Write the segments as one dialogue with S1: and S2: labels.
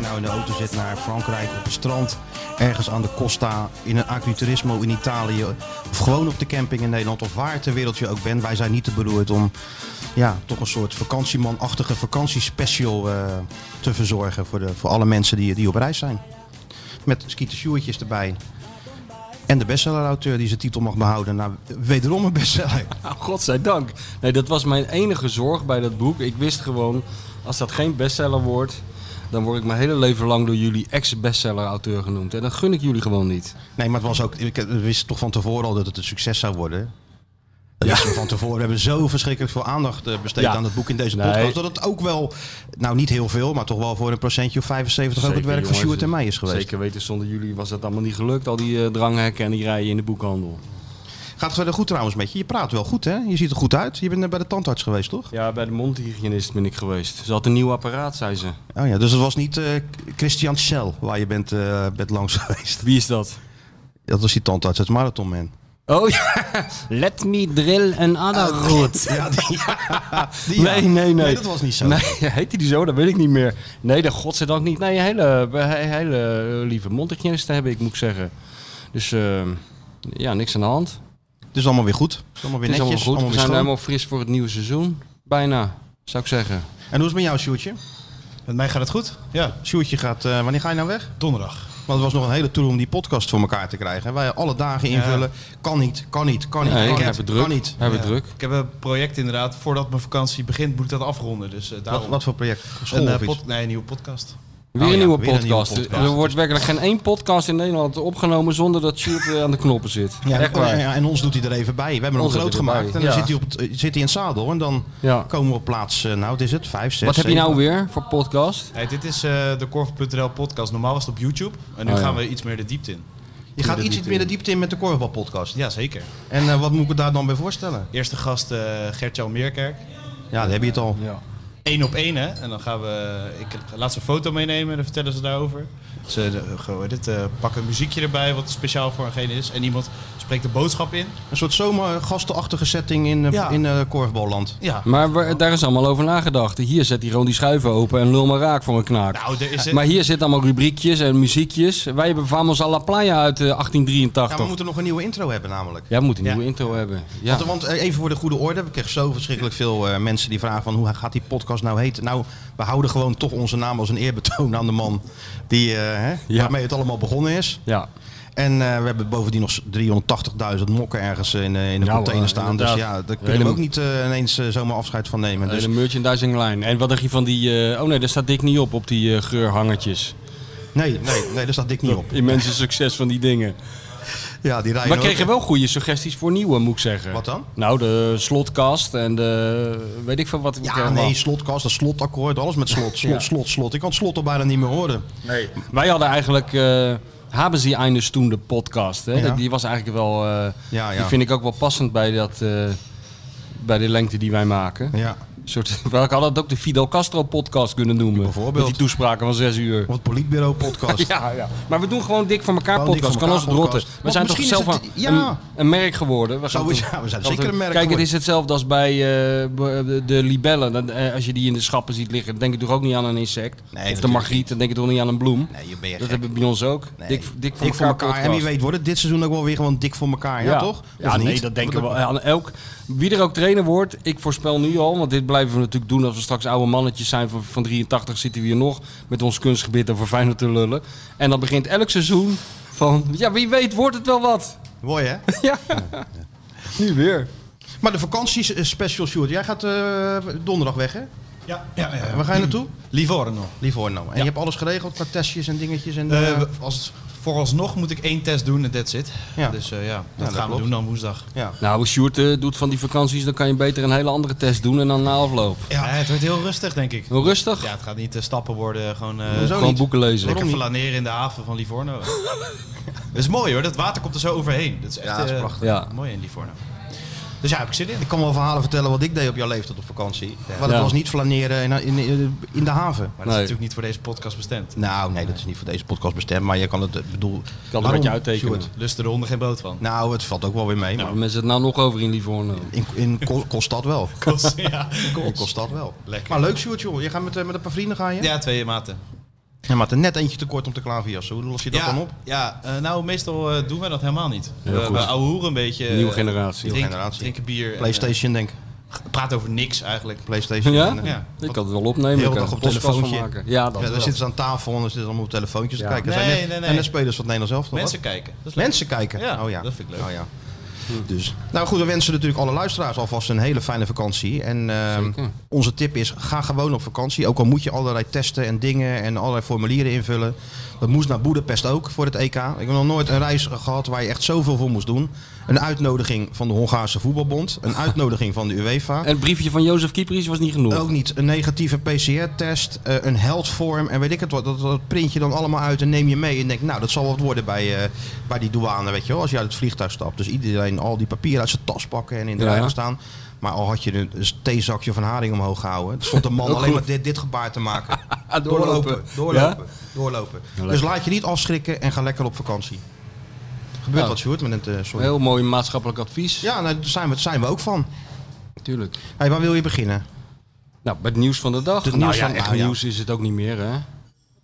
S1: nou de auto zit naar Frankrijk op een strand. Ergens aan de Costa, in een agriturismo in Italië. Of gewoon op de camping in Nederland. Of waar ter wereld je ook bent. Wij zijn niet te beroerd om ja, toch een soort vakantiemanachtige vakantiespecial eh, te verzorgen. Voor, de, voor alle mensen die, die op reis zijn. Met skietersjoertjes erbij. En de bestseller-auteur die zijn titel mag behouden. Nou, wederom een bestseller.
S2: Nou, godzijdank. Nee, dat was mijn enige zorg bij dat boek. Ik wist gewoon, als dat geen bestseller wordt, dan word ik mijn hele leven lang door jullie ex-bestseller-auteur genoemd. En dat gun ik jullie gewoon niet.
S1: Nee, maar het was ook. Ik wist toch van tevoren al dat het een succes zou worden. Dat wisten we van tevoren. We hebben zo verschrikkelijk veel aandacht eh, besteed
S2: Ja.
S1: aan het boek in deze
S2: Nee.
S1: podcast. Dat het ook wel, nou niet heel veel, maar toch wel voor een procentje of 75 ook het
S2: Zeker,
S1: werk van
S2: jongens.
S1: Sjoerd en mij is geweest.
S2: Zeker weten, zonder jullie was dat allemaal niet gelukt. Al die eh, dranghekken en die rijen in de boekhandel.
S1: Gaat het verder goed trouwens met je? Je praat wel goed hè? Je ziet er goed uit. Je bent net bij de tandarts geweest toch?
S2: Ja, bij de mondhygiënist ben ik geweest. Ze had een nieuw apparaat, zei ze.
S1: Oh ja, dus het was niet eh, Christian Schell waar je bent, eh, bent langs geweest.
S2: Wie is dat?
S1: Dat was die tandarts, het marathonman.
S2: Oh ja, Ah, let me drill an other root.
S1: Oh, Ja, die, ja, die-
S2: Nee, nee, nee.
S1: dat was niet zo.
S2: Nee, heette die zo? Dat weet ik niet meer. Nee, dat godzijdank niet. Nee, hele, he- hele lieve mondhygiënisten hebben ik, moet ik zeggen. Dus eh, ja, niks aan de hand.
S1: Het is allemaal weer goed. Het is allemaal weer
S2: Het is allemaal
S1: netjes.
S2: goed. We
S1: weer
S2: zijn
S1: schoon.
S2: helemaal fris voor het nieuwe seizoen. Bijna, zou ik zeggen.
S1: En hoe is het met jou Sjoerdje?
S3: Met mij gaat het goed. Ja,
S1: Sjoerdje gaat, eh, wanneer ga je nou weg?
S3: donderdag.
S1: Want het was nog een hele tour om die podcast voor elkaar te krijgen. Wij alle dagen invullen. Kan niet, kan niet, kan niet,
S2: Nee,
S1: kan,
S2: we
S1: niet
S2: hebben
S1: kan
S2: druk.
S1: niet.
S2: We hebben
S3: Ja.
S2: druk.
S3: Ik heb een project inderdaad. Voordat mijn vakantie begint moet ik dat afronden. Dus eh,
S1: Wat,
S3: daarom.
S1: wat voor project? School
S3: een, eh,
S1: of iets?
S3: pod- nee, een nieuwe podcast.
S2: Weer,
S1: Oh
S2: een,
S1: ja,
S2: nieuwe
S1: weer een nieuwe
S2: podcast.
S1: podcast.
S2: Er wordt werkelijk geen één podcast in Nederland opgenomen zonder dat Sjoerd eh, aan de knoppen zit.
S1: Ja,
S2: Echt waar.
S1: ja, en ons doet hij er even bij. We hebben hem
S2: Ons
S1: groot
S2: doet hij erbij,
S1: gemaakt. En dan
S2: ja.
S1: zit hij, op het, eh, zit hij in het zadel. En dan
S2: Ja.
S1: komen we op plaats, eh, nou het is het, vijf, zes,
S2: Wat heb je
S1: zeven.
S2: nou weer voor podcast?
S3: Nee, dit is eh, de Korf.nl podcast. Normaal was het op YouTube. En nu
S2: Oh, ja.
S3: gaan we iets meer de diepte in.
S1: Je gaat iets meer de diepte in met de Korfbal podcast.
S3: Jazeker.
S1: En eh, wat moet ik me daar dan bij voorstellen?
S3: Eerste gast eh Gert-Jan Meerkerk.
S1: Ja, daar heb je het al.
S2: Ja.
S3: Eén op één, hè. En dan gaan we... eh, Ik laat ze een foto meenemen en dan vertellen ze daarover. Ze eh, gewoon dit, eh, pakken een muziekje erbij wat speciaal voor een is. En iemand spreekt de boodschap in.
S1: Een soort zomergastenachtige setting in, eh,
S3: Ja.
S1: in eh, korfballand.
S3: Ja.
S2: Maar we- daar is allemaal over nagedacht. Hier zet hij gewoon die schuiven open en lul maar raak voor een knaak.
S3: Nou, er is het.
S2: Maar hier zitten allemaal rubriekjes en muziekjes. Wij hebben Vamos a la Playa uit eh,
S1: Ja,
S2: 1883.
S1: we moeten nog een nieuwe intro hebben namelijk.
S2: Jij moet een
S3: Ja.
S2: nieuwe intro hebben. Ja.
S1: Want, want, eh, even voor de goede orde, we kregen zo verschrikkelijk veel eh, mensen die vragen van hoe gaat die podcast nou heten. Nou, we houden gewoon toch onze naam als een eerbetoon aan de man die, eh, hè,
S2: Ja.
S1: waarmee het allemaal begonnen is.
S2: ja.
S1: En eh, we hebben bovendien nog 380.000 mokken ergens in, eh, in de
S2: Ja,
S1: container
S2: hoor,
S1: staan.
S2: inderdaad.
S1: Dus ja, daar kunnen we
S2: Helemaal-
S1: ook niet eh, ineens eh, zomaar afscheid van nemen.
S2: Dus
S1: Dus
S2: de merchandisinglijn. En wat dacht je van die... eh, oh nee, daar staat Dick niet op, op die eh, geurhangertjes.
S1: nee, nee, nee, daar staat dik niet op.
S2: Immense succes van die dingen.
S1: Ja, die rijden
S2: Maar
S1: ook-
S2: kregen wel goede suggesties voor nieuwe, moet ik zeggen.
S1: Wat dan?
S2: Nou, de slotkast en de... Weet ik veel wat... ik
S1: Ja,
S2: allemaal-
S1: nee, slotkast, dat slotakkoord, alles met slot, slot,
S2: Ja.
S1: slot, slot. Ik kan het slot al bijna niet meer horen.
S2: Wij hadden eigenlijk... eh Haben Sie eines toen de podcast. Hè?
S1: Ja.
S2: Die was eigenlijk wel... eh,
S1: Ja, ja.
S2: Die vind ik ook wel passend bij, dat, eh, bij de lengte die wij maken.
S1: Ja.
S2: Een soort, wel, ik had dat ook de Fidel Castro podcast kunnen noemen.
S1: Bijvoorbeeld.
S2: Met die toespraken van zes uur.
S1: Of het Politbureau podcast.
S2: Ja, ja. Maar we doen gewoon dik voor elkaar
S1: Gewoon dik
S2: podcast.
S1: voor
S2: Kan ons
S1: elkaar
S2: rotten.
S1: podcast.
S2: We
S1: Want
S2: zijn toch
S1: misschien
S2: zelf
S1: is
S2: een,
S1: het- ja.
S2: een, een merk geworden. We
S1: Zo is-
S2: toch-
S1: ja, we zijn
S2: want eh,
S1: zeker een merk
S2: Kijk, het
S1: geworden.
S2: is hetzelfde als bij eh, b- de libellen. Dan, eh, als je die in de schappen ziet liggen, dan denk je toch ook niet aan een insect. of de
S1: natuurlijk
S2: margriet, dan denk je toch niet aan een bloem.
S1: Nee, je ben je
S2: dat
S1: gek.
S2: hebben we bij ons ook.
S1: Nee.
S2: Dik, dik voor
S1: Dik
S2: elkaar,
S1: En wie
S2: podcast.
S1: weet wordt het dit seizoen ook wel weer gewoon dik voor elkaar, ja, toch? Of
S2: ja, nee,
S1: niet?
S2: dat denken we. Aan elk, wie er ook trainer wordt, ik voorspel nu al, want dit blijven we natuurlijk doen als we straks oude mannetjes zijn van, van 83, zitten we hier nog met ons kunstgebied over Feyenoord te lullen. En dan begint elk seizoen van, ja, wie weet wordt het wel wat.
S1: Mooi, hè?
S2: ja. Nu weer.
S1: Maar de vakantiespecial, Sjoerd. Jij gaat eh, donderdag weg, hè?
S3: Ja, ja, ja.
S1: Waar ga je naartoe?
S3: Livorno.
S1: Livorno. nou, En je hebt alles geregeld qua testjes en dingetjes. En, eh,
S3: Eh, we- als, vooralsnog moet ik één test doen en that's it.
S1: Ja.
S3: Dus eh, ja, dat
S1: dat
S3: gaan we
S1: klopt.
S3: doen dan woensdag.
S1: ja.
S2: Nou, als Sjoerd eh, doet van die vakanties, dan kan je beter een hele andere test doen en dan na afloop.
S3: Ja. het wordt heel rustig, denk ik.
S2: Heel rustig,
S3: Ja, het gaat niet eh, stappen worden. Gewoon eh,
S1: Hoezo?
S2: gewoon
S1: niet.
S2: boeken lezen.
S3: lekker
S1: niet?
S3: flaneren in de haven van Livorno. dat is mooi hoor, dat water komt er zo overheen. Dat is echt
S1: Ja, dat is
S3: eh,
S1: prachtig.
S2: Ja.
S3: mooi in Livorno. Dus ja, heb ik zin in.
S1: Ik kan wel verhalen vertellen wat ik deed op jouw leeftijd op vakantie. Maar dat
S2: Ja.
S1: was niet flaneren in, in, in, de haven.
S3: Maar
S2: Nee.
S3: dat is natuurlijk niet voor deze podcast bestemd.
S1: Nou, nee, dat is niet voor deze podcast bestemd. Maar je kan het, eh, ik bedoel...
S2: wat
S1: waarom,
S2: je uittekenen.
S1: Sjoerd?
S3: Lusten de honden geen boot van.
S1: Nou, het valt ook wel weer mee. Maar
S2: Hebben mensen het nou nog over in Livorno?
S1: in, in Ko- kost dat wel.
S3: Kost, ja.
S1: In kost dat wel.
S3: Lekker.
S1: Maar leuk, Sjoerd, joh. Je gaat met, eh, met een paar vrienden, ga je?
S3: ja, twee maten.
S1: Ja, maar er net eentje tekort op de klaverjassen. Hoe los je dat
S3: ja,
S1: dan op?
S3: Ja, eh, nou meestal eh, doen wij dat helemaal niet.
S2: Heel
S3: we
S2: goed.
S3: we ouwe hoeren een beetje. eh,
S2: Nieuwe generatie.
S1: Nieuwe
S3: drinken-
S1: generatie.
S3: Drinken bier. en,
S1: PlayStation, denk ik.
S3: eh, praten over niks eigenlijk.
S1: PlayStation.
S2: Ja?
S1: En, eh,
S3: Ja.
S2: Ik kan het wel opnemen.
S1: Heel
S2: ik
S1: dag
S2: kan
S1: op
S2: er een podcast
S1: telefoontje.
S2: van maken. Ja, dat
S1: ja,
S2: wel.
S1: dan zitten ze aan tafel en dan zitten ze allemaal op telefoontjes te
S2: Ja.
S1: kijken. Er
S3: Nee,
S1: zijn net,
S3: nee, nee.
S1: En de spelers van het Nederlands elftal.
S3: Mensen
S1: hoor.
S3: kijken. Dat is leuk.
S1: Mensen kijken.
S3: Ja,
S1: oh, ja.
S3: dat vind ik leuk.
S1: Oh, ja. Dus. Nou goed, we wensen natuurlijk alle luisteraars alvast een hele fijne vakantie. En ehm, onze tip is, ga gewoon op vakantie. Ook al moet je allerlei testen en dingen en allerlei formulieren invullen. Dat moest naar Boedapest ook voor het EK. Ik heb nog nooit een reis gehad waar je echt zoveel voor moest doen. Een uitnodiging van de Hongaarse voetbalbond. Een uitnodiging van de UEFA.
S2: En het briefje van Jozef Kiepries was niet genoeg.
S1: Ook niet. Een negatieve PCR-test, eh, een heldvorm en weet ik het wat. Dat, dat print je dan allemaal uit en neem je mee. En denk, nou, dat zal wat worden bij, eh, bij die douane, weet je wel. Als je uit het vliegtuig stapt. Dus iedereen al die papieren uit zijn tas pakken en in de
S2: Ja.
S1: rij gaan staan. Maar al had je een een theezakje van haring omhoog gehouden. Er stond een man alleen maar dit, dit gebaar te maken. Doorlopen, doorlopen, doorlopen. Dus
S2: lekker.
S1: laat je niet afschrikken en ga lekker op vakantie. Gebeurt
S2: Ja.
S1: wat, Sjoerd, met het... eh, sorry.
S2: Heel mooi maatschappelijk advies.
S1: Ja, nou, daar zijn we, daar zijn we ook van.
S2: Natuurlijk.
S1: Hey, waar wil je beginnen?
S2: Nou, bij het nieuws van de
S1: Het
S2: dag. nou
S1: nieuws
S2: ja,
S1: van-
S2: echt
S1: nou ja.
S2: nieuws is het ook niet meer, hè.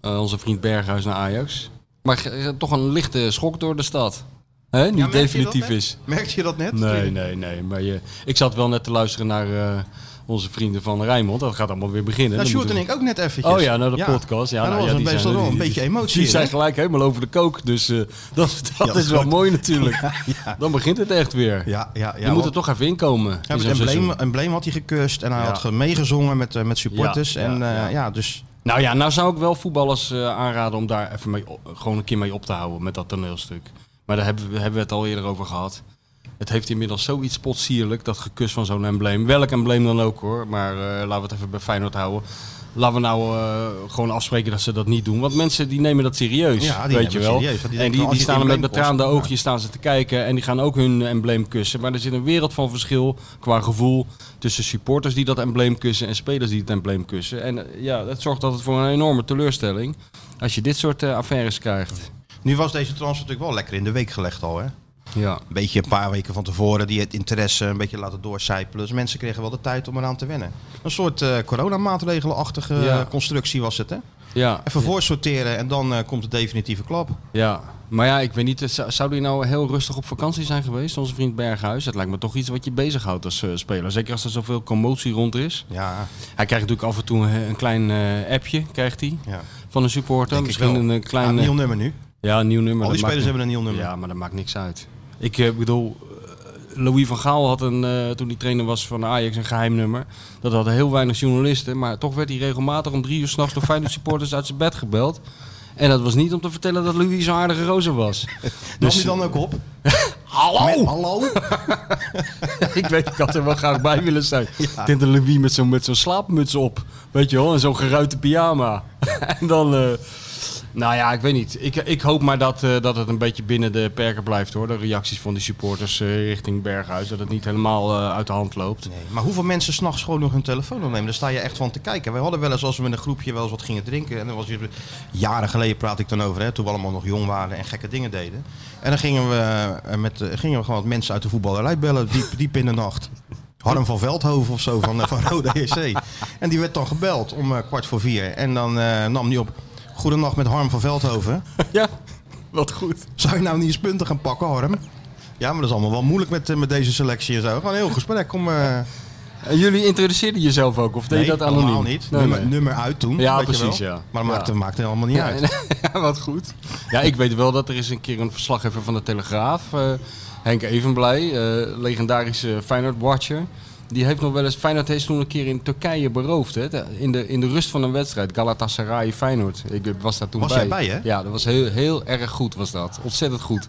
S2: Eh, onze vriend Berghuis naar Ajax. Maar ge- eh, toch een lichte schok door de stad. Hè? Die
S1: Ja, merk je dat
S2: definitief
S1: net?
S2: is.
S1: Merkte je dat net?
S2: Nee, nee, nee. Maar je, ik zat wel net te luisteren naar eh, onze vrienden van Rijnmond. Dat gaat allemaal weer beginnen.
S1: Nou,
S2: Dan
S1: Sjoerd en
S2: moeten
S1: ik ook net eventjes.
S2: we- Oh ja, nou de podcast. Ja,
S1: Maar dat
S2: nou, ja,
S1: was
S2: die
S1: een best
S2: zijn-
S1: wel een
S2: die-
S1: beetje
S2: die-
S1: emotie.
S2: Die
S1: in,
S2: zijn
S1: hè?
S2: gelijk helemaal over de kook. Dus eh, dat, dat
S1: dat
S2: is wel
S1: klopt.
S2: mooi natuurlijk. Dan begint het echt weer.
S1: ja, ja, ja.
S2: je moet
S1: want-
S2: er toch even inkomen.
S1: ja,
S2: in
S1: met
S2: zo'n
S1: het embleem,
S2: seizoen.
S1: embleem had hij gekust en hij
S2: Ja.
S1: had ge- meegezongen met, eh, met supporters.
S2: Ja, ja,
S1: en eh, ja,
S2: ja.
S1: dus
S2: Nou ja, nou zou ik wel voetballers eh, aanraden om daar even mee op- gewoon een keer mee op te houden met dat toneelstuk. Maar daar hebben we, hebben we het al eerder over gehad. Het heeft inmiddels zoiets potsierlijk, dat gekus van zo'n embleem. Welk embleem dan ook hoor, maar eh, laten we het even bij Feyenoord houden. Laten we nou eh, gewoon afspreken dat ze dat niet doen. Want mensen die nemen dat serieus,
S1: Ja, die nemen
S2: weet je
S1: het
S2: wel.
S1: serieus, want die denken,
S2: en die,
S1: als
S2: die
S1: je
S2: staan er
S1: het
S2: met
S1: embleem kost,
S2: betraande
S1: ja.
S2: oogjes staan ze te kijken en die gaan ook hun embleem kussen. Maar er zit een wereld van verschil qua gevoel tussen supporters die dat embleem kussen en spelers die het embleem kussen. En eh, ja, dat zorgt altijd voor een enorme teleurstelling als je dit soort eh, affaires krijgt.
S1: nu was deze transfer natuurlijk wel lekker in de week gelegd al. Hè? Een
S2: Ja.
S1: beetje een paar weken van tevoren die het interesse een beetje laten doorcijpelen. Dus mensen kregen wel de tijd om eraan te wennen. Een soort eh coronamaatregelenachtige
S2: Ja.
S1: eh, constructie was het. Hè?
S2: Ja,
S1: Even voorsorteren en dan eh, komt de definitieve klap.
S2: ja. Maar ja, ik weet niet, eh, zou zou die nou heel rustig op vakantie zijn geweest, onze vriend Berghuis? Dat lijkt me toch iets wat je bezighoudt als eh, speler. Zeker als er zoveel commotie rond is.
S1: Ja,
S2: Hij krijgt natuurlijk af en toe een, een klein eh, appje, krijgt hij,
S1: ja.
S2: van een supporter.
S1: Denk ik
S2: Misschien
S1: wel.
S2: een, eh,
S1: Ja,
S2: klein...
S1: nieuw nummer nu.
S2: Ja, een nieuw nummer.
S1: Al die
S2: dat
S1: spelers
S2: maakt-
S1: hebben een nieuw nummer.
S2: Ja, maar dat maakt niks uit. Ik eh, bedoel, eh, Louis van Gaal had een, eh, toen hij trainer was van Ajax een geheim nummer. Dat hadden heel weinig journalisten, maar toch werd hij regelmatig om drie uur s'nachts door Feyenoord supporters uit zijn bed gebeld. En dat was niet om te vertellen dat Louis zo'n aardige roze was. dus-
S1: Nam je dan ook op? Met- hallo?
S2: ik weet, ik had er wel graag bij willen zijn. Ik denk dat Louis met zo'n met zo'n slaapmuts op, weet je wel, en zo'n geruite pyjama. en dan, eh, nou ja, ik weet niet. Ik, ik hoop maar dat, eh, dat het een beetje binnen de perken blijft hoor. De reacties van de supporters eh, richting Berghuis, dat het niet helemaal eh, uit de hand loopt.
S1: Nee, maar hoeveel mensen s'nachts gewoon nog hun telefoon opnemen? Daar sta je echt van te kijken. Wij hadden wel eens, als we met een groepje wel eens wat gingen drinken. En dan was je, jaren geleden praat ik dan over, hè, toen we allemaal nog jong waren en gekke dingen deden. En dan gingen we, eh, met, eh, gingen we gewoon wat mensen uit de voetballerij bellen, diep, diep in de nacht. Harm van Veldhoven of zo, van, eh, van Rode EC. En die werd dan gebeld om eh, kwart voor vier. En dan eh, nam die op, goedenacht met Harm van Veldhoven.
S2: ja, wat goed.
S1: Zou je nou niet eens punten gaan pakken, Harm? Ja, maar dat is allemaal wel moeilijk met, eh, met deze selectie en zo. Gewoon een heel gesprek om... eh,
S2: En jullie introduceerden jezelf ook, of deed je dat
S1: allemaal
S2: anoniem?
S1: niet.
S2: Nee,
S1: nummer,
S2: nee.
S1: nummer uit toen.
S2: Ja,
S1: weet je
S2: precies,
S1: wel.
S2: ja.
S1: Maar
S2: Ja.
S1: maakt maakte, maakte helemaal niet uit.
S2: Ja, wat goed. Ja, ik weet wel dat er is een keer een verslaggever van de Telegraaf, eh, Henk Evenblij, eh, legendarische Feyenoord-watcher. Die heeft nog wel eens, Feyenoord heeft toen een keer in Turkije beroofd. Hè, de- in, de, in de rust van een wedstrijd, Galatasaray Feyenoord. Ik eh, was daar toen
S1: Was
S2: bij.
S1: jij bij, hè?
S2: Ja, dat was heel, heel erg goed was dat. Ontzettend goed.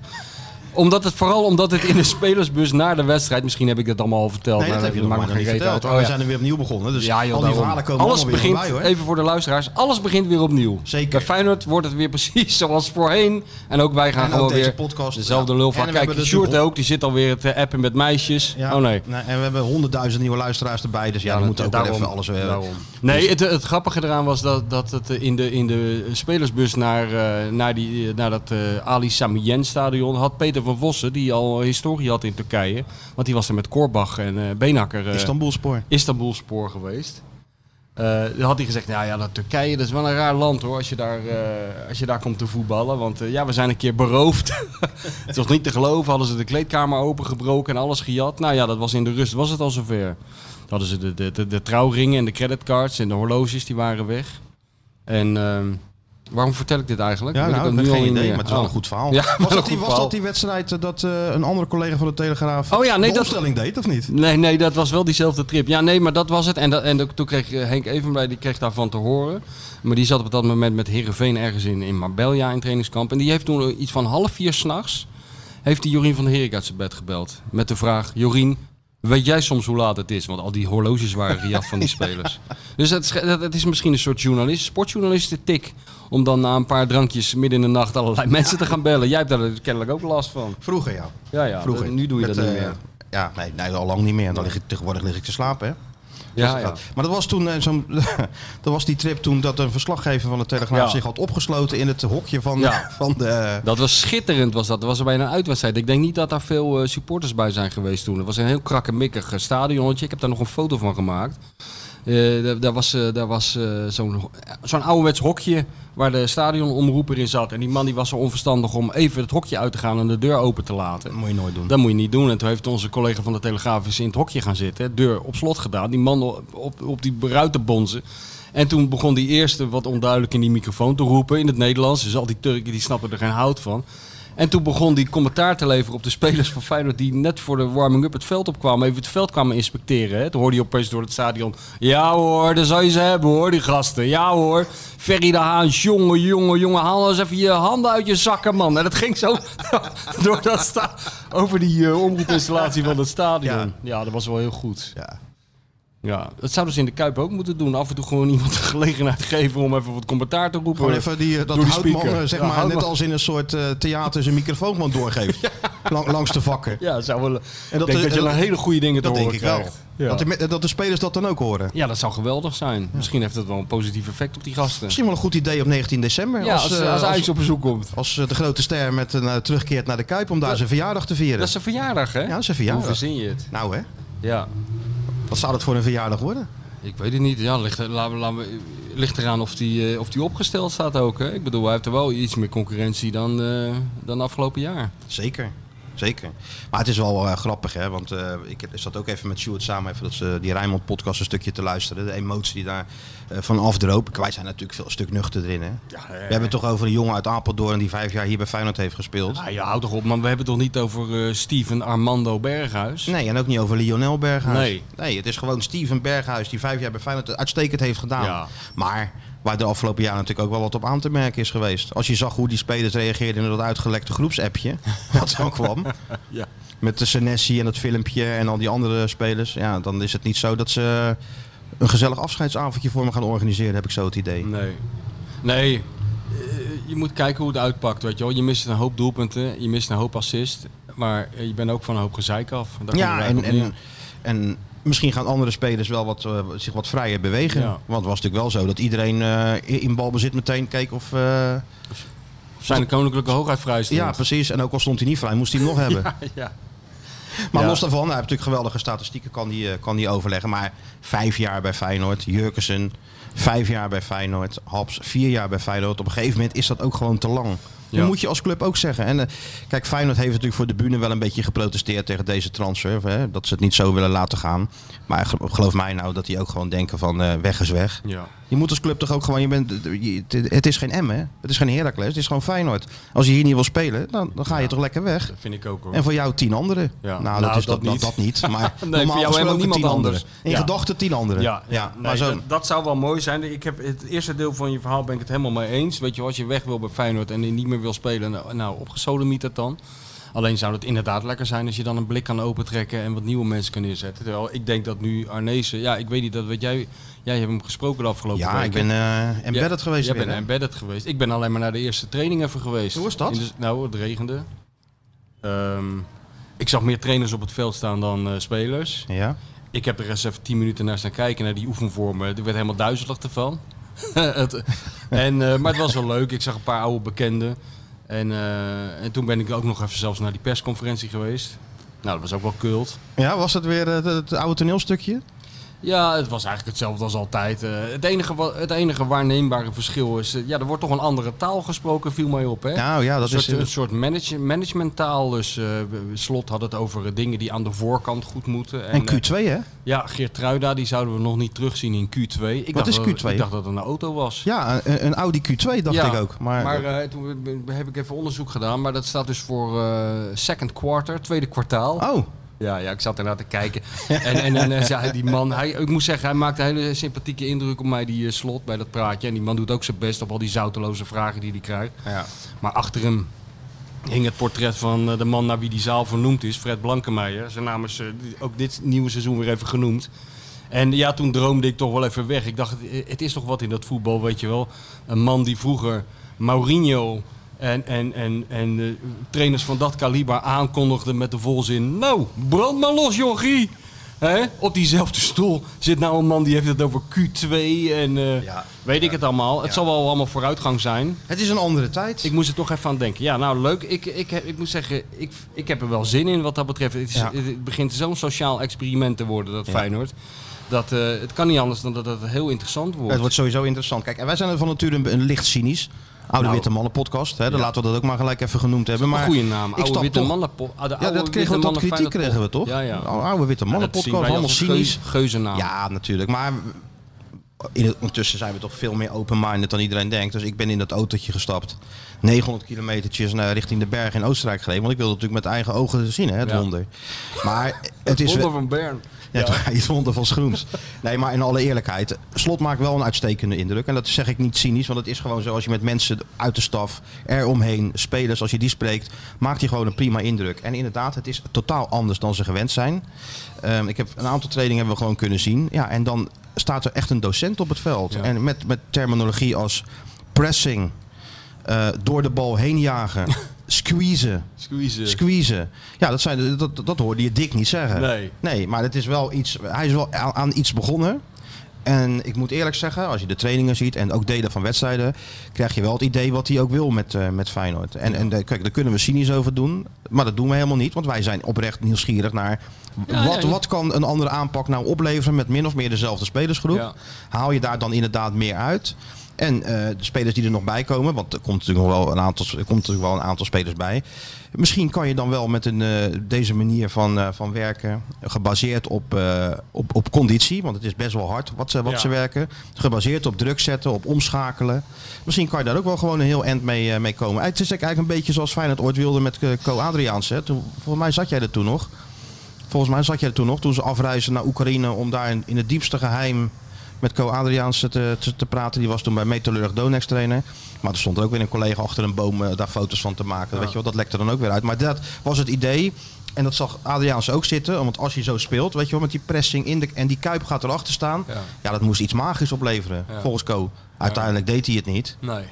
S2: Omdat het, vooral omdat het in de spelersbus na de wedstrijd, misschien heb ik dat allemaal al verteld.
S1: Nee, dat
S2: maar
S1: heb je
S2: maakt
S1: nog
S2: me
S1: maar niet
S2: geen reet
S1: verteld.
S2: uit.
S1: Maar
S2: Oh,
S1: We
S2: ja.
S1: zijn er weer opnieuw begonnen. Dus
S2: Ja, joh,
S1: al die
S2: daarom.
S1: verhalen komen
S2: alles
S1: allemaal weer
S2: begint,
S1: voorbij, hoor.
S2: Even voor de luisteraars, alles begint weer opnieuw.
S1: Zeker.
S2: Bij Feyenoord wordt het weer precies zoals voorheen. En ook wij gaan
S1: En ook
S2: gewoon
S1: deze
S2: weer
S1: podcast,
S2: dezelfde
S1: ja.
S2: lul
S1: En we
S2: van. Kijk,
S1: hebben
S2: Sjoerd
S1: de doelgroep.
S2: ook, die zit alweer te appen met meisjes.
S1: Ja.
S2: Oh nee.
S1: En we hebben honderdduizend nieuwe luisteraars erbij. Dus ja, dan
S2: dat-
S1: moeten we ook wel
S2: daarom-
S1: even alles... eh,
S2: daarom. Nee, het, het grappige eraan was dat, dat het in de, in de spelersbus naar, eh, naar, die, eh, naar dat eh, Ali Samien stadion had Peter van Vossen, die al historie had in Turkije. Want die was er met Korbach en eh Beenhakker. eh,
S1: Istanbulspoor.
S2: Istanbulspoor geweest. Eh, Eh, dan had hij gezegd, nou ja, dat Turkije, dat is wel een raar land hoor, als je daar, eh, als je daar komt te voetballen. Want eh, ja, we zijn een keer beroofd. het was niet te geloven, hadden ze de kleedkamer opengebroken en alles gejat. Nou ja, dat was in de rust, was het al zover. Dan hadden ze de, de, de, de trouwringen en de creditcards en de horloges, die waren weg. En ehm, waarom vertel ik dit eigenlijk?
S1: Ja,
S2: Weet
S1: nou,
S2: dat
S1: ik
S2: nu
S1: heb
S2: al
S1: geen
S2: niet
S1: idee,
S2: meer.
S1: maar het is wel
S2: Oh.
S1: een goed verhaal.
S2: Ja, wel
S1: was,
S2: een
S1: dat die, was
S2: goed verhaal.
S1: dat die wedstrijd eh, dat eh, een andere collega van de Telegraaf
S2: Oh ja, nee,
S1: de
S2: dat-
S1: opstelling deed, of niet?
S2: Nee, nee, dat was wel diezelfde trip. Ja, nee, maar dat was het. En, dat, en dat- toen kreeg eh, Henk Evenblij, die kreeg daarvan te horen. Maar die zat op dat moment met Herenveen ergens in, in Marbella in trainingskamp. En die heeft toen eh, iets van half vier s'nachts, heeft die Jorien van der Herik uit zijn bed gebeld. Met de vraag, Jorien, weet jij soms hoe laat het is? Want al die horloges waren gejat van die spelers. Dus dat, is- dat, dat is misschien een soort journalist, sportjournalisten tik. Om dan na een paar drankjes midden in de nacht allerlei mensen te gaan bellen. Jij hebt daar kennelijk ook last van.
S1: Vroeger, ja.
S2: Ja, ja.
S1: Vroeger.
S2: Nu doe je
S1: Met,
S2: dat niet
S1: eh,
S2: meer.
S1: Ja, nee, nee, al lang niet meer. Dan lig ik, tegenwoordig lig ik te slapen, hè.
S2: Ja,
S1: Dus
S2: ja.
S1: dat- Maar dat was toen eh, zo'n, dat was die trip toen dat een verslaggever van de Telegraaf
S2: Ja.
S1: zich had opgesloten in het hokje van,
S2: Ja.
S1: van de.
S2: Dat was schitterend, was dat. Dat was er bijna een uitwedstrijd. Ik denk niet dat daar veel eh, supporters bij zijn geweest toen. Het was een heel krakkemikkig eh, stadionnetje. Ik heb daar nog een foto van gemaakt. Eh, daar, daar was, eh, daar was eh, zo'n, ho- zo'n ouderwets hokje waar de stadionomroeper in zat. En die man die was zo onverstandig om even het hokje uit te gaan en de deur open te laten.
S1: Dat moet je nooit doen.
S2: Dat moet je niet doen. En toen heeft onze collega van de Telegraaf eens in het hokje gaan zitten. Deur op slot gedaan. Die man op, op, op die ruit te bonzen. En toen begon die eerste wat onduidelijk in die microfoon te roepen in het Nederlands. Dus al die Turken die snappen er geen hout van. En toen begon die commentaar te leveren op de spelers van Feyenoord die net voor de warming-up het veld opkwamen. Even het veld kwamen inspecteren. Hè. Toen hoorde je opeens door het stadion. Ja hoor, daar zou je ze hebben hoor, die gasten. Ja hoor. Ferry de Haan, jongen, jongen, jongen. Haal nou eens even je handen uit je zakken, man. En dat ging zo door dat sta over die eh, omroepinstallatie van het stadion.
S1: Ja.
S2: Ja. dat was wel heel goed.
S1: Ja.
S2: Ja, dat zouden ze in de Kuip ook moeten doen. Af en toe gewoon iemand de gelegenheid geven om even wat commentaar te roepen.
S1: Gewoon even die, eh, dat
S2: Door die
S1: houtman,
S2: speaker.
S1: eh, zeg
S2: Ja,
S1: maar,
S2: houtman.
S1: net als in een soort eh, theater zijn microfoonman doorgeeft. Lang- langs de vakken.
S2: Ja, dat zou wel...
S1: En
S2: ik
S1: eh,
S2: denk dat je
S1: dat-
S2: dan hele goede dingen te
S1: Dat denk
S2: horen
S1: ik wel.
S2: krijgt. Ja.
S1: Dat, de, me- dat de spelers dat dan ook horen.
S2: Ja, dat zou geweldig zijn. Misschien heeft dat wel een positief effect op die gasten.
S1: Misschien wel een goed idee op 19 december.
S2: Ja, als, als,
S1: eh,
S2: Ajax op bezoek komt.
S1: als, eh, de grote ster met een, eh, terugkeert naar de Kuip om daar zijn verjaardag te vieren.
S2: Dat is een verjaardag, hè?
S1: ja, zijn
S2: Hoe
S1: verjaardag.
S2: verzin je het?
S1: Nou hè,
S2: Ja,
S1: wat zou dat voor een verjaardag worden?
S2: ik weet het niet. Ja, ligt, er- laten we, laten we, ligt eraan of die, eh, of die opgesteld staat ook. Hè? Ik bedoel, hij heeft er wel iets meer concurrentie dan, eh, dan afgelopen jaar.
S1: Zeker. Zeker. Maar het is wel eh, grappig, hè? Want eh, ik zat ook even met Stuart samen even dat ze die Rijnmond podcast een stukje te luisteren. De emotie die daar eh, van afdroop. Wij zijn natuurlijk veel een stuk nuchter erin, hè? We hebben het toch over een jongen uit Apeldoorn die vijf jaar hier bij Feyenoord heeft gespeeld.
S2: Nou, je houdt toch op, maar we hebben het toch niet over eh, Steven Armando Berghuis?
S1: Nee, en ook niet over Lionel Berghuis.
S2: Nee.
S1: het is gewoon Steven Berghuis die vijf jaar bij Feyenoord het uitstekend heeft gedaan.
S2: Ja.
S1: Maar waar de afgelopen jaar natuurlijk ook wel wat op aan te merken is geweest. Als je zag hoe die spelers reageerden in dat uitgelekte groepsappje, wat dan kwam.
S2: Ja.
S1: Met de Senesi en dat filmpje en al die andere spelers. Ja, dan is het niet zo dat ze een gezellig afscheidsavondje voor me gaan organiseren, heb ik zo het idee.
S2: Nee. Nee. Eh, Je moet kijken hoe het uitpakt, weet je wel. Je mist een hoop doelpunten, je mist een hoop assist. Maar eh, je bent ook van een hoop gezeik af. Daar komt het
S1: Ja, en,
S2: eigenlijk op neer.
S1: en, en misschien gaan andere spelers wel wat, eh, zich wat vrijer bewegen.
S2: Ja.
S1: Want het was natuurlijk wel zo dat iedereen eh, in balbezit meteen keek of... eh,
S2: Of zijn de koninklijke hoogheid vrij stond.
S1: Ja, precies. En ook al stond hij niet vrij, moest hij hem nog hebben.
S2: ja, ja.
S1: Maar
S2: Ja.
S1: los daarvan, hij heeft natuurlijk geweldige statistieken, kan hij, eh, kan hij overleggen. Maar vijf jaar bij Feyenoord, Jurkensen, vijf jaar bij Feyenoord, Haps, vier jaar bij Feyenoord. Op een gegeven moment is dat ook gewoon te lang.
S2: Ja.
S1: Dat moet je als club ook zeggen. En eh, kijk, Feyenoord heeft natuurlijk voor de bühne wel een beetje geprotesteerd tegen deze transfer. Hè, dat ze het niet zo willen laten gaan. Maar ge- geloof mij nou dat die ook gewoon denken van eh, weg is weg.
S2: ja.
S1: Je moet als club toch ook gewoon, je bent, je- het- het is geen Emmen, het is geen Heracles, het is gewoon Feyenoord. Als je hier niet wil spelen, dan, dan ga je toch lekker weg.
S2: Dat vind ik ook hoor.
S1: En voor jou tien anderen.
S2: Ja.
S1: Nou, dat
S2: Nou,
S1: is dat,
S2: dat
S1: dat,
S2: niet.
S1: dat niet. Maar
S2: Nee,
S1: normaal
S2: voor jou
S1: gesproken
S2: helemaal niemand
S1: tien anderen.
S2: anders.
S1: In
S2: Ja.
S1: gedachten tien anderen.
S2: Ja, ja.
S1: maar
S2: Nee,
S1: zo.
S2: dat, dat zou wel mooi zijn. Ik heb het eerste deel van je verhaal ben ik het helemaal mee eens. Weet je, als je weg wil bij Feyenoord en je niet meer wil spelen, nou, nou opgesodemiet dat dan. Alleen zou het inderdaad lekker zijn als je dan een blik kan opentrekken en wat nieuwe mensen kan neerzetten. Terwijl ik denk dat nu Arnezen, ja, ik weet niet, dat weet jij, jij hebt hem gesproken de afgelopen
S1: ja,
S2: weken.
S1: ik ben eh
S2: Ja,
S1: embedded geweest
S2: Jij
S1: weer.
S2: bent
S1: hè?
S2: embedded geweest. Ik ben alleen maar naar de eerste training even geweest.
S1: Hoe was dat?
S2: In de- nou, het regende. Ehm, ik zag meer trainers op het veld staan dan eh, spelers.
S1: Ja.
S2: Ik heb er eens even tien minuten naar staan kijken, naar die oefenvormen. Ik werd helemaal duizelig ervan. Het- en, eh, maar het was wel leuk. Ik zag een paar oude bekenden. En, eh, en toen ben ik ook nog even zelfs naar die persconferentie geweest. Nou, dat was ook wel kult.
S1: ja, was dat weer eh, het, het oude toneelstukje?
S2: Ja, het was eigenlijk hetzelfde als altijd. Eh, het, enige, wa- het enige waarneembare verschil is... eh, ja, er wordt toch een andere taal gesproken, viel mij op. Hè?
S1: Nou ja, dat
S2: een
S1: is...
S2: soort, een soort manage, managementtaal. Dus eh, Slot had het over eh, dingen die aan de voorkant goed moeten.
S1: en
S2: eh,
S1: Q2, hè?
S2: ja, Geertruida, die zouden we nog niet terugzien in Q2. Ik dacht
S1: is
S2: dat-
S1: Q2?
S2: Ik dacht dat het een auto was.
S1: Ja, een, een Audi Q2 dacht
S2: Ja,
S1: ik ook. Maar,
S2: Maar eh, toen be- be- heb ik even onderzoek gedaan. Maar dat staat dus voor eh, second quarter, tweede kwartaal.
S1: oh,
S2: Ja, ja, ik zat ernaar te kijken. En, en, en eh, zei die man, hij, ik moet zeggen, hij maakt een hele sympathieke indruk op mij, die eh, slot bij dat praatje. En die man doet ook zijn best op al die zouteloze vragen die hij krijgt.
S1: ja.
S2: Maar achter hem hing het portret van eh, de man naar wie die zaal vernoemd is, Fred Blankenmeijer. Zijn naam is eh, die- ook dit nieuwe seizoen weer even genoemd. En ja, toen droomde ik toch wel even weg. Ik dacht, eh, het is toch wat in dat voetbal, weet je wel. Een man die vroeger Mourinho en, en, en, en eh, trainers van dat kaliber aankondigde met de volzin... Nou, brand maar los, jochie! Hè? Op diezelfde stoel zit nou een man die heeft het over Q2 en eh,
S1: Ja.
S2: weet ik het allemaal. Het zal wel allemaal vooruitgang zijn.
S1: Het is een andere tijd.
S2: Ik moest er toch even aan denken. Ja, nou leuk. Ik, ik, heb- ik moet zeggen, ik, ik heb er wel zin in wat dat betreft. Het, is,
S1: Ja.
S2: het begint zo'n sociaal experiment te worden, dat
S1: Ja.
S2: Feyenoord. Dat, eh, het kan niet anders dan dat het heel interessant wordt.
S1: Het wordt sowieso interessant. Kijk, en wij zijn er van nature een, een licht cynisch. Oude
S2: Nou.
S1: Witte Mannen podcast. Hè, dan
S2: Ja.
S1: laten we dat ook maar gelijk even genoemd hebben.
S2: een
S1: Maar
S2: goede naam. Oude
S1: stap
S2: witte
S1: toch-
S2: mannen. po- ah, de
S1: Ja,
S2: oude
S1: dat kregen we
S2: witte
S1: tot
S2: mannen
S1: kritiek
S2: Feyenoord
S1: kregen we
S2: pop.
S1: toch?
S2: Ja, ja.
S1: Oude- Oude Witte Mannen
S2: dat zien
S1: podcast,
S2: wij
S1: allemaal
S2: als een geu-
S1: cynisch.
S2: geuzennaam.
S1: Ja, natuurlijk. Maar in het, ondertussen zijn we toch veel meer open-minded dan iedereen denkt. Dus ik ben in dat autootje gestapt. 900 kilometertjes naar, richting de bergen in Oostenrijk gereden. Want ik wilde het natuurlijk met eigen ogen zien, hè, het
S2: Ja.
S1: wonder. Maar het is...
S2: Wonder
S1: wel-
S2: van Bern.
S1: ja, toch, het wonder van Schroens. Nee, maar in alle eerlijkheid. Slot maakt wel een uitstekende indruk. En dat zeg ik niet cynisch, want het is gewoon zo. Als je met mensen uit de staf, eromheen, spelers, als je die spreekt, maakt hij gewoon een prima indruk. En inderdaad, het is totaal anders dan ze gewend zijn. Ehm, ik heb een aantal trainingen hebben we gewoon kunnen zien. Ja, en dan staat er echt een docent op het veld.
S2: Ja.
S1: En met, met terminologie als pressing, eh, door de bal heen jagen, squeezen.
S2: Squeeze.
S1: Squeezen. Ja, dat, zijn, dat, dat hoorde je Dick niet zeggen.
S2: Nee.
S1: Nee, maar het is wel iets, hij is wel aan, aan iets begonnen. En ik moet eerlijk zeggen, als je de trainingen ziet en ook delen van wedstrijden, krijg je wel het idee wat hij ook wil met, eh, met Feyenoord. En, en eh, kijk, daar kunnen we cynisch over doen, maar dat doen we helemaal niet, want wij zijn oprecht nieuwsgierig naar
S2: Ja,
S1: wat,
S2: ja.
S1: wat kan een andere aanpak nou opleveren met min of meer dezelfde spelersgroep.
S2: Ja.
S1: Haal je daar dan inderdaad meer uit? En eh, de spelers die er nog bij komen, want er komt natuurlijk nog wel een aantal, er komt natuurlijk wel een aantal spelers bij. Misschien kan je dan wel met een, eh, deze manier van, eh, van werken, gebaseerd op, eh, op, op conditie, want het is best wel hard wat, ze, wat
S2: Ja.
S1: ze werken. Gebaseerd op druk zetten, op omschakelen. Misschien kan je daar ook wel gewoon een heel end mee, eh, mee komen. Het is eigenlijk een beetje zoals Feyenoord ooit wilde met eh, Co Adriaans. Hè? Toen, volgens mij zat jij er toen nog. Volgens mij zat jij er toen nog, toen ze afreizen naar Oekraïne om daar in, in het diepste geheim met Co Adriaans te, te, te praten. Die was toen bij Metallurg Donex trainer. Maar er stond er ook weer een collega achter een boom eh, daar foto's van te maken. Weet je wel, dat lekte dan ook weer uit. Maar dat was het idee. En dat zag Adriaans ook zitten. Want als je zo speelt, weet je wel, met die pressing in de, en die Kuip gaat erachter staan. Ja,
S2: Ja.
S1: dat moest iets magisch opleveren,
S2: Ja.
S1: volgens Co. Uiteindelijk deed hij het niet.
S2: Nee.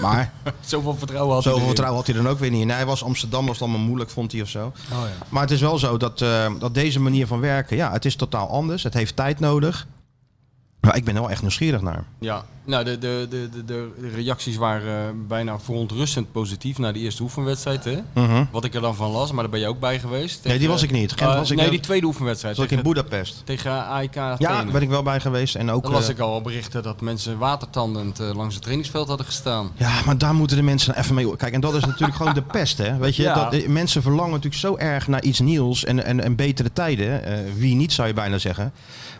S1: Maar
S2: Zoveel vertrouwen had
S1: zoveel
S2: hij erin.
S1: vertrouwen had hij dan ook weer niet. En hij was Amsterdam, was dan maar moeilijk, vond hij of zo.
S2: Oh, ja.
S1: Maar het is wel zo dat, eh, dat deze manier van werken, ja, het is totaal anders. Het heeft tijd nodig. Maar ik ben er wel echt nieuwsgierig naar.
S2: Ja, nou, de, de, de, de, de reacties waren eh, bijna verontrustend positief na die eerste oefenwedstrijd. Hè? Wat ik er dan van las, maar daar ben je ook bij geweest.
S1: Mhm. Nee, die was ik niet. Gent
S2: Eh,
S1: was ik
S2: nee,
S1: net-
S2: die tweede oefenwedstrijd.
S1: Zat ik in
S2: tegen,
S1: Budapest.
S2: tegen AIK
S1: Ja, daar
S2: Athene.
S1: ben ik wel bij geweest. En ook,
S2: Dan las
S1: eh,
S2: ik al berichten dat mensen watertandend eh, langs het trainingsveld hadden gestaan.
S1: Ja, maar daar moeten de mensen nou even mee... Kijk, en dat is natuurlijk gewoon de pest, hè. Weet je,
S2: Ja.
S1: dat, eh, mensen verlangen natuurlijk zo erg naar iets nieuws en, en, en betere tijden. Eh, wie niet, zou je bijna zeggen.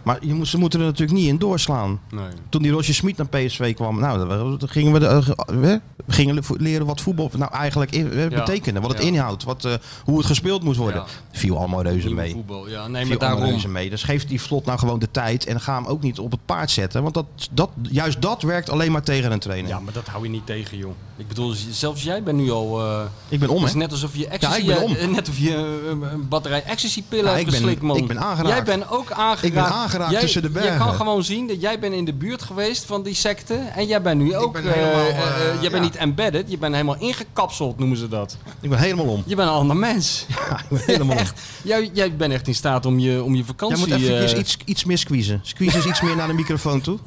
S1: Maar je moet, ze moeten er natuurlijk niet in doorslaan.
S2: Nee.
S1: Toen die Roger Smit naar PSV kwam, nou, dan- dan gingen we, de, eh, ge- eh, gingen le- leren wat voetbal nou eigenlijk in- eh,
S2: Ja.
S1: betekende. Wat het
S2: Ja.
S1: inhoudt, wat, eh, hoe het gespeeld moet worden. Viel allemaal reuze
S2: Nieuwe
S1: mee.
S2: Voetbal. Ja, nee, maar
S1: Viel allemaal
S2: daarom.
S1: reuze mee. Dus geef die vlot nou gewoon de tijd en ga hem ook niet op het paard zetten. Want dat, dat, juist dat werkt alleen maar tegen een trainer.
S2: Ja, maar dat hou je niet tegen, joh. Ik bedoel, z- zelfs jij bent nu al... eh,
S1: Ik ben om,
S2: het
S1: hè?
S2: is net alsof je ecstasy,
S1: ik ben om.
S2: eh, net of je eh, een batterij ecstasy-pillen
S1: Ja,
S2: hebt
S1: ik ben-
S2: geslikt, man.
S1: ik ben aangeraakt.
S2: Jij bent ook aangeraakt.
S1: Ik ben aangeraakt
S2: Jij-
S1: tussen de
S2: Je
S1: bergen.
S2: kan gewoon zien dat jij bent in de buurt geweest van die secte. En jij bent nu ook...
S1: ben
S2: eh,
S1: helemaal,
S2: eh, eh,
S1: eh,
S2: jij
S1: ja.
S2: bent niet embedded, je bent helemaal ingekapseld, noemen ze dat.
S1: Ik ben helemaal om.
S2: Je bent een ander mens.
S1: Ja, ik ben helemaal om.
S2: Echt. Jij, jij bent echt in staat om je, om je
S1: Jij
S2: vakantie...
S1: moet eventjes
S2: eh,
S1: iets, iets meer squeezen. Squeezen is iets meer naar de microfoon toe.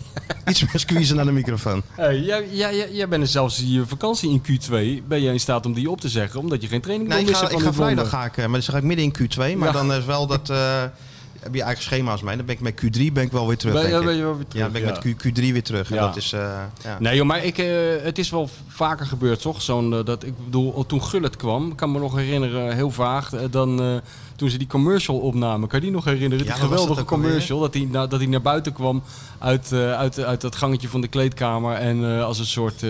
S1: Iets meer squeezen naar de microfoon.
S2: Hey, jij, jij, jij, jij bent er zelfs je vakantie in Q2 ben je in staat om die op te zeggen, omdat je geen training
S1: Nee,
S2: wil
S1: ik
S2: missen
S1: ga,
S2: van
S1: ik ga
S2: die donder.
S1: vrijdag ga ik, eh, maar dan ga ik midden in Q2. Maar
S2: Ja.
S1: dan is wel dat... eh, heb je eigen schema's mee. Dan ben ik met Q3 ben ik wel weer terug.
S2: Ben-
S1: denk
S2: ja,
S1: ik.
S2: ben je wel weer terug,
S1: Ja, ben ik
S2: ja.
S1: met Q, 3 weer terug. En
S2: Ja.
S1: dat is, eh, ja.
S2: Nee joh, maar ik, eh, het is wel vaker gebeurd toch? Zo'n, eh, dat, ik bedoel, toen Gullet kwam, ik kan me nog herinneren, eh, heel vaag, eh, dan, eh, toen ze die commercial opnamen, kan je die nog
S1: Ja,
S2: herinneren? die
S1: wat was
S2: geweldige
S1: dat ook alweer?
S2: commercial, dat hij na- dat hij naar buiten kwam uit, eh, uit, uit dat gangetje van de kleedkamer en eh, als een soort... eh,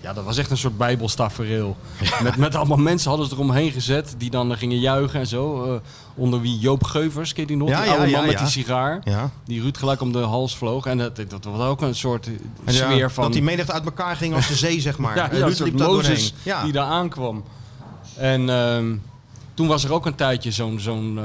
S2: ja, dat was echt een soort bijbelstafereel. Met, met allemaal mensen hadden ze eromheen gezet. Die dan eh, gingen juichen en zo. eh, onder wie Joop Geuvers, ken je die nog?
S1: Ja,
S2: die
S1: ja,
S2: oude
S1: ja,
S2: man met
S1: ja.
S2: die sigaar.
S1: Ja.
S2: Die Ruud gelijk om de hals vloog. En dat, dat was ook een soort eh,
S1: En ja,
S2: sfeer van...
S1: Dat die menigte uit elkaar ging als de zee, zeg maar. Eh,
S2: Ja, ja, een
S1: Ruud
S2: soort
S1: liep daar
S2: Mozes
S1: doorheen. Ja.
S2: die daar aankwam. En ehm, toen was er ook een tijdje zo'n zo'n eh,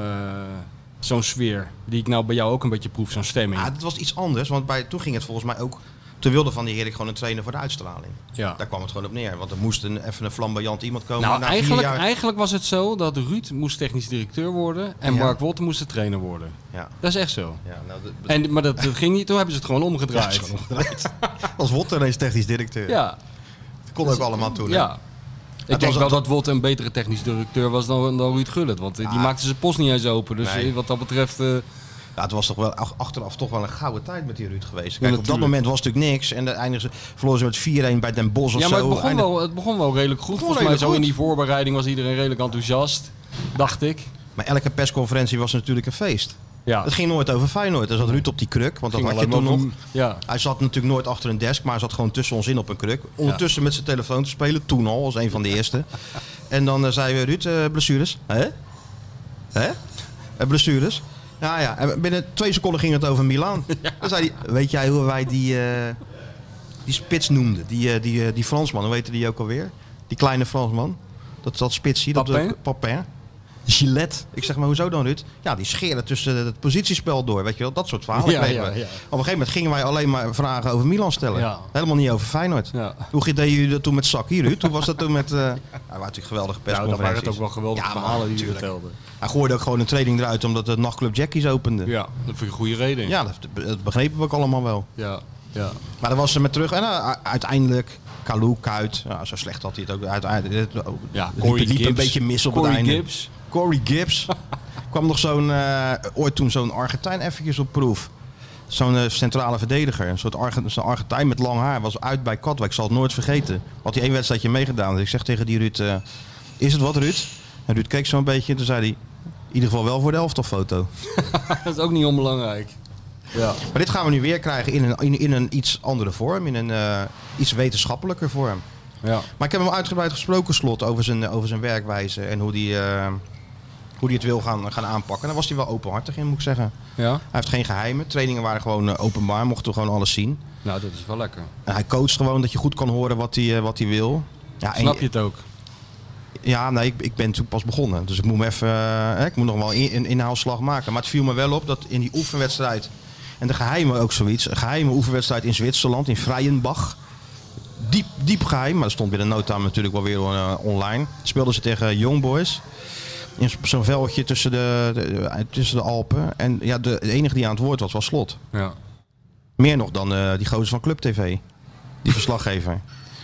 S2: zo'n sfeer. Die ik nou bij jou ook een beetje proef, zo'n stemming.
S1: Ah, dat was iets anders, want bij, toen ging het volgens mij ook... Toen wilde Van die Herik gewoon een trainer voor de uitstraling.
S2: ja.
S1: Daar kwam het gewoon op neer. Want er moest een, even een flamboyant iemand komen.
S2: Nou,
S1: na vier
S2: eigenlijk,
S1: jaar-
S2: eigenlijk was het zo dat Ruud moest technisch directeur worden en
S1: Ja.
S2: Mark Wolter moest de trainer worden.
S1: Ja,
S2: Dat is echt zo.
S1: ja, nou, dat- dat-
S2: En, maar dat, dat ging niet, toen hebben ze het gewoon
S1: ja, dat
S2: omgedraaid.
S1: is gewoon omgedraaid. Als Wotter ineens technisch directeur.
S2: Ja,
S1: Dat kon ook allemaal toen. hè?
S2: ja. Ik
S1: was
S2: denk wel
S1: ook-
S2: dat Wolter een betere technisch directeur was dan, dan Ruud Gullit. Want eh, die
S1: Ah.
S2: maakte zijn post niet eens open. Dus
S1: Nee.
S2: eh, wat dat betreft... eh,
S1: Ja, het was toch wel ach- achteraf toch wel een gouden tijd met die Ruud geweest. Kijk, op dat
S2: natuurlijk.
S1: moment was natuurlijk niks. En dan eindigde ze- verloren ze met 4-1 bij Den Bosch of
S2: Ja,
S1: zo.
S2: maar het begon,
S1: Eindig-
S2: wel, het begon wel redelijk goed.
S1: begon
S2: Volgens mij zo
S1: redelijk
S2: in die voorbereiding was iedereen redelijk enthousiast. Dacht ik.
S1: Maar elke persconferentie was natuurlijk een feest.
S2: Ja.
S1: Het ging nooit over Feyenoord. Er zat Ruud op die kruk, want dat
S2: Ging
S1: had je
S2: alleen
S1: toen nog.
S2: maar om- Ja.
S1: Hij zat natuurlijk nooit achter een desk, maar hij zat gewoon tussen ons in op een kruk. Ondertussen met zijn telefoon te spelen, toen al, als een van de eerste. En dan eh, zei we, Ruud, eh, blessures. Hè? Hè? Eh, blessures. Ja, ja. En binnen twee seconden ging het over Milaan. Dan zei hij, weet jij hoe wij die, eh, die spits noemden? Die, eh, die, eh, die Fransman, hoe heette die ook alweer? Die kleine Fransman. Dat, dat spitsie, dat eh,
S2: Papin?
S1: Papin. Gillette. Ik zeg maar, hoezo dan, Ruud? Ja, die scheren tussen het positiespel door, weet je wel. Dat soort verhalen
S2: Ja,
S1: kregen
S2: ja,
S1: we.
S2: ja.
S1: Op een gegeven moment gingen wij alleen maar vragen over Milan stellen.
S2: Ja.
S1: Helemaal niet over Feyenoord.
S2: Ja.
S1: Hoe deden jullie dat toen met Saki, Ruud? Hoe was dat toen met... eh Ja, dat waren natuurlijk geweldige
S2: Nou,
S1: persconferenties.
S2: dan waren het ook wel geweldige
S1: Ja, maar
S2: verhalen die je
S1: natuurlijk.
S2: vertelden.
S1: Hij gooide ook gewoon een training eruit omdat de nachtclub Jackies opende. Ja,
S2: Ja, dat voor een goede reden.
S1: dat, dat begrepen we ook allemaal wel.
S2: Ja. ja.
S1: Maar dan was ze met terug. En eh, u- uiteindelijk, Kalou, Kuit. Nou, zo slecht had hij het ook. Uiteindelijk, het, oh,
S2: Ja,
S1: het liep-
S2: Corey
S1: liep, een
S2: Gibbs.
S1: beetje mis op
S2: Corey
S1: het einde.
S2: Gibbs.
S1: Corey Gibbs. kwam nog zo'n, eh, ooit toen zo'n Argentijn eventjes op proef. Zo'n eh, centrale verdediger. Een soort Arge- zo'n Argentijn met lang haar. Was uit bij Katwijk. Ik zal het nooit vergeten. Had hij één wedstrijdje meegedaan. Dus ik zeg tegen die Ruud, eh, is het wat Ruud? En Ruud keek zo'n beetje. En toen zei hij, in ieder geval wel voor de elftalfoto.
S2: Dat is ook niet onbelangrijk. Ja.
S1: Maar dit gaan we nu weer krijgen in een, in, in een iets andere vorm. In een eh, iets wetenschappelijker vorm.
S2: ja.
S1: Maar ik heb hem uitgebreid gesproken, Slot, over zijn, over zijn werkwijze en hoe die, eh, hoe die het wil gaan, gaan aanpakken. En daar was hij wel openhartig in, moet ik zeggen.
S2: Ja.
S1: Hij heeft geen geheimen. Trainingen waren gewoon eh, openbaar, mochten we gewoon alles zien.
S2: Nou, dat is wel lekker.
S1: En hij coacht gewoon dat je goed kan horen wat hij, eh, wat hij wil. Ja, en-
S2: Snap je het ook?
S1: Ja, nee, ik, ik ben toen pas begonnen. Dus ik moet, me even, eh, hè, ik moet nog wel in- een inhaalslag maken. Maar het viel me wel op dat in die oefenwedstrijd... En de geheime ook zoiets. Een geheime oefenwedstrijd in Zwitserland, in Freienbach. Diep, diep geheim. Maar dat stond binnen no time natuurlijk wel weer eh, online. Speelden ze tegen Young Boys. In zo'n veldje tussen de, de- tussen de Alpen. En ja, de, de enige die aan het woord was, was Slot.
S2: Ja.
S1: Meer nog dan eh, die gozer van Club TV. Die verslaggever.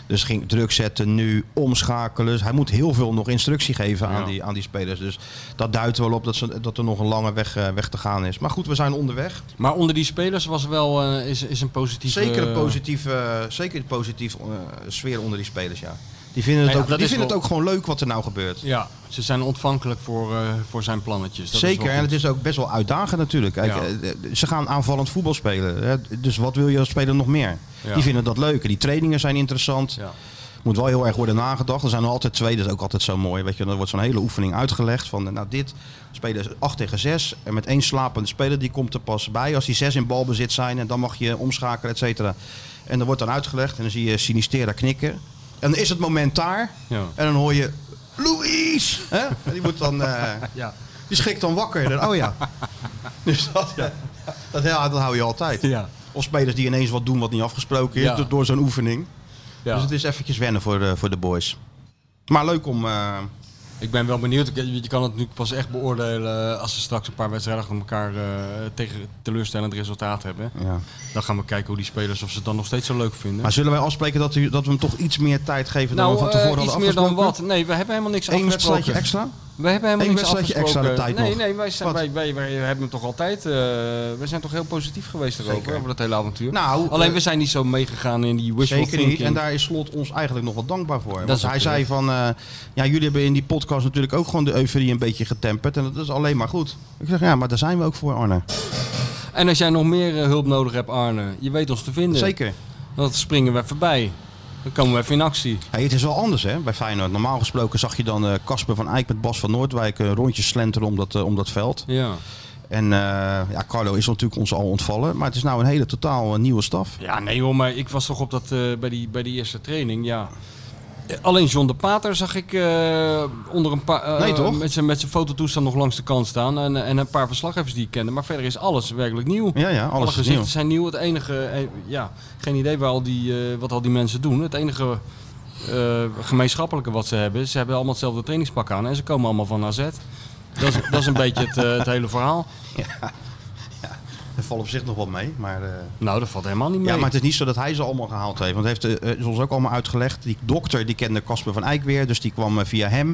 S1: Dus ging druk zetten, nu omschakelen. Dus Hij moet heel veel nog instructie geven aan,
S2: Ja.
S1: die, aan die spelers. Dus dat duidt wel op dat, ze, dat er nog een lange weg, eh, weg te gaan is. Maar goed, we zijn onderweg.
S2: Maar onder die spelers was wel eh, is, is een positieve...
S1: Zeker een positieve, eh, zeker een positieve eh, sfeer onder die spelers, ja. Die vinden, het,
S2: Nou Ja,
S1: ook,
S2: dat
S1: die
S2: is
S1: vinden
S2: wel-
S1: het ook gewoon leuk wat er nou gebeurt.
S2: Ja, ze zijn ontvankelijk voor, eh, voor zijn plannetjes. Dat is wel
S1: Zeker, en
S2: goed.
S1: het is ook best wel uitdagend natuurlijk. Kijk,
S2: Ja.
S1: eh, Ze gaan aanvallend voetbal spelen. hè. Dus wat wil je als speler nog meer?
S2: Ja.
S1: Die vinden dat leuk. En die trainingen zijn interessant.
S2: Ja.
S1: Moet wel heel erg worden nagedacht. Er zijn er altijd twee, dat is ook altijd zo mooi. Weet je, dan wordt zo'n hele oefening uitgelegd van eh, nou dit spelen ze 8 tegen 6 en met één slapende speler die komt er pas bij als die zes in balbezit zijn en dan mag je omschakelen et cetera. En dan wordt dan uitgelegd en dan zie je Sinistera knikken. En dan is het moment daar
S2: Ja.
S1: en dan hoor je Louis! Hè? En Die, wordt dan, eh,
S2: Ja.
S1: die schrikt dan wakker. Dan, oh ja. Dus dat, eh, dat, ja, dat hou je altijd.
S2: Ja.
S1: Of spelers die ineens wat doen wat niet afgesproken is
S2: Ja.
S1: do- door zo'n oefening.
S2: Ja.
S1: Dus het is eventjes wennen voor de, voor de boys. Maar leuk om... eh,
S2: Ik ben wel benieuwd. Ik- Je kan het nu pas echt beoordelen eh, als ze straks een paar wedstrijden achter elkaar eh, tegen teleurstellend resultaat hebben. Dan gaan we kijken hoe die spelers of ze het dan nog steeds zo leuk vinden.
S1: Maar zullen wij afspreken dat, u, dat we hem toch iets meer tijd geven dan
S2: nou,
S1: we van
S2: eh,
S1: tevoren
S2: iets
S1: hadden
S2: meer dan
S1: afgesproken?
S2: wat. Nee, we hebben helemaal niks
S1: Eén wedstrijdje
S2: afgesproken.
S1: extra?
S2: We hebben helemaal
S1: Eén
S2: niks
S1: wedstrijdje
S2: afgesproken.
S1: extra de tijd
S2: nee,
S1: nog.
S2: nee, wij, zijn,
S1: Wat?
S2: wij, wij, wij hebben hem toch altijd... eh, we zijn toch heel positief geweest erover,
S1: Zeker.
S2: over dat hele avontuur.
S1: Nou,
S2: Alleen
S1: eh,
S2: we zijn niet zo meegegaan in die wishful
S1: Zeker
S2: thinking.
S1: niet. En daar is Slot ons eigenlijk nog wel dankbaar voor.
S2: is
S1: Want hij
S2: ook
S1: zei van, eh, ja, jullie hebben in die podcast natuurlijk ook gewoon de euforie een beetje getemperd. En dat is alleen maar goed. Ik zeg, ja, maar daar zijn we ook voor, Arne.
S2: En als jij nog meer eh, hulp nodig hebt, Arne, je weet ons te vinden.
S1: Zeker.
S2: Dan springen we voorbij. Dan komen we even in actie.
S1: Hey, het is wel anders hè, bij Feyenoord. Normaal gesproken zag je dan eh, Casper van Eyck met Bas van Noordwijk eh, rondjes slenteren om dat, eh, om dat veld.
S2: Ja.
S1: En eh, ja, Carlo is natuurlijk ons al ontvallen. Maar het is nou een hele totaal eh, nieuwe staf.
S2: ja, nee hoor, maar ik was toch op dat, eh, bij, die, bij die eerste training, ja. Eh, Alleen John de Pater zag ik eh, onder een paar... eh,
S1: Nee, toch?
S2: Met zijn, met zijn fototoestand nog langs de kant staan. En, en een paar verslaggevers die ik kende. Maar verder is alles werkelijk nieuw.
S1: Ja, ja,
S2: Alle
S1: alles is
S2: gezichten
S1: nieuw.
S2: zijn nieuw. Het enige, eh, ja, geen idee waar al die, eh, wat al die mensen doen. Het enige eh, gemeenschappelijke wat ze hebben, ze hebben allemaal hetzelfde trainingspak aan en ze komen allemaal van AZ. Dat is, dat is een beetje het, eh, het hele verhaal.
S1: Dat valt op zich nog wel mee, maar... eh,
S2: Nou, dat valt helemaal niet mee.
S1: Ja, maar het is niet zo dat hij ze allemaal gehaald heeft. Want het heeft, eh, is ons ook allemaal uitgelegd. Die dokter die kende Casper van Eyck weer, dus die kwam eh, via hem.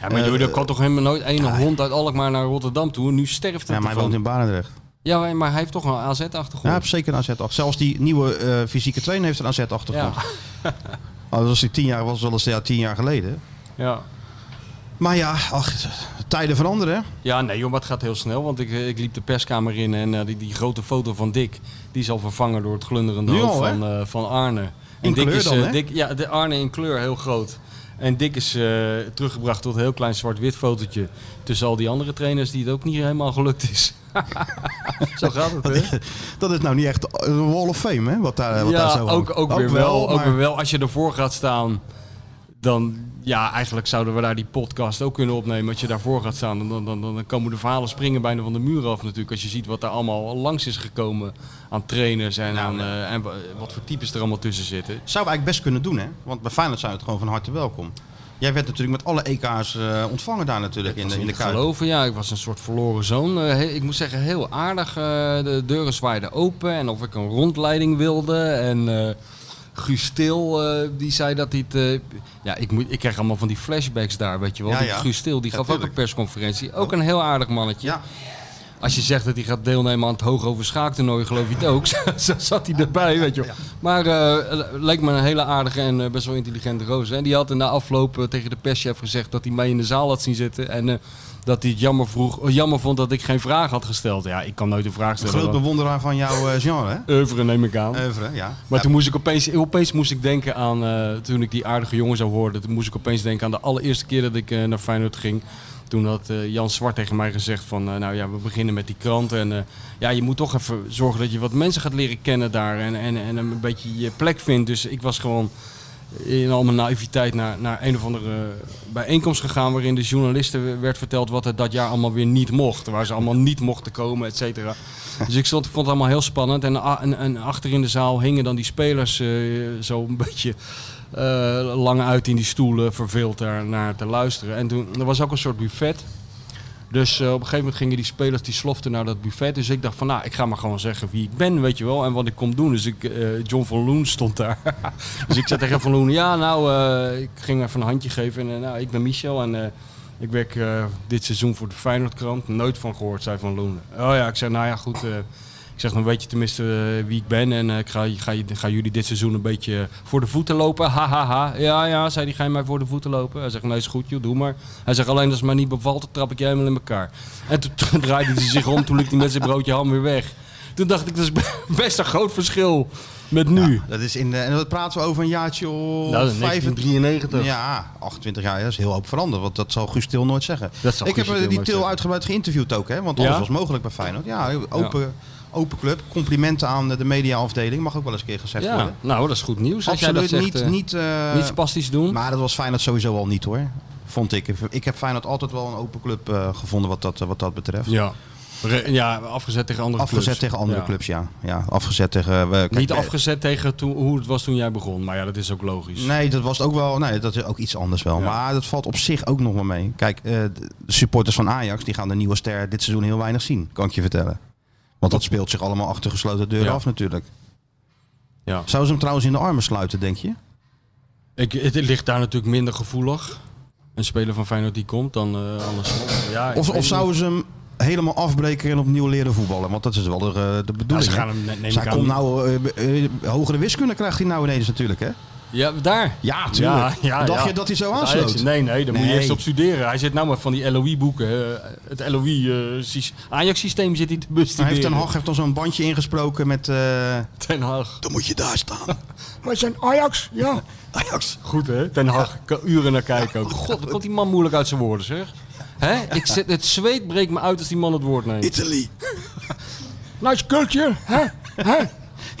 S2: Ja, maar
S1: Eh,
S2: joh, er kan toch helemaal nooit één
S1: ja.
S2: hond uit Alkmaar naar Rotterdam toe. En nu sterft het
S1: Ja, maar hij
S2: ervan.
S1: woont in Barendrecht.
S2: Ja, maar hij heeft toch een
S1: Ja, hij
S2: AZ-achtergrond.
S1: heeft zeker een AZ-achtergrond. Zelfs die nieuwe eh, fysieke trainer heeft een AZ-achtergrond.
S2: ja.
S1: Oh, dat was die tien jaar, was wel eens ja, tien jaar geleden.
S2: ja.
S1: Maar ja, ach, tijden veranderen. hè.
S2: Ja, nee joh, maar het gaat heel snel. Want ik, ik liep de perskamer in en eh, die, die grote foto van Dick... die is al vervangen door het glunderende
S1: Nu
S2: hoofd
S1: al, hè?
S2: van, eh, van Arne. En
S1: In
S2: Dick
S1: kleur
S2: is,
S1: dan,
S2: eh,
S1: hè?
S2: Dick, ja, de Arne in kleur, heel groot. En Dick is eh, teruggebracht tot een heel klein zwart-wit fotootje... tussen al die andere trainers die het ook niet helemaal gelukt is. Zo gaat het, hè?
S1: Dat is nou niet echt een wall of fame, hè? Wat daar, wat daar
S2: ja,
S1: zo
S2: ook, ook, weer wel. ook
S1: maar-
S2: weer wel. Als je ervoor gaat staan, dan... Ja, eigenlijk zouden we daar die podcast ook kunnen opnemen. Als je daarvoor gaat staan, dan, dan, dan, dan komen de verhalen springen bijna van de muur af natuurlijk. Als je ziet wat daar allemaal langs is gekomen aan trainers en, aan, eh, en wa- wat voor types er allemaal tussen zitten.
S1: Zou we eigenlijk best kunnen doen, hè? Want bij Feyenoord zijn we het gewoon van harte welkom. Jij werd natuurlijk met alle EK's eh, ontvangen daar natuurlijk in
S2: was
S1: de, in de
S2: niet te
S1: Kuip.
S2: geloven, ja. Ik was een soort verloren zoon. Eh, he- ik moet zeggen, heel aardig. eh, de deuren zwaaiden open en of ik een rondleiding wilde. En eh Guus Til, eh, die zei dat hij het... eh, ja, ik, moet, ik kreeg allemaal van die flashbacks daar, weet je wel.
S1: Ja,
S2: die
S1: ja.
S2: Guus Til, die
S1: Ja,
S2: gaf ook
S1: tuurlijk.
S2: een persconferentie. Ook een heel aardig mannetje.
S1: Ja,
S2: Als je zegt dat hij gaat deelnemen aan het Hoogover Schaaktoernooi, geloof je het ook. Zo zat hij erbij, weet je wel. Maar eh, le- leek me een hele aardige en eh, best wel intelligente roze. En die had na afloop eh, tegen de perschef gezegd dat hij mij in de zaal had zien zitten. En eh, dat hij het jammer, vroeg, oh, jammer vond dat ik geen vraag had gesteld. Ja, ik kan nooit een vraag
S1: een
S2: stellen.
S1: groot
S2: want
S1: bewonderaar van jouw eh, genre, hè?
S2: Oeuvre neem ik aan.
S1: Oeuvre, ja.
S2: Maar
S1: Ja,
S2: toen moest ik opeens, opeens moest ik denken aan, eh, toen ik die aardige jongen zou horen, toen moest ik opeens denken aan de allereerste keer dat ik eh, naar Feyenoord ging. Toen had eh, Jan Zwart tegen mij gezegd van, eh, nou ja, we beginnen met die krant. En eh, ja, je moet toch even zorgen dat je wat mensen gaat leren kennen daar en, en, en een beetje je plek vindt. Dus ik was gewoon in al mijn naïviteit naar, naar een of andere eh, bijeenkomst gegaan... waarin de journalisten werd verteld wat er dat jaar allemaal weer niet mocht. Waar ze allemaal niet mochten komen, et cetera. Dus ik stond, vond het allemaal heel spannend. En, a- en, en achter in de zaal hingen dan die spelers eh, zo een beetje eh, lang uit in die stoelen... verveeld daar naar te luisteren. En toen, er was ook een soort buffet... Dus eh, op een gegeven moment gingen die spelers die sloften naar dat buffet. Dus ik dacht van, nou, ik ga maar gewoon zeggen wie ik ben, weet je wel. En wat ik kom doen. Dus ik, eh, John van Loen stond daar. dus ik zei tegen Van Loen, ja, nou, eh, ik ging hem even een handje geven. En eh, nou, ik ben Michel en eh, ik werk eh, dit seizoen voor de Feyenoordkrant. Nooit van gehoord, zei Van Loen. Oh ja, ik zei, nou ja, goed. eh, ik zeg, dan weet je tenminste eh, wie ik ben. En eh, ik ga, ga, je- ga jullie dit seizoen een beetje voor de voeten lopen. Ha, ha, ha. Ja, ja, zei die ga je mij voor de voeten lopen? Hij zegt, nee, is goed, joh, doe maar. Hij zegt, alleen als het mij niet bevalt, dan trap ik je helemaal in elkaar. En toen, toen draaide hij zich om, toen liep hij met zijn broodje ham weer weg. Toen dacht ik, dat is be- best een groot verschil met nu.
S1: Dat is in de, en dat praten we over een jaartje of
S2: Nou, dat is
S1: 25.
S2: 1993.
S1: Ja, 28 jaar, dat is heel hoop veranderd. Want dat zal Guus Til nooit zeggen.
S2: Dat zal
S1: ik
S2: Guus
S1: heb eh,
S2: Til
S1: die
S2: nooit
S1: Til
S2: zeggen.
S1: uitgebreid geïnterviewd ook, hè? want
S2: Ja?
S1: alles was mogelijk bij Feyenoord. Ja, open, open club. Complimenten aan eh, de mediaafdeling. Mag ook wel eens een keer gezegd
S2: Ja,
S1: worden.
S2: nou, dat is goed nieuws. als jij
S1: Absoluut
S2: dat zegt,
S1: niet,
S2: eh,
S1: niet, eh,
S2: niet spastisch doen.
S1: Maar dat was Feyenoord sowieso al niet hoor. Vond ik. Ik heb Feyenoord altijd wel een open club eh, gevonden wat dat, eh, wat dat betreft.
S2: ja. Re- ja, afgezet tegen andere
S1: Afgezet
S2: clubs.
S1: tegen andere
S2: Ja.
S1: clubs, ja. ja. Afgezet tegen... eh, we- kijk,
S2: Niet
S1: eh,
S2: afgezet tegen toen- hoe het was toen jij begon. Maar ja, dat is ook logisch.
S1: Nee, dat was ook wel. Nee, dat is ook iets anders wel.
S2: Ja.
S1: Maar dat valt op zich ook nog wel mee. Kijk, eh, de supporters van Ajax die gaan de nieuwe ster dit seizoen heel weinig zien, kan ik je vertellen. Want dat speelt zich allemaal achter gesloten deuren
S2: Ja.
S1: af natuurlijk.
S2: Ja.
S1: Zou ze hem trouwens in de armen sluiten, denk je?
S2: Ik, het, het ligt daar natuurlijk minder gevoelig. een speler van Feyenoord die komt, dan eh, anders. Ja,
S1: Of,
S2: ik weet
S1: of
S2: het niet.
S1: zouden ze hem helemaal afbreken en opnieuw leren voetballen? Want dat is wel de, eh, de
S2: Ja,
S1: bedoeling.
S2: Nou, ze
S1: hè?
S2: gaan hem, neem ik
S1: Zij
S2: aan,
S1: komt nou, eh, eh, hogere wiskunde krijgt hij nou ineens natuurlijk, hè?
S2: Ja, daar.
S1: Ja, tuurlijk. Dacht je dat hij zo
S2: Met
S1: aansloot?
S2: Ajax. Nee, nee, daar moet je
S1: Nee.
S2: eerst op studeren. Hij zit nou maar van die LOI-boeken. eh, het LOI-Ajax-systeem eh, zit hij te
S1: Hij
S2: bestuderen.
S1: heeft Ten Hag heeft al zo'n bandje ingesproken met... eh,
S2: Ten Hag.
S1: dan moet je daar staan.
S2: Maar zijn Ajax, ja.
S1: Ajax.
S2: Goed hè, Ten Hag. Ik kan uren naar kijken ook. God, wat komt die man moeilijk uit zijn woorden zeg. Hè? Ik zit, het zweet breekt me uit als die man het woord neemt.
S1: Italy.
S2: Nice culture, hè?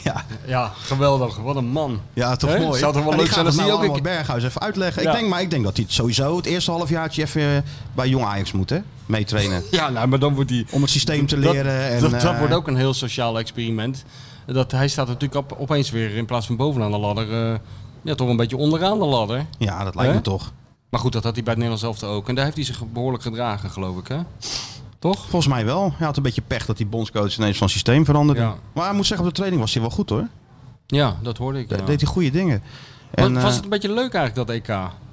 S1: Ja,
S2: Ja, geweldig. Wat een man.
S1: ja toch
S2: Hè?
S1: mooi.
S2: Zou toch wel
S1: En
S2: leuk
S1: ik ga
S2: zijn als
S1: het
S2: die
S1: nou
S2: ook...
S1: allemaal
S2: een keer-
S1: Berghuis even uitleggen.
S2: Ja.
S1: Ik denk, maar ik denk dat hij het sowieso het eerste halfjaartje even eh, bij Jong Ajax moet, hè? Meetrainen.
S2: Ja, nou, maar dan wordt die...
S1: Om het systeem te
S2: Dat-
S1: leren. en,
S2: dat, dat
S1: eh,
S2: wordt ook een heel sociaal experiment. Dat, hij staat natuurlijk op- opeens weer in plaats van bovenaan de ladder. eh, ja, toch een beetje onderaan de ladder.
S1: Ja, dat lijkt
S2: Hè?
S1: me toch.
S2: Maar goed, dat had hij bij het Nederlands elftal ook. En daar heeft hij zich behoorlijk gedragen, geloof ik. Hè? Toch?
S1: Volgens mij wel. Hij had een beetje pech dat die bondscoach ineens van systeem veranderde.
S2: Ja.
S1: Maar ik moet zeggen, op de training was hij wel goed hoor.
S2: Ja, dat hoorde ik.
S1: De-
S2: ja.
S1: Deed hij goede dingen. En,
S2: was,
S1: eh,
S2: was het een beetje leuk eigenlijk, dat EK?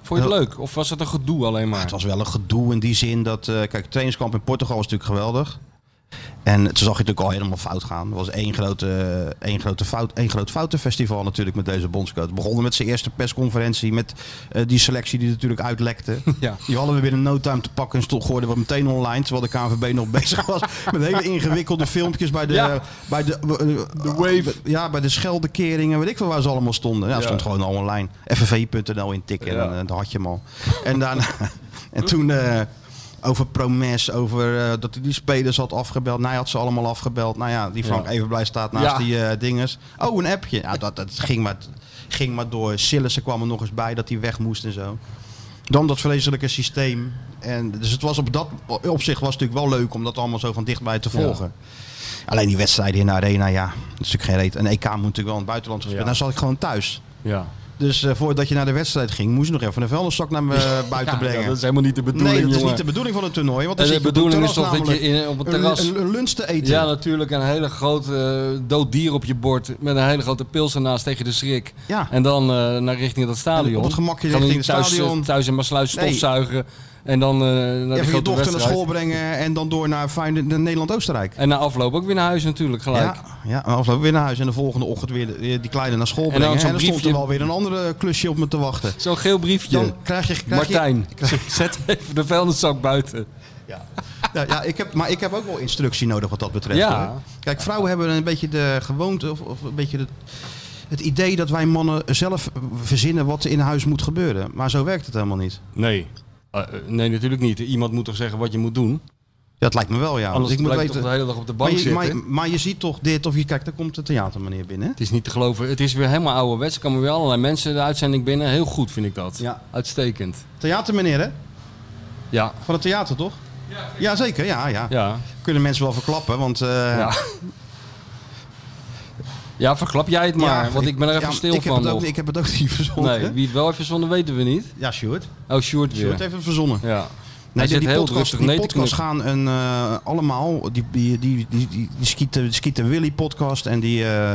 S2: Vond je het
S1: heel-
S2: leuk? Of was het een gedoe alleen maar?
S1: het was wel een gedoe in die zin dat... eh, kijk, het trainingskamp in Portugal was natuurlijk geweldig. En toen zag je natuurlijk al helemaal fout gaan. Er was één, grote, één, grote fout, één groot foutenfestival natuurlijk met deze bondscoach. We begonnen met zijn eerste persconferentie. Met eh, die selectie die natuurlijk uitlekte.
S2: Ja.
S1: Die hadden we binnen no time te pakken. En stond, gooiden we meteen online. Terwijl de KNVB nog bezig was met hele ingewikkelde filmpjes bij de...
S2: Ja.
S1: Bij de, eh,
S2: De wave.
S1: Ja, bij de scheldekeringen. Weet ik veel waar ze allemaal stonden. Ja, het
S2: Ja.
S1: stond gewoon al online. FNV.nl intikken.
S2: Ja.
S1: En eh, dan had je hem al. en, daarna, en toen... eh, over Promes, over eh, dat hij die spelers had afgebeld. Nou, hij had ze allemaal afgebeld. Nou ja, die Frank
S2: Ja.
S1: even blij staat naast
S2: Ja.
S1: die eh, dinges. Oh, een appje. Ja, dat, dat ging, maar, ging maar door. Sillissen kwam er nog eens bij dat hij weg moest en zo. Dan dat vreselijke systeem. En, dus het was op dat opzicht was het natuurlijk wel leuk om dat allemaal zo van dichtbij te
S2: Ja.
S1: volgen. Alleen die wedstrijden in de arena, ja, dat is natuurlijk geen reet. En EK moet natuurlijk wel in het buitenland gespeeld.
S2: Ja.
S1: Dan zat ik gewoon thuis.
S2: Ja.
S1: Dus eh, voordat je naar de wedstrijd ging, moest je nog even een vuilniszak naar me eh, buiten
S2: Ja,
S1: brengen.
S2: dat is helemaal niet de bedoeling,
S1: nee, dat is
S2: jongen.
S1: niet de bedoeling van het toernooi. Want
S2: En
S1: dan
S2: de
S1: zit je op het
S2: bedoeling is
S1: terras
S2: toch dat je
S1: namelijk
S2: in- op het
S1: een-
S2: terras...
S1: Een, een lunch te eten.
S2: Ja, natuurlijk. Een hele groot eh, dood dier op je bord. Met een hele grote pils ernaast tegen de schrik.
S1: Ja.
S2: En dan eh, naar richting dat stadion.
S1: Op het gemakje
S2: Gaan we
S1: richting het
S2: niet thuis,
S1: stadion.
S2: eh, Thuis in Maasluis
S1: Nee.
S2: stofzuigen. En dan eh, naar de
S1: Even
S2: grote
S1: je dochter naar
S2: wedstrijd.
S1: school brengen en dan door naar Feyenoord- naar Nederland-Oostenrijk.
S2: En na afloop ook weer naar huis natuurlijk gelijk.
S1: Ja, ja, en afloop weer naar huis en de volgende ochtend weer de- die kleine naar school
S2: dan
S1: brengen. En dan,
S2: zo'n
S1: stond er
S2: briefje.
S1: wel weer een andere klusje op me te wachten.
S2: Zo'n geel briefje.
S1: Dan krijg je... Krijg
S2: Martijn, zet even de vuilniszak buiten.
S1: Je, ja, ja, ik heb, maar ik heb ook wel instructie nodig wat dat betreft.
S2: Ja.
S1: hoor. Kijk, vrouwen hebben een beetje de gewoonte of, of een beetje het, het idee dat wij mannen zelf verzinnen wat er in huis moet gebeuren. Maar zo werkt het helemaal niet.
S2: Nee. Eh, eh, nee, natuurlijk niet. Iemand moet toch zeggen wat je moet doen.
S1: Ja, dat lijkt me wel, ja.
S2: Anders
S1: ik moet
S2: blijf je
S1: weten-
S2: toch de hele dag op de bank
S1: maar, je,
S2: zitten.
S1: maar, maar je ziet toch dit of je kijkt, daar komt de theatermeneer binnen.
S2: Het is niet te geloven. Het is weer helemaal ouderwets. Er komen weer allerlei mensen de uitzending binnen. Heel goed vind ik dat.
S1: Ja.
S2: Uitstekend.
S1: Theatermeneer, hè?
S2: Ja.
S1: Van het theater, toch? Ja, zeker. Ja, ja.
S2: Ja.
S1: Kunnen mensen wel verklappen, want... eh,
S2: Ja. ja, verklap jij het maar,
S1: ja,
S2: want ik ben er even
S1: ja,
S2: stil
S1: ik heb
S2: van
S1: het ook,
S2: nog.
S1: Ik heb het ook niet verzonnen.
S2: Nee, wie het wel heeft verzonnen weten we niet.
S1: Ja, Sjoerd.
S2: Oh, Sjoerd weer.
S1: Sjoerd heeft het verzonnen.
S2: Ja.
S1: Nee, die,
S2: Hij zit
S1: die
S2: heel
S1: podcast,
S2: rustig
S1: die
S2: nee te
S1: podcast
S2: knippen.
S1: gaan een, eh, allemaal. Die, die, die, die, die, die Schieten, Schieten Willy podcast en die eh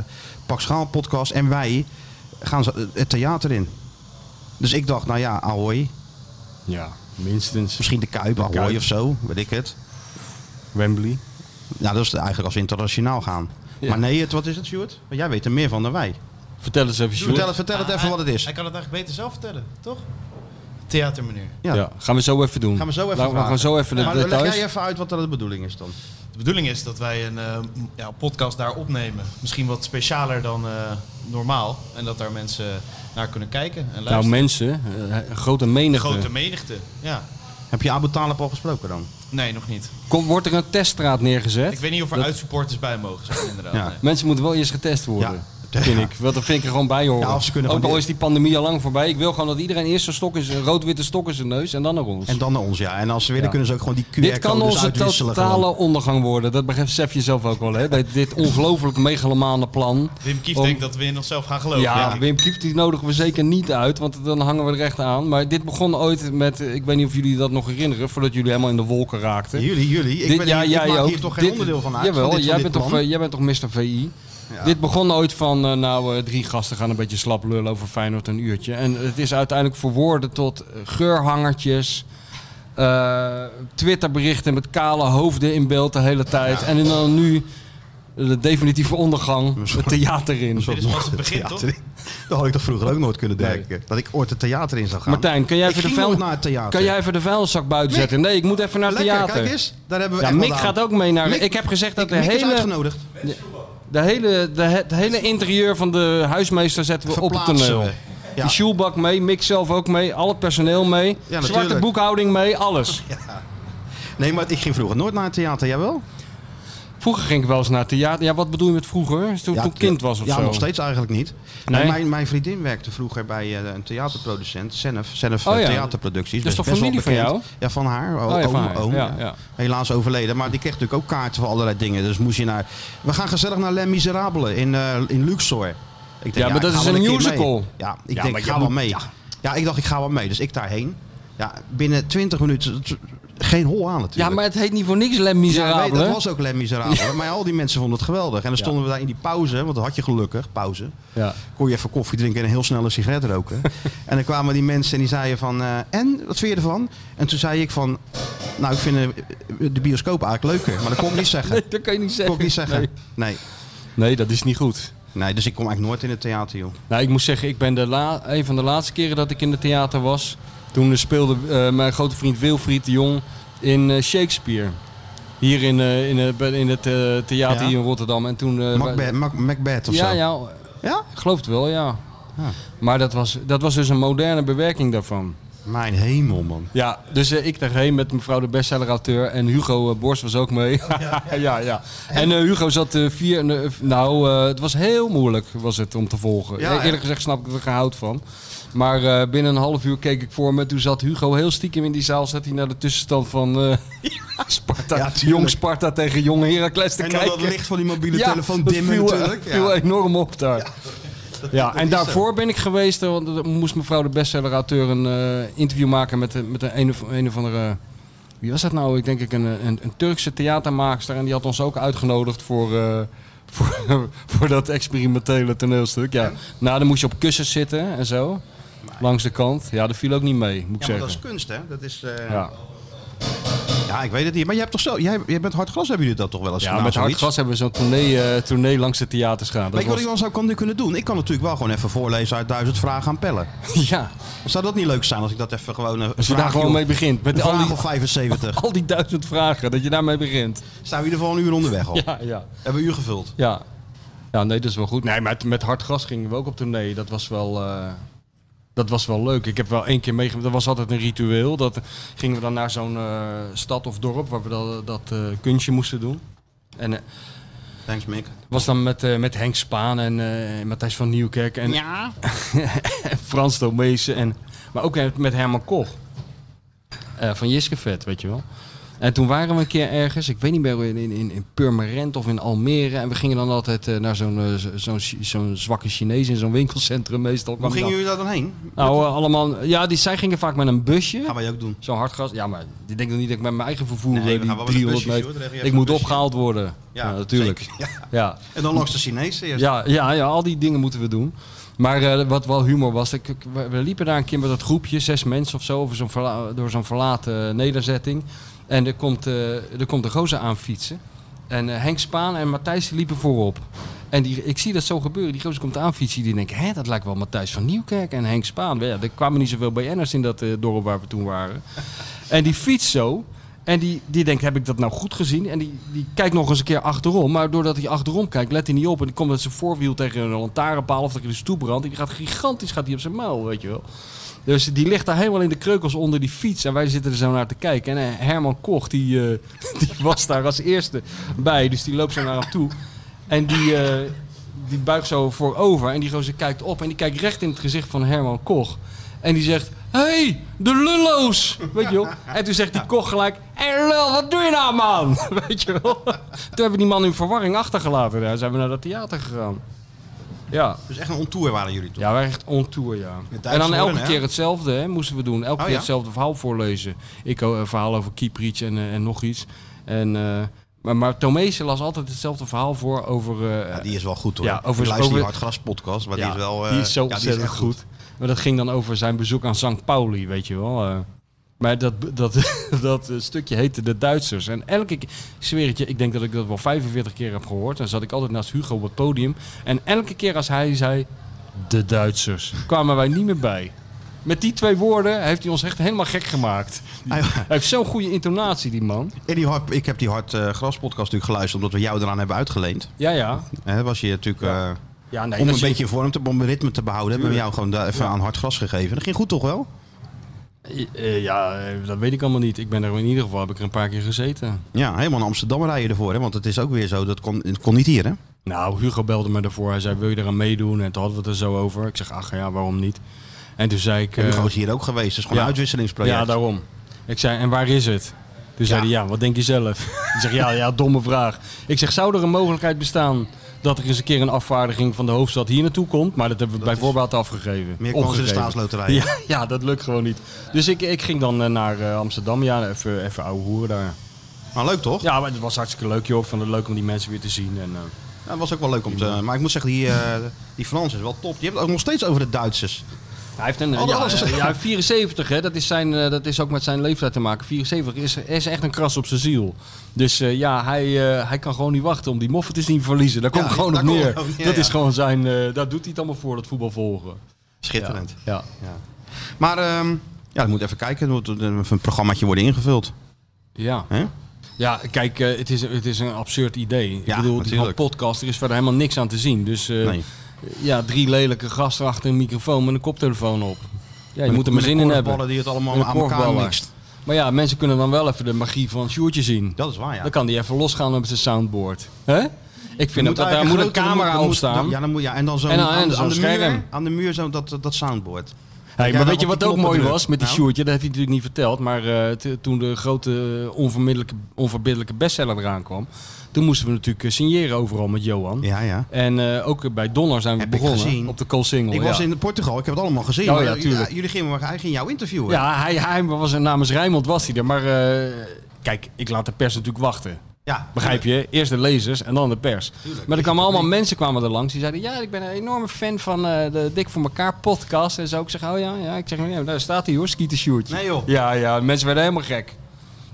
S1: Pak Schaal podcast. En wij gaan ze- het theater in. Dus ik dacht, nou ja, Ahoy.
S2: Ja, minstens.
S1: Misschien de Kuip, Ahoy
S2: Kuip.
S1: of zo. Weet ik het.
S2: Wembley.
S1: Nou, dat is eigenlijk als we internationaal gaan.
S2: Ja.
S1: Maar nee, het, wat is het, Sjoerd? Want jij weet er meer van dan wij.
S2: Vertel eens even, Sjoerd.
S1: Vertel, het- vertel het even wat het is.
S3: Ah, Hij kan het eigenlijk beter zelf vertellen, toch? Theatermeneer.
S2: Ja.
S1: Ja.
S2: gaan we zo even doen.
S1: Gaan we zo even
S2: Laten we gaan
S1: vragen.
S2: zo even de
S1: maar leg
S2: details.
S1: jij even uit wat dat de bedoeling is dan.
S3: De bedoeling is dat wij een eh, m- ja, podcast daar opnemen. Misschien wat specialer dan eh, normaal. En dat daar mensen naar kunnen kijken en
S2: Nou,
S3: luisteren.
S2: mensen, eh, een grote menigte.
S3: Grote menigte, ja.
S1: Heb je Abu Talib al gesproken dan?
S3: Nee, nog niet.
S2: Kom, wordt er een teststraat neergezet?
S3: Ik weet niet of er
S2: Dat-
S3: uitsupporters bij mogen zijn, inderdaad.
S1: Ja.
S3: nee.
S2: Mensen moeten wel eerst getest worden. Vind ik. Want dat vind ik er gewoon bij horen.
S1: Ja, of ze kunnen
S2: Ook
S1: gewoon
S2: al is
S1: die-
S2: die pandemie al lang voorbij. Ik wil gewoon dat iedereen eerst een, stok in zijn- een rood-witte stok in zijn neus en dan naar ons.
S1: En dan naar ons, ja. En als ze willen
S2: Ja.
S1: kunnen ze ook gewoon die QR-codes
S2: dit kan onze
S1: dus uitwisselen. gewoon.
S2: totale ondergang worden. Dat besef je zelf ook wel, hè? Bij dit ongelooflijk megalomane plan.
S3: Wim Kief
S2: Om-
S3: denkt dat we in onszelf gaan geloven.
S2: Ja,
S3: denk ik.
S2: Wim Kieft die nodigen we zeker niet uit, want dan hangen we er echt aan. Maar dit begon ooit met, eh, ik weet niet of jullie dat nog herinneren, voordat jullie helemaal in de wolken raakten.
S1: Jullie, jullie. Ik,
S2: Dit-
S1: ben hier, ik maak hier toch geen
S2: Dit-
S1: onderdeel van uit? van
S2: Jawel,
S1: dit, van
S2: jij,
S1: dit
S2: bent toch,
S1: plan?
S2: eh, jij bent toch Mr. VI? Dit begon ooit van, eh, nou, eh, drie gasten gaan een beetje slap lullen over Feyenoord een uurtje. En het is uiteindelijk verwoorden tot eh, geurhangertjes, eh, Twitterberichten met kale hoofden in beeld de hele tijd. En dan nu de definitieve ondergang, het theater in.
S3: Dit is pas het begin, toch?
S1: theater in. Dat had ik toch vroeger ook nooit kunnen denken. Dat ik ooit het theater in zou gaan.
S2: Martijn, kan jij,
S1: ik
S2: even de,
S1: ging
S2: vuil...
S1: nooit naar het theater.
S2: kan jij even de vuilniszak buiten
S1: Mick.
S2: zetten? Nee, ik moet even naar het
S1: Lekker,
S2: theater.
S1: kijk eens. Daar hebben we
S2: Ja,
S1: echt
S2: Mick
S1: wat aan.
S2: gaat ook mee naar.
S1: Mick-
S2: ik heb gezegd dat de
S1: Mick is
S2: hele,
S1: uitgenodigd.
S2: de hele, de, het hele interieur van de huismeester zetten we op het
S1: Verplaatsen
S2: toneel.
S1: we. Ja.
S2: Die Sjoelbak mee, Mick zelf ook mee, al het personeel mee, zwarte
S1: natuurlijk.
S2: boekhouding mee, alles.
S1: Nee, maar ik ging vroeger nooit naar het theater. Jij wel?
S2: Vroeger ging ik wel eens naar het theater. Ja, wat bedoel je met vroeger? Toen,
S1: Ja,
S2: toen kind was of
S1: ja,
S2: zo.
S1: nog steeds eigenlijk niet.
S2: Nee?
S1: Nee, mijn, mijn vriendin werkte vroeger bij eh, een theaterproducent, Senf, Senf
S2: Oh
S1: eh,
S2: ja.
S1: Theaterproducties.
S2: Dat
S1: Best-
S2: is toch
S1: best wel
S2: familie van
S1: bekend.
S2: jou?
S1: Ja, van haar. O-
S2: Oh, ja,
S1: oom,
S2: van haar.
S1: oom,
S2: Ja,
S1: ja.
S2: ja.
S1: Helaas overleden, maar die kreeg natuurlijk ook kaarten voor allerlei dingen. Dus moest je naar... We gaan gezellig naar Les Miserables in, eh, in Luxor. Ik denk,
S2: maar
S1: ik
S2: dat
S1: ga
S2: is
S1: wel
S2: een
S1: keer
S2: musical.
S1: mee. Ja, ik
S2: Ja,
S1: denk,
S2: maar
S1: ik
S2: je
S1: ga wel
S2: moet-
S1: mee.
S2: ja.
S1: Ja. ik dacht, ik ga wel mee. Dus ik daarheen. Ja, binnen 20 minuten... t- Geen hol aan natuurlijk.
S2: ja, maar het heet niet voor niks Les
S1: Ja,
S2: Miserables.
S1: nee, dat was ook Les Miserables. Maar al die mensen vonden het geweldig. En dan stonden we daar in die pauze, want dat had je gelukkig, pauze.
S2: Ja.
S1: Kon je even koffie drinken en heel snel een sigaret roken. en dan kwamen die mensen en die zeiden van, eh, en, wat vind je ervan? En toen zei ik van, nou, ik vind eh, de bioscoop eigenlijk leuker. Maar dat kon ik niet zeggen.
S2: Nee, dat kan je niet
S1: Dat
S2: zeggen.
S1: kon ik niet zeggen. Nee.
S2: Nee.
S1: Nee.
S2: Nee, dat is niet goed.
S1: dus ik kom eigenlijk nooit in het theater, joh.
S2: Nou, ik moet zeggen, ik ben de la- een van de laatste keren dat ik in het theater was. Toen speelde eh, mijn grote vriend Wilfried de Jong in eh, Shakespeare. Hier in, eh, in, het- bij- in het eh, theater
S1: Ja.
S2: hier in Rotterdam. En toen, eh, wij-
S1: Macbeth, Mac- Macbeth of
S2: ja,
S1: zo. Ah.
S2: ja,
S1: Ja?
S2: ik geloof het wel, ja.
S1: Ja.
S2: Maar dat was, dat was dus een moderne bewerking daarvan.
S1: Mijn hemel, man.
S2: Ja, dus eh, ik daarheen met mevrouw de bestseller-auteur en Hugo eh, Borst was ook mee. ja, ja. En eh, Hugo zat eh, vier... en, eh, nou, eh, het was heel moeilijk was het om te volgen.
S1: Ja,
S2: Eh,
S1: echt.
S2: Eerlijk gezegd snap ik er geen hout van. Maar eh, binnen een half uur keek ik voor me. Toen zat Hugo heel stiekem in die zaal. Zat hij naar de tussenstand van eh, Sparta,
S1: Ja, tuurlijk.
S2: jong Sparta tegen jong Heracles te
S1: En dan
S2: kijken.
S1: dat licht van die mobiele
S2: Ja,
S1: telefoon
S2: dat
S1: dimmen
S2: viel, eh,
S1: natuurlijk. Ja.
S2: viel enorm op daar. Ja,
S1: dat
S2: en
S1: is zo.
S2: daarvoor ben ik geweest, eh, want er moest mevrouw de bestseller-auteur een eh, interview maken met, de- met een, een, of, een of andere... Wie was dat nou? Ik denk ik een, een, een Turkse theatermaakster. En die had ons ook uitgenodigd voor, eh, voor, voor dat experimentele toneelstuk. Ja. Nou, dan moest je op kussens zitten en zo. Langs de kant. Ja, dat viel ook niet mee, moet ik
S1: Ja, maar dat is
S2: zeggen.
S1: kunst, hè? Dat is... eh,
S2: Ja,
S1: Ja, ik weet het niet. Maar jij hebt toch zo, jij, jij bent hardglas, hebben jullie dat toch wel eens
S2: ja
S1: gedaan,
S2: met hard
S1: nou, zoiets?
S2: gras hebben we zo'n tournee, eh, tournee langs de theaters gedaan. Dat
S1: Weet je wat
S2: was-
S1: ik dan zou kon- kunnen doen? Ik kan natuurlijk wel gewoon even voorlezen uit duizend vragen aan pellen.
S2: Ja,
S1: Zou dat niet leuk zijn als ik dat even gewoon... eh, Een
S2: als je daar
S1: vraagje
S2: gewoon
S1: op-
S2: mee begint. Met
S1: Een
S2: al
S1: vraag
S2: die,
S1: of 75.
S2: al die duizend vragen, dat je daarmee begint.
S1: Staan we in ieder geval een uur onderweg al.
S2: Ja, ja.
S1: Hebben we een uur gevuld.
S2: Ja, ja nee, dat is wel goed. Nee, met, met hard gras gingen we ook op tournee. Dat was wel... eh, dat was wel leuk. Ik heb wel één keer meegemaakt. Dat was altijd een ritueel. Dat gingen we dan naar zo'n eh, stad of dorp waar we dat, dat eh, kunstje moesten doen. En eh,
S1: Thanks, Mick.
S2: was dan met, eh, met Henk Spaan en eh, Matthijs van Nieuwkerk en
S1: Ja.
S2: Frans Tomezen. En, maar ook met- met Herman Koch. Eh, van Jiskevet, weet je wel. En toen waren we een keer ergens, ik weet niet meer, in, in, in- in Purmerend of in Almere. En we gingen dan altijd eh, naar zo'n eh, zo- zo'n Chi- zo'n zwakke Chinees in zo'n winkelcentrum meestal. kwam
S1: Hoe gingen
S2: je
S1: jullie daar dan heen?
S2: dan- Nou, eh, allemaal, ja, die, zij gingen vaak met een busje.
S1: Gaan wij ook doen.
S2: Zo'n hardgas. Ja, maar die denken niet dat ik met mijn eigen vervoer,
S1: Nee, we
S2: eh, die
S1: gaan wel met
S2: 300
S1: busjes, hoor.
S2: meter.
S1: Dan leg je even
S2: Ik
S1: een
S2: moet
S1: busje.
S2: opgehaald worden. Ja, natuurlijk.
S1: zeker. Ja.
S2: Ja.
S1: En dan langs de Chinezen eerst.
S2: Ja, ja, ja, al die dingen moeten we doen. Maar eh, wat wel humor was, ik, ik- we we liepen daar een keer met dat groepje, zes mensen of zo, over zo'n verla- door zo'n verlaten eh, nederzetting. En er komt, eh er komt een gozer aan fietsen. En eh, Henk Spaan en Matthijs die liepen voorop. En die, ik zie dat zo gebeuren. Die gozer komt aan fietsen. Die denken, hè, dat lijkt wel Matthijs van Nieuwkerk en Henk Spaan. Ja, er kwamen niet zoveel BN'ers in dat eh, dorp waar we toen waren. En die fietst zo. En die, die denkt, heb ik dat nou goed gezien? En die, die kijkt nog eens een keer achterom. Maar doordat hij achterom kijkt, let hij niet op. En die komt met zijn voorwiel tegen een lantaarnpaal of tegen de stoeprand. En die gaat gigantisch gaat die op zijn muil, weet je wel. Dus die ligt daar helemaal in de kreukels onder die fiets. En wij zitten er zo naar te kijken. En eh, Herman Koch, die, eh, die was daar als eerste bij. Dus die loopt zo naar hem toe. En die, eh, die buigt zo voorover. En die gozer kijkt op. En die kijkt recht in het gezicht van Herman Koch. En die zegt... Hé, hey, de lullo's! Weet je wel? En toen zegt die koch gelijk... Hé lul, wat doe je nou man? Weet je wel? Toen hebben we die man in verwarring achtergelaten. Daar zijn we naar dat theater gegaan. Ja,
S1: Dus echt een ontour waren jullie toen.
S2: ja, we waren echt on tour, ja.
S1: Met
S2: En dan
S1: Duitsers
S2: elke
S1: worden, hè?
S2: keer hetzelfde, hè, moesten we doen. Elke
S1: Oh,
S2: keer
S1: ja?
S2: hetzelfde verhaal voorlezen. Ik eh, een verhaal over Kieprits en, eh, en nog iets. En eh, Maar, maar Tomezen las altijd hetzelfde verhaal voor over... eh,
S1: Ja, die is wel goed hoor.
S2: Ja,
S1: Ja,
S2: overigens-
S1: over, luister die
S2: over-
S1: Hartgras podcast, maar die is wel... eh,
S2: die is zo
S1: ja, die
S2: ontzettend
S1: echt
S2: goed. Maar dat ging dan over zijn bezoek aan St. Pauli, weet je wel. eh. maar dat, dat, dat eh, stukje heette De Duitsers. En elke keer, ik zweer het je, ik denk dat ik dat wel 45 keer heb gehoord. Dan zat ik altijd naast Hugo op het podium. En elke keer als hij zei, De Duitsers, kwamen wij niet meer bij. Met die twee woorden heeft hij ons echt helemaal gek gemaakt.
S1: Hij-
S2: Hij heeft zo'n goede intonatie, die man.
S1: En die hard, ik heb die Hartgras podcast natuurlijk geluisterd, omdat we jou eraan hebben uitgeleend.
S2: Ja, ja.
S1: Hè, was je natuurlijk... eh,
S2: ja nee,
S1: om
S2: dat
S1: een
S2: is-
S1: beetje vorm te, om een ritme te behouden, hebben we jou gewoon daar even
S2: Ja.
S1: aan hard gras gegeven. Dat ging goed toch wel?
S2: Eh, ja, eh, dat weet ik allemaal niet. Ik ben er in ieder geval, heb ik er een paar keer gezeten.
S1: Ja, helemaal naar Amsterdam rijden ervoor, hè? want het is ook weer zo, dat kon, het kon niet hier hè?
S2: Nou, Hugo belde me daarvoor. Hij zei, wil je eraan meedoen? En toen hadden we het er zo over. Ik zeg, ach ja, waarom niet? En toen zei ik... eh,
S1: Hugo is hier ook geweest, het is gewoon
S2: ja.
S1: een uitwisselingsproject.
S2: ja, daarom. Ik zei, en waar is het? Toen zei hij, ja, wat denk je zelf? Ik zeg, ja, ja, domme vraag. Ik zeg, zou er een mogelijkheid bestaan dat er eens een keer een afvaardiging van de hoofdstad hier naartoe komt? Maar dat hebben we bij voorbaat afgegeven.
S1: Meer kans in de
S2: Opgegeven.
S1: staatsloterij.
S2: Ja, ja, dat lukt gewoon niet. Dus ik, ik ging dan eh, naar eh, Amsterdam, ja, even, even ouwe hoeren daar.
S1: Maar leuk toch?
S2: Ja, maar het was hartstikke leuk, joh. Ik vond het leuk om die mensen weer te zien. En, eh,
S1: Ja, dat was ook wel leuk om te... Maar ik moet zeggen, die, eh die Frans is wel top. Je hebt het ook nog steeds over de Duitsers.
S2: Hij heeft een,
S1: Oh,
S2: ja,
S1: alles.
S2: eh, ja, 74, hè, dat, is zijn, eh, dat is ook met zijn leeftijd te maken. 74 is, is echt een kras op zijn ziel. Dus eh, ja, hij, eh, hij kan gewoon niet wachten om die moffen te zien verliezen. Daar komt
S1: Ja,
S2: gewoon
S1: daar
S2: op
S1: komt
S2: neer.
S1: het ook neer,
S2: dat
S1: ja.
S2: is gewoon zijn, eh, daar doet hij het allemaal voor, dat voetbal volgen. Ja,
S1: Schitterend.
S2: ja.
S1: Ja. Maar ehm, ja, dat moet even kijken. Er moet even een programmaatje worden ingevuld.
S2: ja.
S1: Hè?
S2: Ja, kijk, eh, het, is, het is een absurd idee. Ik
S1: Ja,
S2: bedoel, die
S1: natuurlijk.
S2: podcast, er is verder helemaal niks aan te zien. Dus eh,
S1: Nee.
S2: ja, drie lelijke gasten achter een microfoon met een koptelefoon op. Ja, je moet er maar
S1: Met de
S2: zin in hebben.
S1: korfballen die het allemaal
S2: Met de
S1: aan elkaar
S2: korfballen.
S1: mixt.
S2: Maar ja, mensen kunnen dan wel even de magie van Sjoertje zien.
S1: Dat is waar, ja.
S2: Dan kan die even losgaan op zijn soundboard. hè? Ik vind dat, dat daar moet een
S1: eigenlijk grote-
S2: camera
S1: dan moet-
S2: op
S1: dan-
S2: staan.
S1: Ja, dan moet, ja, en dan zo
S2: En dan-
S1: aan,
S2: en
S1: de-
S2: zo'n
S1: aan de muur,
S2: scherm.
S1: aan de muur zo dat, dat soundboard.
S2: Hey,
S1: Ja,
S2: maar
S1: dan
S2: weet je
S1: op
S2: wat
S1: die
S2: ook mooi
S1: knoppen
S2: was met die
S1: drukt. Nou,
S2: Sjoertje? Dat heeft hij natuurlijk niet verteld. Maar eh, t- toen de grote eh, onvermiddelijke, onverbiddelijke bestseller eraan kwam... toen moesten we natuurlijk eh, signeren overal met Johan.
S1: Ja, ja.
S2: En eh, ook bij Donner zijn we
S1: Heb ik
S2: begonnen
S1: gezien.
S2: op de Cool Single.
S1: Ik
S2: ja.
S1: was in Portugal, ik heb het allemaal gezien.
S2: Oh,
S1: maar,
S2: ja,
S1: eh,
S2: tuurlijk.
S1: jullie gingen, maar hij ging jou interviewen.
S2: ja, hij, hij was er namens Rijnmond was hij er. Maar eh, kijk, ik laat de pers natuurlijk wachten.
S1: Ja.
S2: Begrijp je? Eerst de lezers en dan de pers. Maar er kwamen allemaal mensen kwamen er langs die zeiden... ja, ik ben een enorme fan van eh, de Dik voor elkaar podcast. En zo, ik zeg, oh ja, ja. Ik zeg, ja, daar staat hij hoor, Skeeter Sjoertje.
S1: Nee, joh.
S2: Ja, ja, mensen werden helemaal gek.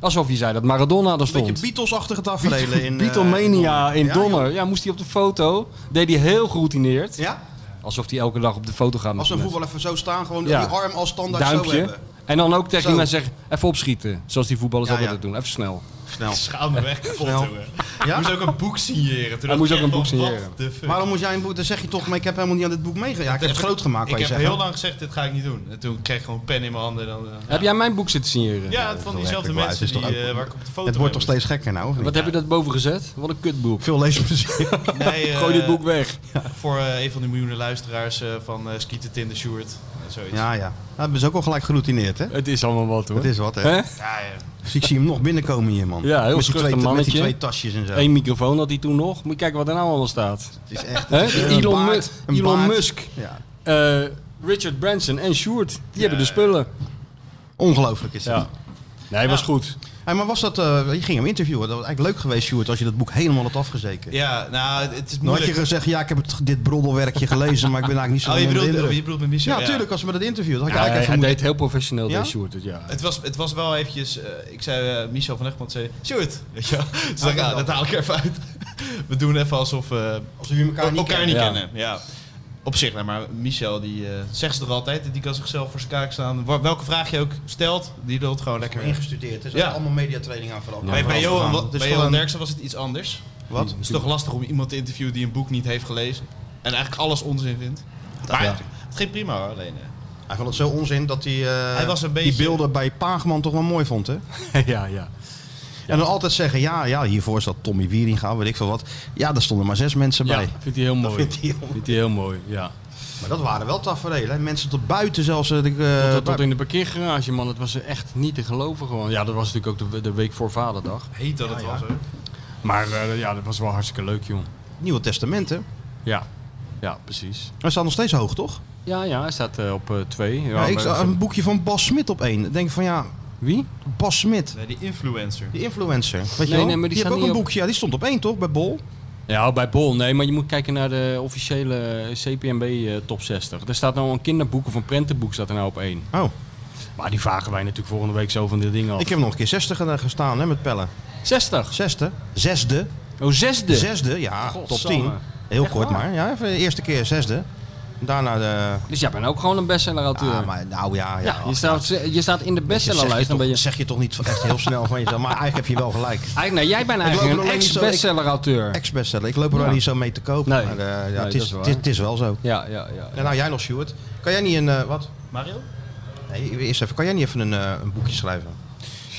S2: Alsof je zei dat Maradona er
S1: Een beetje
S2: stond.
S1: Beatles-achtige tafereelen in... eh,
S2: Beatlemania in
S1: Ja,
S2: Donner. Ja, moest hij op de foto. Deed hij heel geroutineerd.
S1: joh. Ja?
S2: Alsof hij elke dag op de foto gaat. met
S1: Als
S2: zijn
S1: een
S2: mensen.
S1: voetbal even zo staan, gewoon
S2: Ja.
S1: die arm als standaard zo
S2: Duimpje.
S1: hebben.
S2: En dan ook tegen die
S1: Zo.
S2: mensen zeggen, even opschieten. Zoals die voetballers
S1: Ja,
S2: altijd
S1: ja.
S2: doen. Even snel.
S1: Snel.
S3: Schaam me weg kapot,
S1: Snel.
S3: jongen.
S1: Ja?
S3: Hij moest ook een boek signeren.
S2: Hij
S3: Toen dacht
S2: moest
S3: ik
S2: ook een
S3: echt
S2: boek
S3: van,
S2: signeren.
S3: what the fuck?
S1: Waarom moest jij een boek... Dan zeg je toch, maar ik heb helemaal niet aan dit boek meegedaan. Ja, ik heb het groot gemaakt,
S3: Ik
S1: kan je
S3: heb
S1: zeggen.
S3: heel lang gezegd, dit ga ik niet doen. En toen kreeg ik gewoon een pen in mijn handen. en Dan, eh,
S2: Heb jij mijn boek zitten signeren?
S3: ja, het van
S1: zo
S3: diezelfde
S1: werkt het
S3: mensen
S1: wel. Het is
S3: die,
S1: toch
S3: eh,
S1: ook-
S3: waar ik op de foto
S1: Het
S3: mee
S1: wordt toch
S3: moest.
S1: steeds gekker nou, of niet?
S2: Wat heb je dat boven gezet? Wat een kutboek.
S1: Veel leesplezier.
S3: Nee, eh,
S2: Gooi dit boek weg.
S3: Voor eh, een van de miljoenen luisteraars eh, van eh Skeeter Tinder Sjoerd. en zoiets.
S1: Ja, ja. Dat hebben ze ook al gelijk geroutineerd, hè?
S2: Het is allemaal wat hoor.
S1: Het is eh, wat, hè?
S2: Hè?
S3: Ja, ja.
S1: Dus ik zie hem nog binnenkomen hier, man.
S2: Ja, heel
S1: met die
S2: schuchter
S1: twee, Met die
S2: mannetje.
S1: twee tasjes en zo.
S2: Eén microfoon had hij toen nog. Moet je kijken wat er nou allemaal staat.
S1: Het is echt...
S2: Hè?
S1: het is een
S2: Elon,
S1: baard,
S2: Mu-
S1: een
S2: Elon
S1: baard.
S2: Musk,
S1: Ja.
S2: eh, Richard Branson en Sjoerd. Die hebben de spullen.
S1: Ongelooflijk is dat.
S2: Ja. Nee, was goed.
S1: Hey, maar was dat... eh, je ging hem interviewen. Dat was eigenlijk leuk geweest, Sjoerd, als je dat boek helemaal had afgezekerd.
S3: ja, nou, het is
S1: Dan had
S3: moeilijk.
S1: je gezegd, ja, ik heb het, dit broddelwerkje gelezen, maar ik ben eigenlijk niet zo
S3: oh, je
S1: onder de
S3: bedoelt,
S1: indruk.
S3: oh, je bedoelt met Michel?
S1: Ja, tuurlijk, als we dat interviewen. Dat had ik
S2: hij
S1: eigenlijk
S2: hij
S1: even
S2: deed heel professioneel,
S1: Ja?
S2: deed Sjoerd het, ja.
S3: Het was, het was wel eventjes, eh, ik zei, eh, Michel van Egmond zei, Sjoerd. Weet je wel? Dus
S1: Ah,
S3: ik, ja,
S1: dat
S3: dat haal ik er even uit. We doen even alsof eh,
S1: Als jullie elkaar
S3: elkaar
S1: niet kennen.
S3: niet
S2: Ja.
S3: kennen. Ja. Op zich, nou, maar Michel die eh, zegt ze er altijd, die kan zichzelf voor zijn kaak staan. Wa- Welke vraag je ook stelt, die doet gewoon lekker.
S1: ingestudeerd. Er is
S3: Ja.
S1: ook allemaal mediatraining aan vooral.
S3: bij bij Johan,
S1: Het is
S3: bij
S1: gewoon-
S3: Johan Derksen was het iets anders.
S1: Wat?
S3: Het is toch lastig om iemand te interviewen die een boek niet heeft gelezen en eigenlijk alles onzin vindt. Maar
S2: Ja.
S3: het ging prima hoor, alleen. eh,
S1: Hij vond het zo onzin dat hij, eh,
S3: Hij was een beetje-
S1: die beelden bij Paagman toch wel mooi vond, hè?
S2: ja, ja.
S1: En dan altijd zeggen, ja, ja, hiervoor zat Tommy Wieringa, weet ik veel wat. Ja, daar stonden maar zes mensen
S2: Ja,
S1: bij.
S2: vindt hij heel mooi.
S1: vindt hij heel Eh, mooi.
S2: Vindt hij heel mooi, ja.
S1: Maar dat waren wel tafereelen. hè. Mensen tot buiten zelfs. eh, de, eh,
S2: Tot, tot in de parkeergarage, man. Het was echt niet te geloven gewoon. Ja, dat was natuurlijk ook de, de week voor Vaderdag.
S3: Heet dat het was hoor.
S2: Maar eh, ja, dat was wel hartstikke leuk, joh.
S1: Nieuwe Testament, hè?
S2: Ja. Ja, precies.
S1: Hij staat nog steeds hoog, toch?
S2: Ja, ja, hij staat eh, op eh, twee. Ja,
S1: Ja, ik
S2: maar-
S1: zag een boekje van Bas Smit op één. Ik denk van, ja,
S2: Wie?
S1: Bas Smit,
S3: Nee, die influencer.
S1: die influencer. Weet je
S2: Nee,
S1: wel?
S2: nee, maar die
S1: die heeft
S2: staan
S1: ook
S2: niet
S1: een
S2: op-
S1: boekje. Ja, die stond op één toch, bij Bol?
S2: Ja, bij Bol. Nee, maar je moet kijken naar de officiële CPMB eh, top 60. Er staat nou een kinderboek of een prentenboek staat er nou op één.
S1: Oh,
S2: Maar die vragen wij natuurlijk volgende week zo van dit ding af.
S1: ik heb nog een keer 60 er gestaan hè, met pellen.
S2: 60.
S1: Zesde. Zesde.
S2: Oh, zesde.
S1: Zesde, ja, top
S2: Godsamme.
S1: 10. Heel
S2: Echt
S1: kort
S2: waar?
S1: maar. Ja, even de eerste keer zesde. Daarna de...
S2: Dus jij bent ook gewoon een bestseller-auteur.
S1: Ja, maar nou ja.
S2: ja,
S1: ja,
S2: je, staat, je staat in de bestsellerlijst. Dan ben je...
S1: Zeg je toch niet echt heel snel van jezelf. Maar eigenlijk heb je wel gelijk.
S2: Eigenlijk, nee, jij bent
S1: loop
S2: eigenlijk
S1: er
S2: een
S1: alleen niet zo- ik-
S2: ex-bestseller-auteur.
S1: Ex-bestseller. Ik loop er wel
S2: Ja.
S1: niet zo mee te koop.
S2: Nee.
S1: Maar eh, ja,
S2: Nee,
S1: het,
S2: dat
S1: is,
S2: is waar.
S1: het, is, het is wel zo.
S2: Ja, ja, ja.
S1: En nou, jij nog, Stuart. Kan jij niet een... eh, wat?
S3: Mario?
S1: Nee, eerst even. Kan jij niet even een, eh, een boekje schrijven?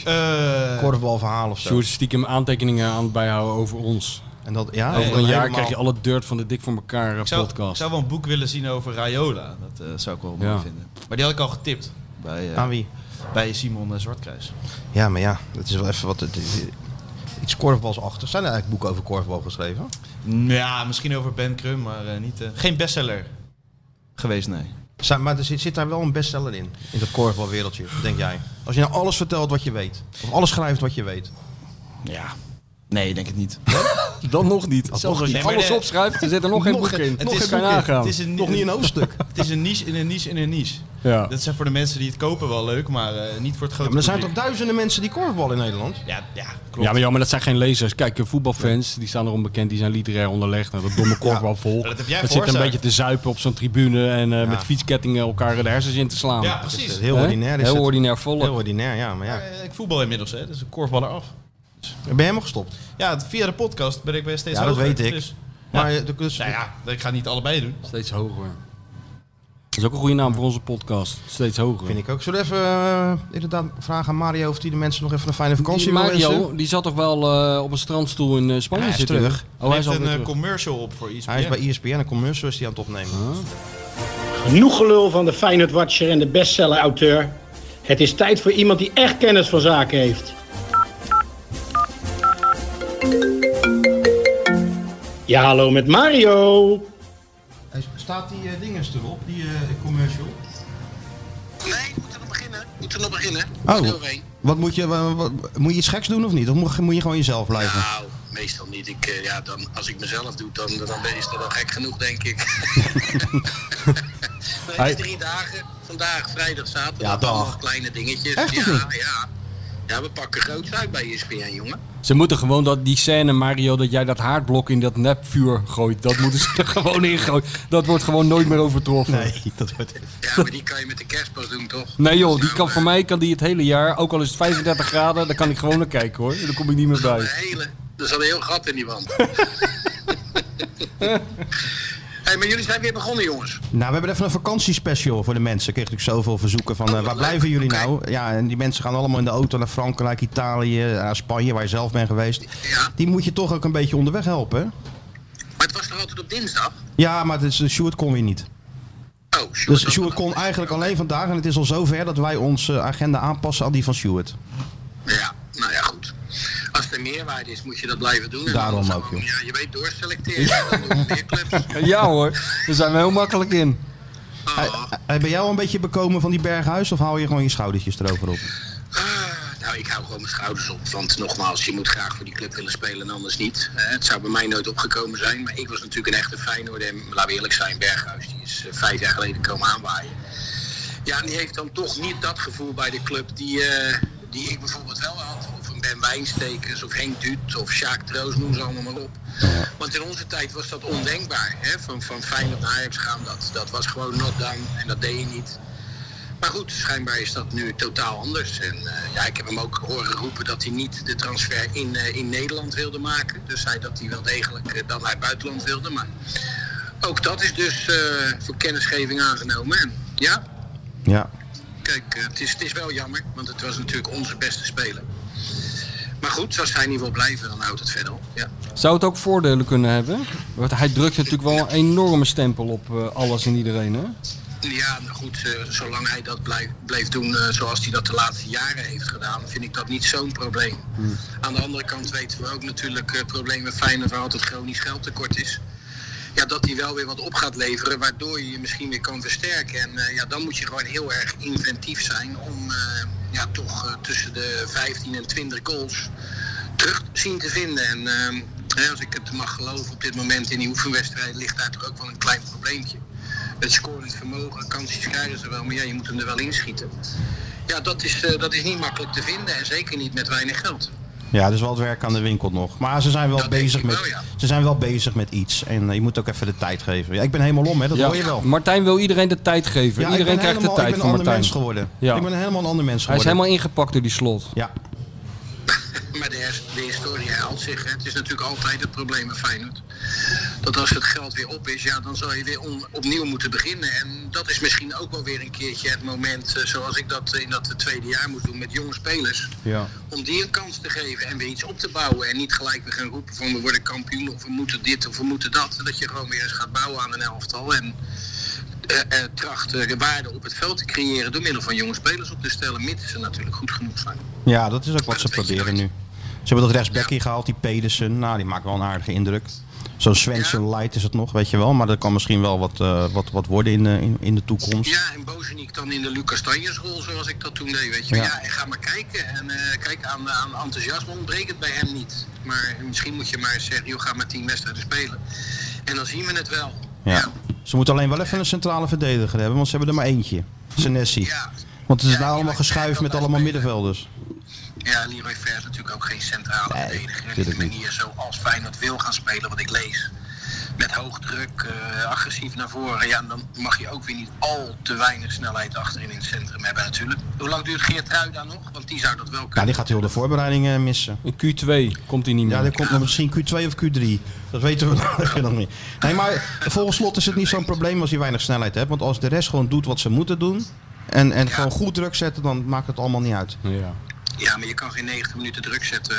S3: Eh
S1: Korfbalverhaal of zo.
S2: Sjoerd stiekem aantekeningen aan het bijhouden over ons.
S1: En dat, ja,
S2: Over een jaar
S1: helemaal-
S2: krijg je alle dirt van de Dik voor elkaar eh,
S3: ik, zou, ik
S2: podcast.
S3: zou wel een boek willen zien over Raiola. Dat eh, zou ik wel mooi
S2: Ja.
S3: vinden. Maar die had ik al getipt bij, eh,
S1: Aan wie?
S3: bij Simon eh, Zwartkruis.
S1: Ja, maar ja, dat is wel even wat... Het, het- iets korfbalsachtigs. Zijn er eigenlijk boeken over korfbal geschreven?
S3: Nou Ja, misschien over Ben Krum, maar eh, niet, eh, geen bestseller geweest, nee.
S1: Zijn, maar er zit, zit daar wel een bestseller in, in dat korfbalwereldje, denk jij? Als je nou alles vertelt wat je weet, of alles schrijft wat je weet.
S3: Ja. Nee, ik denk het niet.
S2: Dan nog niet. Zelfs
S1: nog
S2: als je
S3: niet. Nee,
S2: alles
S3: maar de-
S2: opschrijft, er zit er nog geen
S1: Nog
S2: boek
S1: geen-
S2: in.
S1: het
S2: Het
S1: is geen
S2: is geen
S1: boek in.
S2: nagaan.
S3: Het is een,
S1: Nog niet een hoofdstuk.
S3: het is een niche in een niche in een niche.
S2: Ja.
S3: Dat zijn voor de mensen die het kopen wel leuk, maar eh, niet voor het
S1: Ja,
S3: grote
S1: maar er zijn toch
S3: publiek.
S1: duizenden mensen die korfballen in Nederland?
S3: Ja, ja, klopt.
S2: Ja maar, ja, maar dat zijn geen lezers. Kijk, eh, voetbalfans, die staan erom bekend, die zijn literair onderlegd. Nou, dat domme korfbalvolk.
S3: dat heb jij
S2: zit een
S3: veroorzaakt.
S2: beetje te zuipen op zo'n tribune en eh,
S1: Ja.
S2: met fietskettingen elkaar de hersens in te slaan.
S3: Ja,
S1: Het
S3: precies.
S1: is heel
S2: Hè?
S1: ordinair. Is
S2: Heel
S1: het.
S2: ordinair volk.
S1: Heel ordinair, ja. Maar ja.
S3: Eh, Ik voetbal inmiddels, hè, dus ik korfbal eraf.
S1: Ben je helemaal gestopt?
S3: Ja, via de podcast ben ik bij steeds
S1: Ja, dat
S3: hoger,
S1: weet ik.
S3: dus-
S1: Maar eh, dus,
S3: nou ja, ik ga niet allebei doen.
S2: Steeds hoger. Dat is ook een goede naam voor onze podcast. Steeds hoger.
S1: vind ik ook. Zullen we even eh, inderdaad vragen aan Mario of die de mensen nog even een fijne vakantie
S2: Die
S1: wil wensen?
S2: Mario, die zat toch wel eh, op een strandstoel in eh, Spanje
S1: Ja, hij is
S2: zitten?
S1: terug.
S2: Oh, hij
S3: Er
S2: is
S3: zit een
S2: alweer
S3: eh,
S2: terug.
S3: commercial op voor iets.
S1: Hij is bij E ESPN, een commercial is die aan het opnemen.
S4: Genoeg gelul van de Feyenoord Watcher en de bestseller-auteur. Het is tijd voor iemand die echt kennis van zaken heeft. Ja, hallo met Mario.
S1: Hij- Staat die eh, dinges erop, die eh, commercial?
S5: Nee, ik moet er nog beginnen. Ik moet er nog beginnen.
S1: Oh.
S5: Stil heen.
S1: Wat moet je, wa- wa- moet je iets geks doen of niet? Of moet je- moet je gewoon jezelf blijven?
S5: Nou, meestal niet. Ik, eh, ja, dan, als ik mezelf doe, dan, dan ben- is dat al gek genoeg, denk ik. nee, het
S2: Hij-
S5: is drie dagen. Vandaag, vrijdag, zaterdag.
S1: Ja, dag.
S5: allemaal kleine dingetjes.
S1: Echt of
S5: ja,
S1: niet?
S5: ja. Ja, we pakken groots uit bij E ESPN, jongen.
S2: Ze moeten gewoon dat, die scène, Mario, dat jij dat haardblok in dat nepvuur gooit. Dat moeten ze er gewoon in gooien. Dat wordt gewoon nooit meer overtroffen. Nee,
S1: dat wordt...
S5: Ja, maar die kan je met de kerstpas doen, toch? eh,
S2: joh, die kan voor mij kan die het hele jaar, ook al is het 35 graden, daar kan ik gewoon naar kijken hoor. Daar kom ik niet meer
S5: Een
S2: bij.
S5: hele, er zat een heel gat in die wand. hey, maar jullie zijn weer begonnen, jongens.
S1: Nou, we hebben even een vakantiespecial voor de mensen. Ik kreeg natuurlijk zoveel verzoeken van eh,
S5: wat
S1: waar
S5: Oh, leuk.
S1: blijven jullie
S5: Oké.
S1: nou? Ja, en die mensen gaan allemaal in de auto naar Frankrijk, Italië, naar Spanje, waar je zelf bent geweest.
S5: Ja.
S1: Die moet je toch ook een beetje onderweg helpen. hè?
S5: Maar het was toch altijd op dinsdag?
S1: Ja, maar het is, eh, Sjoerd kon weer niet.
S5: Oh, Sjoerd.
S1: Dus
S5: had-
S1: Sjoerd kon eigenlijk alleen vandaag. En het is al zover dat wij onze agenda aanpassen aan die van Sjoerd.
S5: Ja, nou ja, goed. Als er meerwaarde is, moet je dat blijven doen. En
S1: Daarom
S5: anders
S1: ook,
S5: gewoon,
S1: joh.
S5: Ja, je weet doorselecteren. Dan doen meer clubs.
S2: Ja hoor, daar zijn we heel makkelijk in.
S5: Oh.
S1: Hey, Eh, ben jij al een beetje bekomen van die berghuis? Of hou je gewoon je schoudertjes erover op?
S5: Ah, nou, ik hou gewoon mijn schouders op. Want nogmaals, je moet graag voor die club willen spelen en anders niet. Eh, het zou bij mij nooit opgekomen zijn. Maar ik was natuurlijk een echte Feyenoord. En laten we eerlijk zijn, Berghuis die is eh, vijf jaar geleden komen aanwaaien. Ja, en die heeft dan toch niet dat gevoel bij de club die, eh, die ik bijvoorbeeld wel had. Of een Ben Wijnstekers, of Henk Duut, of Sjaak Troost, noem ze allemaal maar op. Want in onze tijd was dat ondenkbaar. Hè? Van, van Feyenoord naar Ajax gaan, dat, dat was gewoon not done. En dat deed je niet. Maar goed, schijnbaar is dat nu totaal anders. En eh, ja, ik heb hem ook horen roepen dat hij niet de transfer in, eh, in Nederland wilde maken. Dus hij dat hij wel degelijk eh, dan naar het buitenland wilde. Maar ook dat is dus eh, voor kennisgeving aangenomen. En ja,
S1: Ja.
S5: kijk, eh, het, is, het is wel jammer, want het was natuurlijk onze beste speler. Maar goed, als hij niet wil blijven, dan houdt het verder op. Ja.
S2: Zou het ook voordelen kunnen hebben? Want hij drukt natuurlijk wel een enorme stempel op eh, alles en iedereen hè?
S5: Ja, nou goed, eh, zolang hij dat blijf- bleef doen eh, zoals hij dat de laatste jaren heeft gedaan, vind ik dat niet zo'n probleem. Aan de andere kant weten we ook natuurlijk eh, het probleem met Feyenoord waar altijd chronisch geldtekort is. Ja, dat hij wel weer wat op gaat leveren, waardoor je je misschien weer kan versterken. En eh, ja, dan moet je gewoon heel erg inventief zijn om eh, ja, ja, toch eh, tussen de 15 en 20 goals terug zien te vinden. En ehm, hè, als ik het mag geloven op dit moment in die oefenwedstrijd ligt daar toch ook wel een klein probleempje. Het scorend vermogen, kansjes krijgen ze wel, maar ja, je moet hem er wel inschieten. Ja, dat is, eh, dat is niet makkelijk te vinden en zeker niet met weinig geld.
S1: Ja, dus wel het werk aan de winkel nog. Maar ze zijn wel,
S5: Dat denk
S1: bezig,
S5: ik wel,
S1: met,
S5: ja.
S1: ze zijn wel bezig met iets. En eh, je moet ook even de tijd geven. Ja, ik ben helemaal om, hè? dat
S2: Ja,
S1: hoor je wel.
S2: Martijn wil iedereen de tijd geven.
S1: Ja, ik
S2: iedereen
S1: ben
S2: krijgt
S1: helemaal,
S2: de tijd
S1: ik ben
S2: van
S1: een ander
S2: Martijn.
S1: mens geworden.
S2: Ja.
S1: Ik ben een helemaal een ander mens
S2: Hij is
S1: geworden.
S2: helemaal ingepakt door die slot.
S1: Ja,
S5: Maar de, hers- de historie haalt zich. hè. Het is natuurlijk altijd het probleem met Feyenoord. Dat als het geld weer op is, ja, dan zal je weer on- opnieuw moeten beginnen. En dat is misschien ook wel weer een keertje het moment, eh, zoals ik dat in dat tweede jaar moest doen met jonge spelers.
S1: ja.
S5: Om die een kans te geven en weer iets op te bouwen. En niet gelijk weer gaan roepen van we worden kampioen of we moeten dit of we moeten dat. Dat je gewoon weer eens gaat bouwen aan een elftal. En eh, eh, tracht eh, waarde op het veld te creëren door middel van jonge spelers op te stellen. Mits ze natuurlijk goed genoeg zijn.
S1: ja, dat is ook wat
S5: Maar
S1: ze
S5: dat weet je
S1: proberen
S5: nooit.
S1: nu. Ze hebben dat rechtsbekkie gehaald, die Pedersen. Nou, die maakt wel een aardige indruk. Zo'n Svensson Light is het nog, weet je wel. Maar dat kan misschien wel wat, eh, wat, wat worden in, eh, in, in de toekomst.
S5: Ja, en Bozeniek dan in de Lucas Tanjesrol, zoals ik dat toen deed, weet je.
S1: Ja.
S5: Ja, en ga maar kijken. En eh, kijk, aan, aan enthousiasme ontbreekt het bij hem niet. Maar misschien moet je maar eens zeggen, joh, ga maar tien wedstrijden spelen. En dan zien we het wel.
S1: Ja. Ze moeten alleen wel even een centrale verdediger hebben, want ze hebben er maar eentje. Senesi.
S5: Ja.
S1: Want het is nou
S5: Ja, die
S1: allemaal
S5: maakt
S1: geschuift
S5: eigenlijk
S1: met
S5: wel
S1: allemaal
S5: spelen.
S1: middenvelders.
S5: Ja, Leroy Ver is natuurlijk ook geen centrale
S1: Nee,
S5: verdediger. En
S1: tuurlijk
S5: de
S1: niet.
S5: manier zoals Feyenoord wil gaan spelen, wat ik lees. Met hoog druk, eh, agressief naar voren. Ja, en dan mag je ook weer niet al te weinig snelheid achterin in het centrum hebben natuurlijk. Hoe lang duurt Geert Ruida nog? Want die zou dat wel
S1: Ja,
S5: kunnen.
S1: die gaat heel de voorbereiding eh, missen.
S2: In Q2 komt hij niet meer.
S1: Ja, dat komt nog misschien Q2 of Q3. Dat weten we nog niet. Nee, maar volgens slot is het niet zo'n probleem als je weinig snelheid hebt. Want als de rest gewoon doet wat ze moeten doen. En, en gewoon goed druk zetten, dan maakt het allemaal niet uit.
S2: Ja.
S5: Ja, maar je kan geen 90 minuten druk zetten.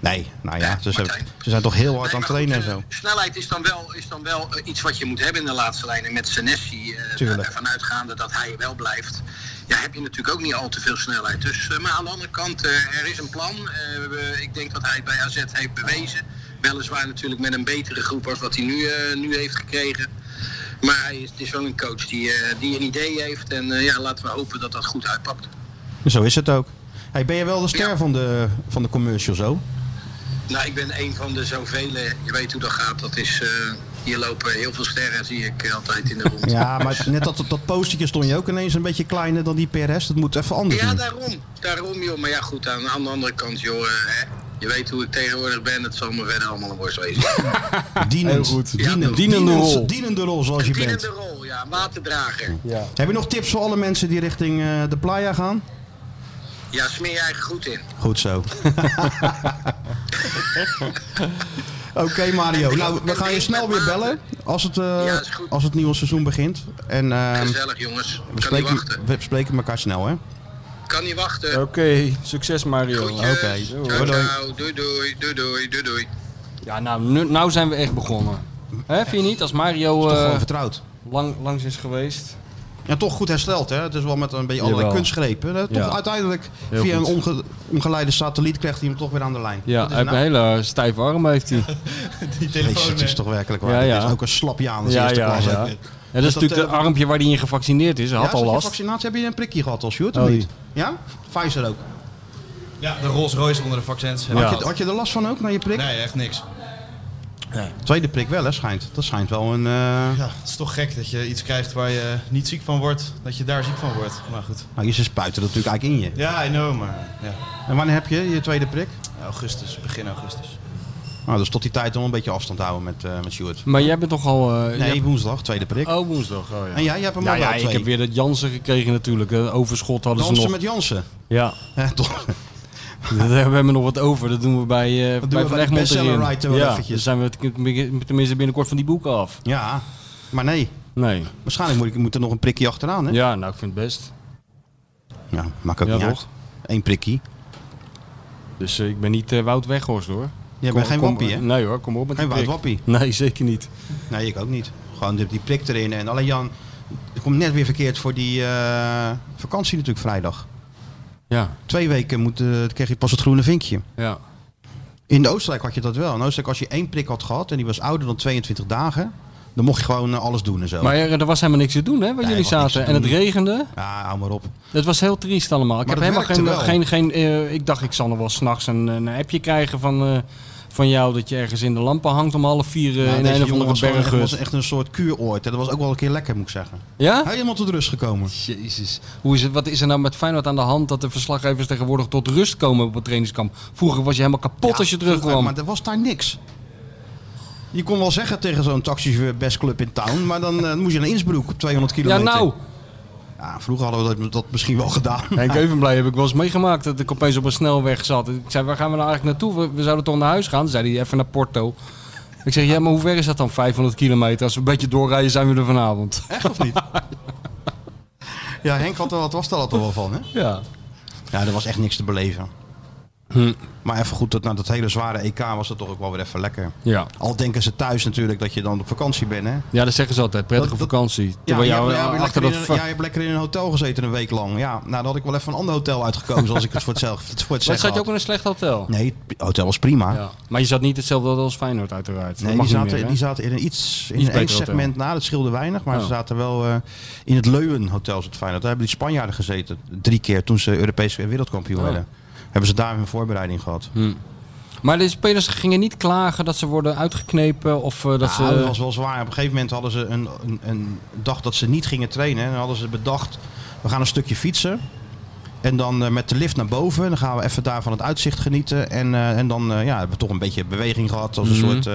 S1: Nee, nou ja, ze zijn,
S5: Martijn.
S1: ze zijn toch heel hard aan
S5: Nee,
S1: het
S5: maar
S1: trainen en
S5: goed,
S1: zo.
S5: eh, Snelheid is dan wel, is dan wel eh, iets wat je moet hebben in de laatste lijnen. Met Senesi, eh
S1: Tuurlijk.
S5: ervan uitgaande dat hij wel blijft. Ja, heb je natuurlijk ook niet al te veel snelheid. Dus, eh, maar aan de andere kant, eh, er is een plan. Eh, we- ik denk dat hij het bij AZ heeft bewezen. Weliswaar natuurlijk met een betere groep als wat hij nu, eh, nu heeft gekregen. Maar hij is, het is wel een coach die, eh, die een idee heeft. En eh, ja, laten we hopen dat dat goed uitpakt.
S1: Zo is het ook. Hey, ben je wel de ster
S5: Ja.
S1: van, de, van de commercial zo?
S5: Nou, ik ben een van de zoveel. eh, Je weet hoe dat gaat. Dat is, eh, hier lopen heel veel sterren, zie ik eh, altijd in de rond.
S1: Ja, maar net dat, dat postertje stond je ook ineens een beetje kleiner dan die PRS. Dat moet even anders
S5: Ja,
S1: doen.
S5: daarom. Daarom, joh. Maar ja, goed, aan, aan de andere kant, joh. eh, hè. je weet hoe ik tegenwoordig ben. Het zal me verder allemaal een worst wezen.
S1: Dienend.
S2: Heel goed.
S1: Dienend,
S5: Ja,
S2: dienende rol.
S1: Dienende rol zoals je
S5: Dienende
S1: bent.
S5: rol, ja. Waterdrager.
S2: Ja.
S1: Heb je nog tips voor alle mensen die richting eh, de playa gaan?
S5: Ja, smeer je eigen goed in.
S1: Goed zo. Oké Mario, nou we gaan je snel weer bellen als het, eh,
S5: Ja, is goed.
S1: als het nieuwe seizoen begint. En ehm,
S5: Gezellig, jongens.
S1: we,
S5: Kan niet
S1: spreken,
S5: wachten.
S1: we spreken elkaar snel hè.
S5: Kan niet
S2: Oké,
S5: wachten.
S2: succes Mario.
S5: Groetjes.
S2: doei.
S5: Ciao,
S1: doei.
S5: ciao. Doei, doei. Doei, doei. Doei, doei.
S2: Ja, nou, nu, nou zijn we echt begonnen. Hè, vind je niet? Als Mario
S1: Toch
S2: eh,
S1: gewoon vertrouwd.
S2: lang, langs is geweest.
S1: Ja, toch goed hersteld hè. Het is wel met een beetje allerlei
S2: Jawel.
S1: kunstgrepen. hè. Toch
S2: Ja.
S1: uiteindelijk
S2: Heel
S1: via
S2: goed.
S1: een onge- omgeleide satelliet krijgt hij hem toch weer aan de lijn.
S2: Ja,
S1: Dat
S2: hij
S1: is
S2: heeft
S1: nou-
S2: een hele stijve arm heeft hij.
S3: Die
S1: Jezus,
S3: telefoon.
S1: het is
S3: eh,
S1: toch werkelijk waar.
S2: Ja,
S1: Dit
S2: ja.
S1: is ook een slapjaan als
S2: Ja,
S1: eerste
S2: ja,
S1: klas.
S2: ja.
S1: hè.
S2: Ja,
S1: Dus
S2: En
S1: dat,
S2: dat is natuurlijk
S1: eh,
S2: het armpje waar hij in gevaccineerd is. Hij
S1: Ja,
S2: had al
S1: zat je
S2: last.
S1: vaccinatie heb je een prikje gehad als Sjoerd, of
S2: Oh.
S1: niet? Ja? Pfizer ook.
S3: Ja, de Rolls Royce onder de vaccins.
S2: Ja.
S3: Ja.
S1: Had je, had je er last van ook na je prik?
S3: Nee, echt niks.
S1: Tweede prik wel, hè, schijnt. Dat schijnt wel een... eh,
S3: Ja, het is toch gek dat je iets krijgt waar je niet ziek van wordt, dat je daar ziek van wordt. Maar goed.
S1: Nou, je ze spuiten dat natuurlijk eigenlijk in je.
S3: Ja, I know, maar ja.
S1: En wanneer heb je je tweede prik?
S3: Augustus, begin augustus.
S1: Nou, dus tot die tijd om een beetje afstand te houden met, eh met Sjoerd.
S2: Maar jij bent toch al... eh, jij
S1: Nee,
S2: hebt-
S1: woensdag, tweede prik.
S2: Oh, woensdag. Oh, ja.
S1: En jij, jij hebt hem
S2: ja,
S1: al
S2: ja,
S1: wel
S2: ik
S1: twee.
S2: heb weer dat Jansen gekregen natuurlijk. Dat overschot hadden ze
S1: Dansen
S2: nog.
S1: met Jansen.
S2: Ja,
S1: Ja, toch.
S2: daar hebben we nog wat over. Dat doen we bij, eh
S1: doen
S2: bij
S1: we bij
S2: Van
S1: de
S2: Egmond
S1: bestseller
S2: erin.
S1: writer wel
S2: ja,
S1: eventjes.
S2: dan zijn we het- tenminste binnenkort van die boeken af.
S1: Ja, maar nee.
S2: Nee.
S1: Waarschijnlijk moet, ik, moet er nog een prikje achteraan, hè? Ja,
S2: Ja, nou, ik vind het best.
S1: maakt ook
S2: Ja,
S1: niet
S2: toch?
S1: uit. Eén prikkie.
S2: Dus eh, ik ben niet eh, Wout Weghorst hoor.
S1: Jij
S2: Kom-
S1: bent geen
S2: kom- eh,
S1: wampie, hè?
S2: Nee hoor, kom op met
S1: Geen
S2: die
S1: Wout
S2: prik.
S1: Wappie.
S2: Nee, zeker niet.
S1: Nee, ik ook niet. Gewoon die, die prik erin. En alleen Jan, ik kom net weer verkeerd voor die eh, vakantie natuurlijk vrijdag.
S2: Ja,
S1: Twee weken moet, eh, dan kreeg je pas het groene vinkje.
S2: ja.
S1: Oh. In Oostenrijk had je dat wel. In Oostenrijk, als je één prik had gehad en die was ouder dan 22 dagen, Dan mocht je gewoon eh, alles doen en zo.
S2: Maar er, er was helemaal niks te doen, hè, waar
S1: er
S2: jullie
S1: was niks
S2: zaten.
S1: te
S2: En het
S1: doen.
S2: regende.
S1: ja, hou maar op.
S2: Het was heel triest allemaal. Ik
S1: Maar
S2: heb
S1: dat
S2: helemaal geen...
S1: werkte
S2: geen, geen eh, ik dacht, ik zal nog wel s'nachts een, een appje krijgen van, eh, van jou... dat je ergens in de lampen hangt om half vier eh,
S1: Ja,
S2: in
S1: deze
S2: een of
S1: jongen
S2: andere
S1: was gewoon echt- was
S2: berghut.
S1: echt een soort kuuroord. En dat was ook wel een keer lekker, moet ik zeggen.
S2: Ja?
S1: Helemaal tot rust gekomen.
S2: Jezus. Hoe is het, wat is er nou met Feyenoord aan de hand dat de verslaggevers tegenwoordig tot rust komen op het trainingskamp? Vroeger was je helemaal kapot als je
S1: Ja, vroeger,
S2: terugkwam.
S1: Maar er was daar niks. Je kon wel zeggen tegen zo'n taxichauffeur best club in town, maar dan eh, moest je naar Innsbruck op 200
S2: Ja,
S1: kilometer.
S2: nou.
S1: Ja, vroeger hadden we dat, dat misschien wel gedaan.
S2: Henk Evenblij heb ik wel eens meegemaakt dat ik opeens op een snelweg zat. Ik zei, waar gaan we nou eigenlijk naartoe? We, we zouden toch naar huis gaan? Toen zei hij, even naar Porto. Ik zeg, ja, maar hoe ver is dat dan? 500 kilometer. Als we een beetje doorrijden, zijn we er vanavond.
S1: Echt of niet? ja, Henk had er wat was daar toch wel van, hè?
S2: Ja.
S1: Ja, er was echt niks te beleven.
S2: Hm.
S1: Maar even goed, dat, na dat hele zware EK was dat toch ook wel weer even lekker.
S2: Ja.
S1: Al denken ze thuis natuurlijk dat je dan op vakantie bent, hè?
S2: Ja, dat zeggen ze altijd. Prettige
S1: Dat- dat-
S2: vakantie. Terwijl
S1: jij
S2: jou eh,
S1: hebt- jij hebt
S2: achter
S1: lekker
S2: dat...
S1: in een-
S2: va-
S1: jij hebt lekker in een hotel gezeten een week lang. Ja, nou, dan had ik wel even een ander hotel uitgekomen, zoals ik het voor het zelf voor het
S2: Maar
S1: zeggen
S2: zat je ook
S1: had.
S2: in een slecht hotel?
S1: Nee, het hotel was prima.
S2: Ja. Maar je zat niet hetzelfde als Feyenoord uiteraard.
S1: Nee,
S2: dat mag
S1: die
S2: niet
S1: zaten,
S2: meer, hè?
S1: die zaten in een iets, in
S2: Iets
S1: een één
S2: beter hotel.
S1: segment na. Dat scheelde weinig, maar
S2: Oh.
S1: ze zaten wel eh, in het Leuwen Hotel. Zat Feyenoord. Daar hebben die Spanjaarden gezeten drie keer toen ze Europese wereldkampioen
S2: Oh.
S1: werden. Hebben ze daar hun voorbereiding gehad.
S2: Maar de spelers gingen niet klagen dat ze worden uitgeknepen of eh, dat
S1: Dat
S2: ze...
S1: Nou, dat was wel zwaar. Op een gegeven moment hadden ze een, een, een dag dat ze niet gingen trainen. En dan hadden ze bedacht, we gaan een stukje fietsen. En dan eh, met de lift naar boven. En dan gaan we even daar van het uitzicht genieten. En, eh, en dan eh, ja, hebben we toch een beetje beweging gehad.
S2: Mhm.
S1: Als een soort eh,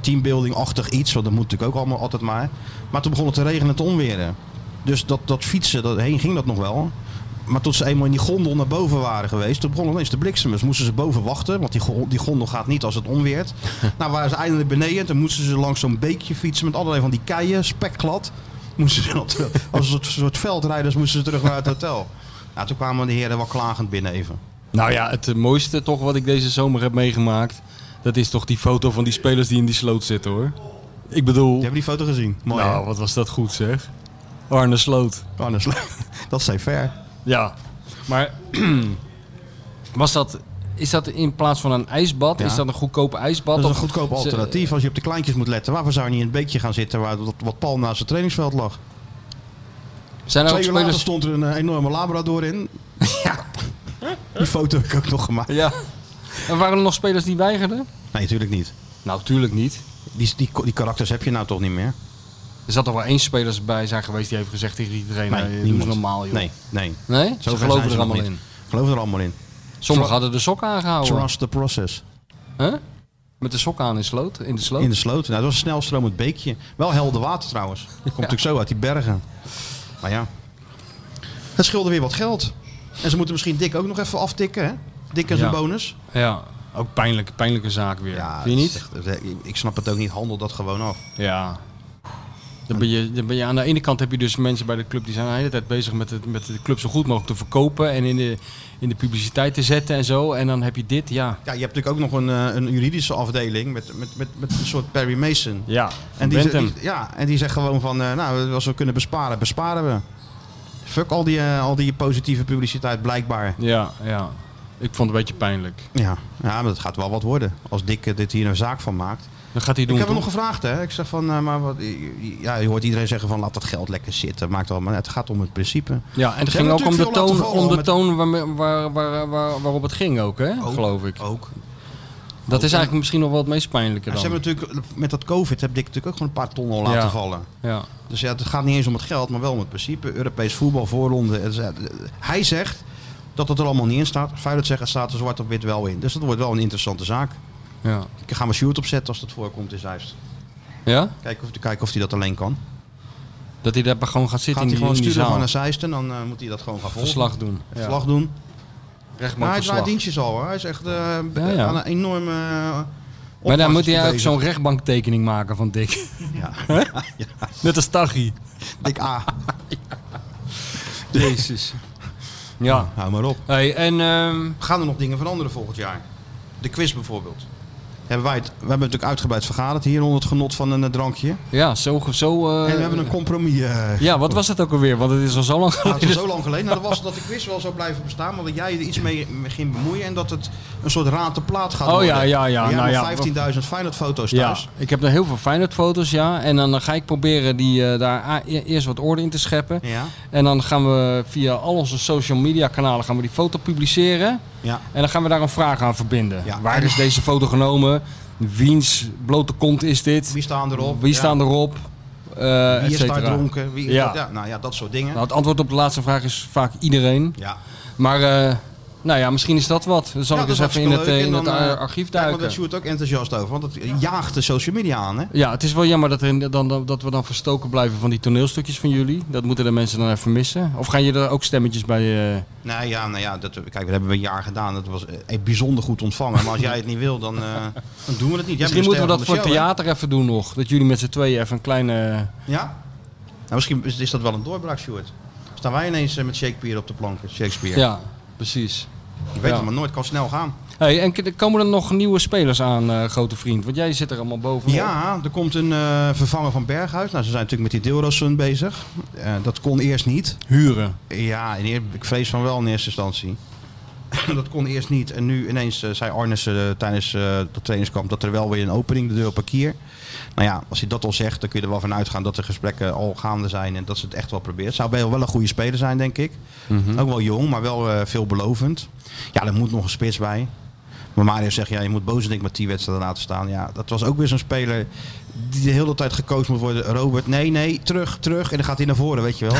S1: teambuilding-achtig iets. Want dat moet natuurlijk ook allemaal altijd maar. Maar toen begon het te regenen en te onweren. Dus dat, dat fietsen, dat, heen ging dat nog wel. Maar tot ze eenmaal in die gondel naar boven waren geweest, toen begon ineens te bliksemen. Dus moesten ze boven wachten, want die, go- die gondel gaat niet als het onweert. nou waren ze eindelijk beneden en toen moesten ze langs zo'n beekje fietsen met allerlei van die keien, spekglad. Moesten ze dan terug- als een soort, soort veldrijders moesten ze terug naar het hotel. Nou, toen kwamen de heren wel klagend binnen even.
S2: Nou ja, het eh, mooiste toch wat ik deze zomer heb meegemaakt... dat is toch die foto van die spelers die in die sloot zitten, hoor. Ik bedoel...
S1: Je hebt die foto gezien? Mooi.
S2: nou, wat was dat goed, zeg. Arne Sloot.
S1: hè? Oh, dat, is leuk. dat is even ver.
S2: Ja. Maar was dat... Is dat in plaats van een ijsbad?
S1: Ja.
S2: Is dat een goedkope ijsbad?
S1: Dat is een
S2: Of-
S1: goedkoop
S2: ze-
S1: alternatief als je op de kleintjes moet letten. Waarvoor zou je niet in het beekje gaan zitten waar dat, wat pal naast het trainingsveld lag?
S2: Zijn er ook
S1: Twee uur later
S2: spelers...
S1: stond er een eh, enorme labrador in. Die foto heb ik ook nog gemaakt.
S2: Ja. En waren er nog spelers die weigerden?
S1: Nee, natuurlijk niet.
S2: Nou, tuurlijk niet.
S1: Die, die, die karakters heb je nou toch niet meer?
S2: Er zat toch wel één spelers bij zijn geweest die heeft gezegd tegen iedereen...
S1: Nee,
S2: eh, doe eens
S1: niemand.
S2: normaal, joh.
S1: Nee, nee.
S2: Nee?
S1: Zo
S2: ze
S1: ver
S2: geloven
S1: zijn
S2: er
S1: nog
S2: allemaal
S1: niet.
S2: in. Oh,
S1: Geloven er allemaal in.
S2: Sommigen hadden de sok aangehouden.
S1: Trust the process.
S2: Hè? Met de sok aan in, sloot, in de sloot.
S1: In de sloot. Nou, dat was een snelstromend beekje. Wel helder water trouwens. Dat komt natuurlijk zo uit die bergen. Maar ja. Het scheelde weer wat geld. En ze moeten misschien Dick ook nog even aftikken, hè? Dick en zijn
S2: Ja.
S1: bonus.
S2: Ja, ook pijnlijk, pijnlijke zaak weer.
S1: dat
S2: Vind je niet?
S1: is echt- ik- ik snap het ook niet. Handel dat gewoon af.
S2: Ja. Dan ben, je, dan ben je aan de ene kant heb je dus mensen bij de club die zijn de hele tijd bezig met, het, met de club zo goed mogelijk te verkopen en in de, in de publiciteit te zetten en zo. En dan heb je dit, ja.
S1: Ja, je hebt natuurlijk ook nog een, eh, een juridische afdeling met, met, met, met een soort Perry Mason.
S2: Ja,
S1: En
S2: en
S1: die, ze- die- ja, en die zegt gewoon van, eh, nou, als we kunnen besparen, besparen we. Fuck al die, eh, al die positieve publiciteit, blijkbaar.
S2: Ja, ja. Ik vond het een beetje pijnlijk.
S1: Ja. ja, maar dat gaat wel wat worden. Als Dick eh, dit hier een zaak van maakt.
S2: Dan gaat hij doen.
S1: ik heb hem
S2: toch?
S1: nog gevraagd, hè. Ik zeg van, eh, maar wat, ja, je hoort iedereen zeggen van, laat dat geld lekker zitten. Maakt wel, maar het gaat om het principe.
S2: Ja, en het
S1: Ze
S2: ging
S1: hebben
S2: ook om de
S1: natuurlijk veel
S2: toon,
S1: laten vallen Oh.
S2: om de
S1: met-
S2: toon waarmee- waar, waar, waar- waarop het ging ook, hè?
S1: Ook,
S2: geloof ik.
S1: Ook.
S2: Dat is eigenlijk misschien nog wel het meest pijnlijke
S1: En
S2: dan.
S1: ze hebben natuurlijk, met dat covid heb Dick natuurlijk ook gewoon een paar ton al laten
S2: Ja.
S1: vallen.
S2: Ja.
S1: Dus ja, het gaat niet eens om het geld, maar wel om het principe. Europees voetbal, voorronde. Het is- eh, Hij zegt dat het er allemaal niet in staat. Feyenoord zegt het staat er zwart op wit wel in. Dus dat wordt wel een interessante zaak.
S2: Ja?
S1: Ik ga mijn shoot opzetten als dat voorkomt in Zeist.
S2: ja?
S1: Kijken of, kijken of hij dat alleen kan.
S2: Dat hij daar maar gewoon gaat zitten
S1: Gaat hij
S2: in die,
S1: gewoon
S2: in die
S1: sturen gewoon
S2: zaal.
S1: naar Zeist en dan eh, moet hij dat gewoon gaan volgen.
S2: Verslag doen. Ja.
S1: Verslag doen.
S2: Rechtbank
S1: Maar hij
S2: verslag.
S1: draait dienstjes al hoor. Hij is echt eh,
S2: Ja, ja.
S1: aan een enorme... eh,
S2: Maar dan moet
S1: opwachting
S2: hij ook
S1: bezig.
S2: zo'n rechtbanktekening maken van Dick.
S1: Ja.
S2: Net als Tachi.
S1: Dik A.
S2: Jezus. Ja.
S1: Hou maar op.
S2: Hey, en ehm,
S1: Gaan er nog dingen veranderen volgend jaar? De quiz bijvoorbeeld. Hebben wij, het, we hebben natuurlijk uitgebreid vergaderd hier onder het genot van een eh, drankje.
S2: Ja, zo... zo eh,
S1: En we hebben een compromis. eh,
S2: Ja, wat was dat ook alweer? Want het is al zo lang
S1: Nou, het
S2: geleden.
S1: was zo lang geleden. Nou, dat was dat de quiz wel zou blijven bestaan, maar dat jij er iets mee mee ging bemoeien en dat het een soort raad te plaat gaat
S2: Oh,
S1: worden.
S2: ja, ja, ja.
S1: Je
S2: Nou, ja.
S1: hebt nog 15.000 Feyenoord foto's
S2: Ja,
S1: thuis.
S2: ik heb er heel veel Feyenoord-foto's, ja. En dan eh, ga ik proberen die, eh, daar a- e- eerst wat orde in te scheppen.
S1: Ja.
S2: En dan gaan we via al onze social media kanalen gaan we die foto publiceren.
S1: Ja.
S2: En dan gaan we daar een vraag aan verbinden.
S1: Ja.
S2: Waar is deze foto genomen? Wiens blote kont is dit?
S1: Wie staan erop?
S2: Wie
S1: Ja.
S2: staan erop? Eh
S1: Wie
S2: et
S1: is daar
S2: cetera.
S1: dronken? Wie is
S2: Ja.
S1: dat? ja. Nou ja, dat soort dingen.
S2: Nou, het antwoord op de laatste vraag is vaak iedereen.
S1: ja.
S2: Maar eh, nou ja, misschien is dat wat. Dan zal
S1: Ja,
S2: ik
S1: dat
S2: eens
S1: is
S2: even in het,
S1: hartstikke
S2: eh,
S1: leuk.
S2: in
S1: En
S2: het
S1: dan, eh,
S2: ar- archief
S1: Kijk, maar
S2: duiken.
S1: daar is Sjoerd ook enthousiast over, want het jaagt de social media aan, hè?
S2: Ja, het is wel jammer dat, er, dan, dat- dat we dan verstoken blijven van die toneelstukjes van jullie. Dat moeten de mensen dan even missen. Of gaan je er ook stemmetjes bij... eh,
S1: Nou ja, nou ja dat, kijk, dat hebben we een jaar gedaan. Dat was eh, bijzonder goed ontvangen. Maar als jij het niet wil, dan, eh, dan doen we het niet. Jij
S2: Misschien
S1: bent
S2: moeten
S1: de
S2: we
S1: ster
S2: dat voor het
S1: van de show,
S2: theater even doen nog. Dat jullie met z'n tweeën even een kleine...
S1: hè? Ja? Nou, misschien is, is dat wel een doorbraak, Sjoerd. Staan wij ineens eh, met Shakespeare op de planken? Shakespeare.
S2: Ja, precies.
S1: Je weet
S2: Ja.
S1: het maar nooit, kan snel gaan.
S2: Hey, en k- komen er nog nieuwe spelers aan, eh, grote vriend? Want jij zit er allemaal bovenop.
S1: Ja, er komt een eh, vervanger van Berghuis. Nou, ze zijn natuurlijk met die Deelrosun bezig. Eh, dat kon eerst niet.
S2: Huren.
S1: Ja, in eer- ik vrees van wel in eerste instantie. dat kon eerst niet. En nu ineens eh, zei Arnissen eh, tijdens eh dat trainingskamp dat er wel weer een opening de deur op parkier. Nou ja, als hij dat al zegt, dan kun je er wel van uitgaan dat de gesprekken al gaande zijn en dat ze het echt wel probeert. Zou wel wel een goede speler zijn, denk ik. Ook wel jong, maar wel eh, veelbelovend. Ja, er moet nog een spits bij. Maar Mario zegt, ja, je moet Bozendijk met die wedstrijden laten staan. Ja, dat was ook weer zo'n speler die de hele tijd gecoacht moet worden. Robert, nee, nee, terug, terug. En dan gaat hij naar voren, weet je wel.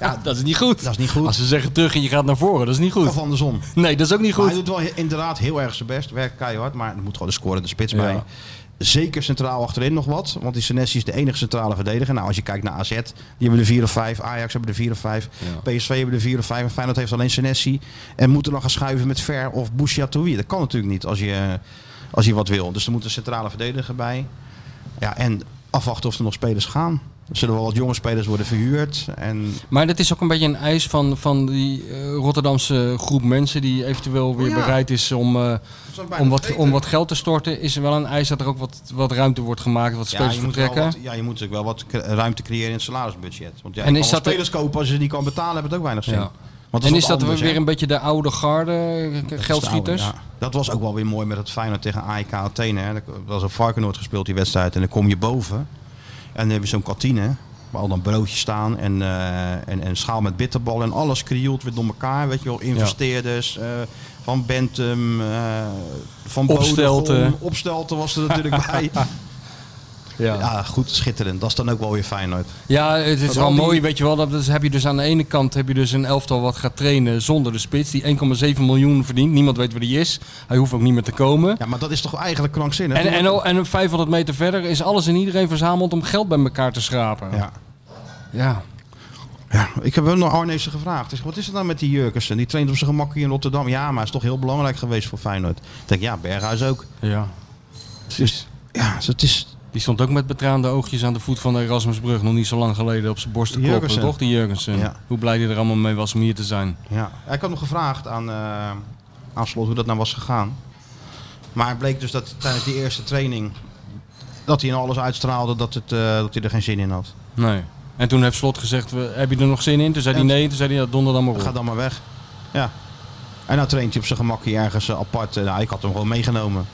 S2: Ja, dat is niet goed.
S1: Dat is niet goed.
S2: Als ze zeggen terug en je gaat naar voren, dat is niet goed.
S1: Of andersom.
S2: Nee, dat is ook niet
S1: Maar
S2: goed.
S1: hij doet wel he- inderdaad heel erg zijn best. Werkt keihard, maar er moet gewoon de scorende spits
S2: Ja.
S1: bij. Zeker centraal achterin nog wat. Want die Senesi is de enige centrale verdediger. Nou, als je kijkt naar AZ, die hebben er 4 of 5. Ajax hebben er 4 of 5. PSV hebben er 4 of 5. En Feyenoord heeft alleen Senesi. En moeten dan gaan schuiven met Ver of Bouchiatoui. Dat kan natuurlijk niet als je, als je wat wil. Dus er moet een centrale verdediger bij. Ja, en afwachten of er nog spelers gaan. Er zullen wel wat jonge spelers worden verhuurd. En
S2: Maar dat is ook een beetje een eis van, van die eh, Rotterdamse groep mensen die eventueel weer
S1: Oh Ja.
S2: bereid is om, eh,
S1: zou bijna
S2: om, wat,
S1: vergeten.
S2: om wat geld te storten. Is er wel een eis dat er ook wat, wat ruimte wordt gemaakt, wat spelers
S1: je moet wel
S2: vertrekken?
S1: wat- ja, je moet natuurlijk wel wat cre- ruimte creëren in het salarisbudget. Want ja,
S2: En
S1: en je
S2: is
S1: kan wel
S2: dat de-
S1: spelers kopen als je ze niet kan betalen, heb het ook weinig zin.
S2: Ja.
S1: Want
S2: en
S1: wat
S2: is dat
S1: anders,
S2: weer
S1: hè.
S2: een beetje de oude garde eh, geldschieters?
S1: Dat is de oude, ja. Dat was ook wel weer mooi met het Feyenoord tegen AEK Athene. Hè. Er was een Varkenoord gespeeld die wedstrijd en dan kom je boven. En dan heb je zo'n kantine waar al dan broodjes staan en, eh, en, en schaal met bitterballen en alles krioelt weer door elkaar. Weet je wel, investeerders eh, van Bentum, eh, van
S2: Opstelten.
S1: Bodegom. Opstelten was er natuurlijk bij.
S2: Ja.
S1: Ja, goed, schitterend. Dat is dan ook wel weer Feyenoord.
S2: Ja, het is
S1: Dat
S2: wel
S1: al die-
S2: mooi, weet je wel. Dat, dus heb je dus aan de ene kant heb je dus een elftal wat gaat trainen zonder de spits. Die 1,7 miljoen verdient. Niemand weet waar die is. Hij hoeft ook niet meer te komen.
S1: Ja, maar dat is toch eigenlijk krankzinnig?
S2: en, en, al- en 500 meter verder is alles en iedereen verzameld om geld bij elkaar te schrapen.
S1: ja.
S2: Ja.
S1: ja, ik heb wel nog Arnezen gevraagd. Ik zeg, wat is er nou met die Jurkensen? Die traint op zijn gemak hier in Rotterdam. Ja, maar hij is toch heel belangrijk geweest voor Feyenoord. Ik denk, ja, Berghuis ook.
S2: ja.
S1: Dus, ja, dus het is...
S2: Die stond ook met betraande oogjes aan de voet van de Erasmusbrug. Nog niet zo lang geleden op zijn borst te kloppen,
S1: Jurgensen.
S2: toch? Die Jurgensen.
S1: Ja.
S2: Hoe blij hij er allemaal mee was om hier te zijn.
S1: Ja. Ik had nog gevraagd aan, eh aan Slot hoe dat nou was gegaan. Maar het bleek dus dat tijdens die eerste training... dat hij in alles uitstraalde dat, het, eh, dat hij er geen zin in had.
S2: Nee. En toen heeft Slot gezegd, "We- heb je er nog zin in? Toen zei hij
S1: En-
S2: nee. Toen zei hij, ja, donder dan maar op.
S1: Ga dan maar weg. Ja. En nou traint hij op zijn gemak hier ergens eh, apart. Eh, Nou, ik had hem gewoon meegenomen.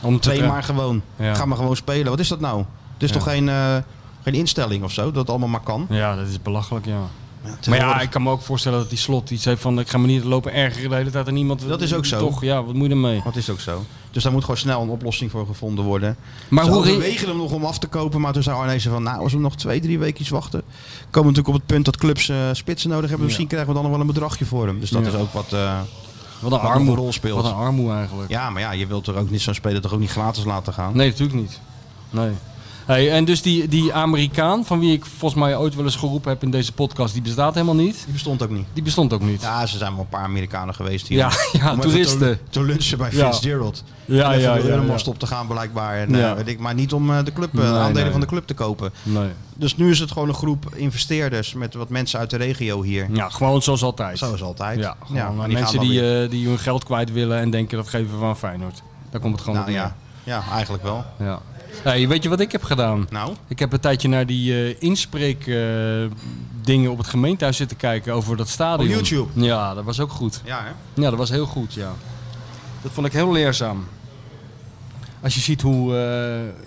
S2: Om te
S1: Twee
S2: tra-
S1: maar gewoon.
S2: Ja.
S1: Ga maar gewoon spelen. Wat is dat nou? Het is
S2: Ja.
S1: toch geen, eh, geen instelling of zo? Dat het allemaal maar kan.
S2: Ja, dat is belachelijk, ja. Maar
S1: tegenwoordig-
S2: ja, ik kan me ook voorstellen dat die slot iets heeft van... ik ga me niet lopen ergeren de hele tijd aan iemand.
S1: Dat is ook zo.
S2: Toch, ja, wat moet je ermee?
S1: Dat is ook zo. Dus daar moet gewoon snel een oplossing voor gevonden worden.
S2: Maar
S1: Ze
S2: hoe... re-
S1: overwegen hem nog om af te kopen. Maar toen zei Arnezen van, nou, als we nog twee, drie weekjes wachten... komen we natuurlijk op het punt dat clubs eh, spitsen nodig hebben. Misschien krijgen we dan nog wel een bedragje voor hem. Dus dat
S2: Ja.
S1: is ook wat... eh,
S2: Wat een
S1: nog
S2: armoe.
S1: een rol speelt.
S2: Wat een armoe eigenlijk.
S1: ja, maar ja, je wilt er ook niet zo'n speler toch ook niet gratis laten gaan.
S2: Nee, natuurlijk niet. Nee. Hey, en dus die, die Amerikaan, van wie ik volgens mij ooit wel eens geroepen heb in deze podcast... die bestaat helemaal niet.
S1: Die bestond ook niet.
S2: Die bestond ook niet.
S1: Ja, ze zijn wel een paar Amerikanen geweest hier.
S2: Ja, ja,
S1: Om even te-
S2: toeristen.
S1: Te, lunchen bij
S2: Ja.
S1: Fitzgerald.
S2: Ja,
S1: En even
S2: ja,
S1: de
S2: ja,
S1: Euromast
S2: ja.
S1: op te gaan blijkbaar. En,
S2: Ja.
S1: eh, weet ik, maar niet om eh, de club, eh,
S2: Nee,
S1: aandelen
S2: nee.
S1: van de club te kopen.
S2: Nee.
S1: Dus nu is het gewoon een groep investeerders met wat mensen uit de regio hier.
S2: Ja, gewoon zoals altijd.
S1: Zo is altijd.
S2: Ja, gewoon
S1: maar
S2: eh,
S1: die
S2: mensen
S1: gaan dan
S2: die,
S1: weer-
S2: eh, die hun geld kwijt willen en denken dat geven we aan Feyenoord. Daar komt het gewoon
S1: nou
S2: op neer.
S1: ja. Ja, eigenlijk wel.
S2: Ja. Nee, weet je wat ik heb gedaan?
S1: Nou,
S2: Ik heb een tijdje naar die eh, inspreek inspreekdingen op het gemeentehuis zitten kijken over dat stadion.
S1: Op YouTube?
S2: Ja, dat was ook goed.
S1: ja hè.
S2: Ja, dat was heel goed, ja. Dat vond ik heel leerzaam. Als je ziet hoe,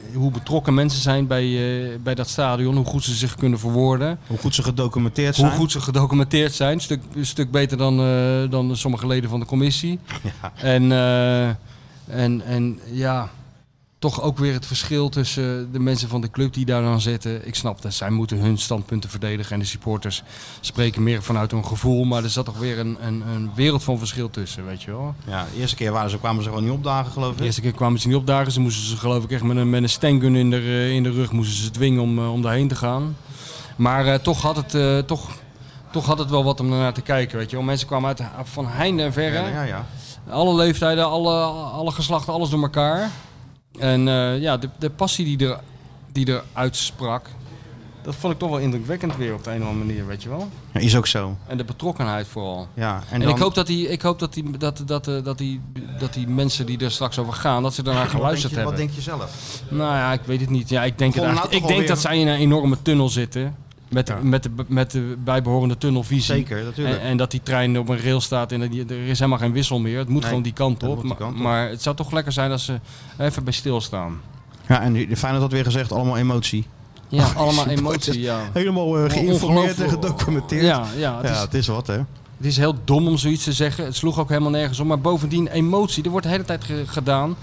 S2: eh, hoe betrokken mensen zijn bij, eh, bij dat stadion, hoe goed ze zich kunnen verwoorden,
S1: Hoe goed ze gedocumenteerd
S2: hoe
S1: zijn.
S2: goed ze gedocumenteerd zijn, een stuk, een stuk beter dan, eh, dan sommige leden van de commissie.
S1: Ja.
S2: En, eh, en, en ja, toch ook weer het verschil tussen de mensen van de club die daar dan zitten. Ik snap dat zij moeten hun standpunten verdedigen en de supporters spreken meer vanuit hun gevoel. Maar er zat toch weer een, een, een wereld van verschil tussen, weet je wel.
S1: Ja, de eerste keer waren ze, kwamen ze gewoon niet opdagen, geloof ik.
S2: De eerste keer kwamen ze niet opdagen. Ze moesten ze geloof ik echt met een, met een stengun in de, eh, in de rug moesten ze dwingen om, eh, om daarheen te gaan. Maar eh, toch, had het, eh, toch, toch had het wel wat om ernaar te kijken, weet je wel. Mensen kwamen uit, van heinde en verre.
S1: ja, ja.
S2: Alle leeftijden, alle, alle geslachten, alles door elkaar. En eh, ja, de, de passie die, er, die eruit sprak, dat vond ik toch wel indrukwekkend weer op de een of andere manier, weet je wel.
S1: Ja, is ook zo.
S2: En de betrokkenheid vooral.
S1: Ja, en
S2: En,
S1: dan-
S2: ik hoop, dat die, ik hoop dat, die, dat, dat, eh, dat, die, dat die mensen die er straks over gaan, dat ze daarnaar
S1: wat denk,
S2: geluisterd
S1: je, wat
S2: hebben.
S1: denk je zelf?
S2: Nou ja, ik weet het niet. Ja, ik denk, het
S1: Vond nou
S2: eigenlijk- ik
S1: toch
S2: denk
S1: alweer-
S2: dat zij in een enorme tunnel zitten. Met,
S1: Ja.
S2: de, met, de, met de bijbehorende tunnelvisie.
S1: Zeker, natuurlijk.
S2: En, en dat die trein op een rail staat en dat die- er is helemaal geen wissel meer. Het moet
S1: Nee,
S2: gewoon die kant
S1: dat
S2: op.
S1: moet die
S2: maar,
S1: kant op.
S2: maar het zou toch lekker zijn als ze even bij stilstaan.
S1: Ja, en nu- fijn dat dat weer gezegd, allemaal emotie.
S2: Ja, allemaal
S1: supporters.
S2: emotie. Ja.
S1: Helemaal eh, geïnformeerd en
S2: Ongelooflijk.
S1: gedocumenteerd.
S2: Ja, ja, het,
S1: Ja,
S2: Is,
S1: het is wat, hè?
S2: het is heel dom om zoiets te zeggen. Het sloeg ook helemaal nergens om. Maar bovendien, emotie. Er wordt de hele tijd ge- gedaan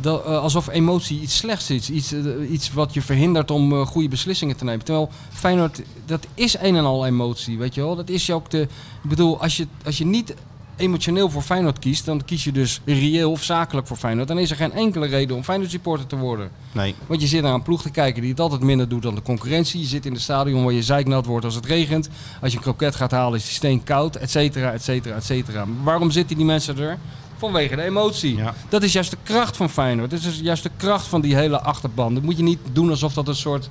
S2: dat, eh, alsof emotie iets slechts is. Iets, eh, iets wat je verhindert om eh, goede beslissingen te nemen. Terwijl Feyenoord, dat is een en al emotie. Weet je wel? Dat is je ook de. Ik bedoel, als je, als je niet emotioneel voor Feyenoord kiest, dan kies je dus reëel of zakelijk voor Feyenoord. Dan is er geen enkele reden om Feyenoord supporter te worden.
S1: Nee.
S2: Want je zit naar een ploeg te kijken die het altijd minder doet dan de concurrentie. Je zit in het stadion waar je zeiknat wordt als het regent. Als je een kroket gaat halen is die steen koud, et cetera, et cetera, et cetera. Maar Waarom zitten die mensen er? Vanwege de emotie.
S1: Ja.
S2: Dat is juist de kracht van Feyenoord. Dat is juist de kracht van die hele achterban. Dat moet je niet doen alsof dat een soort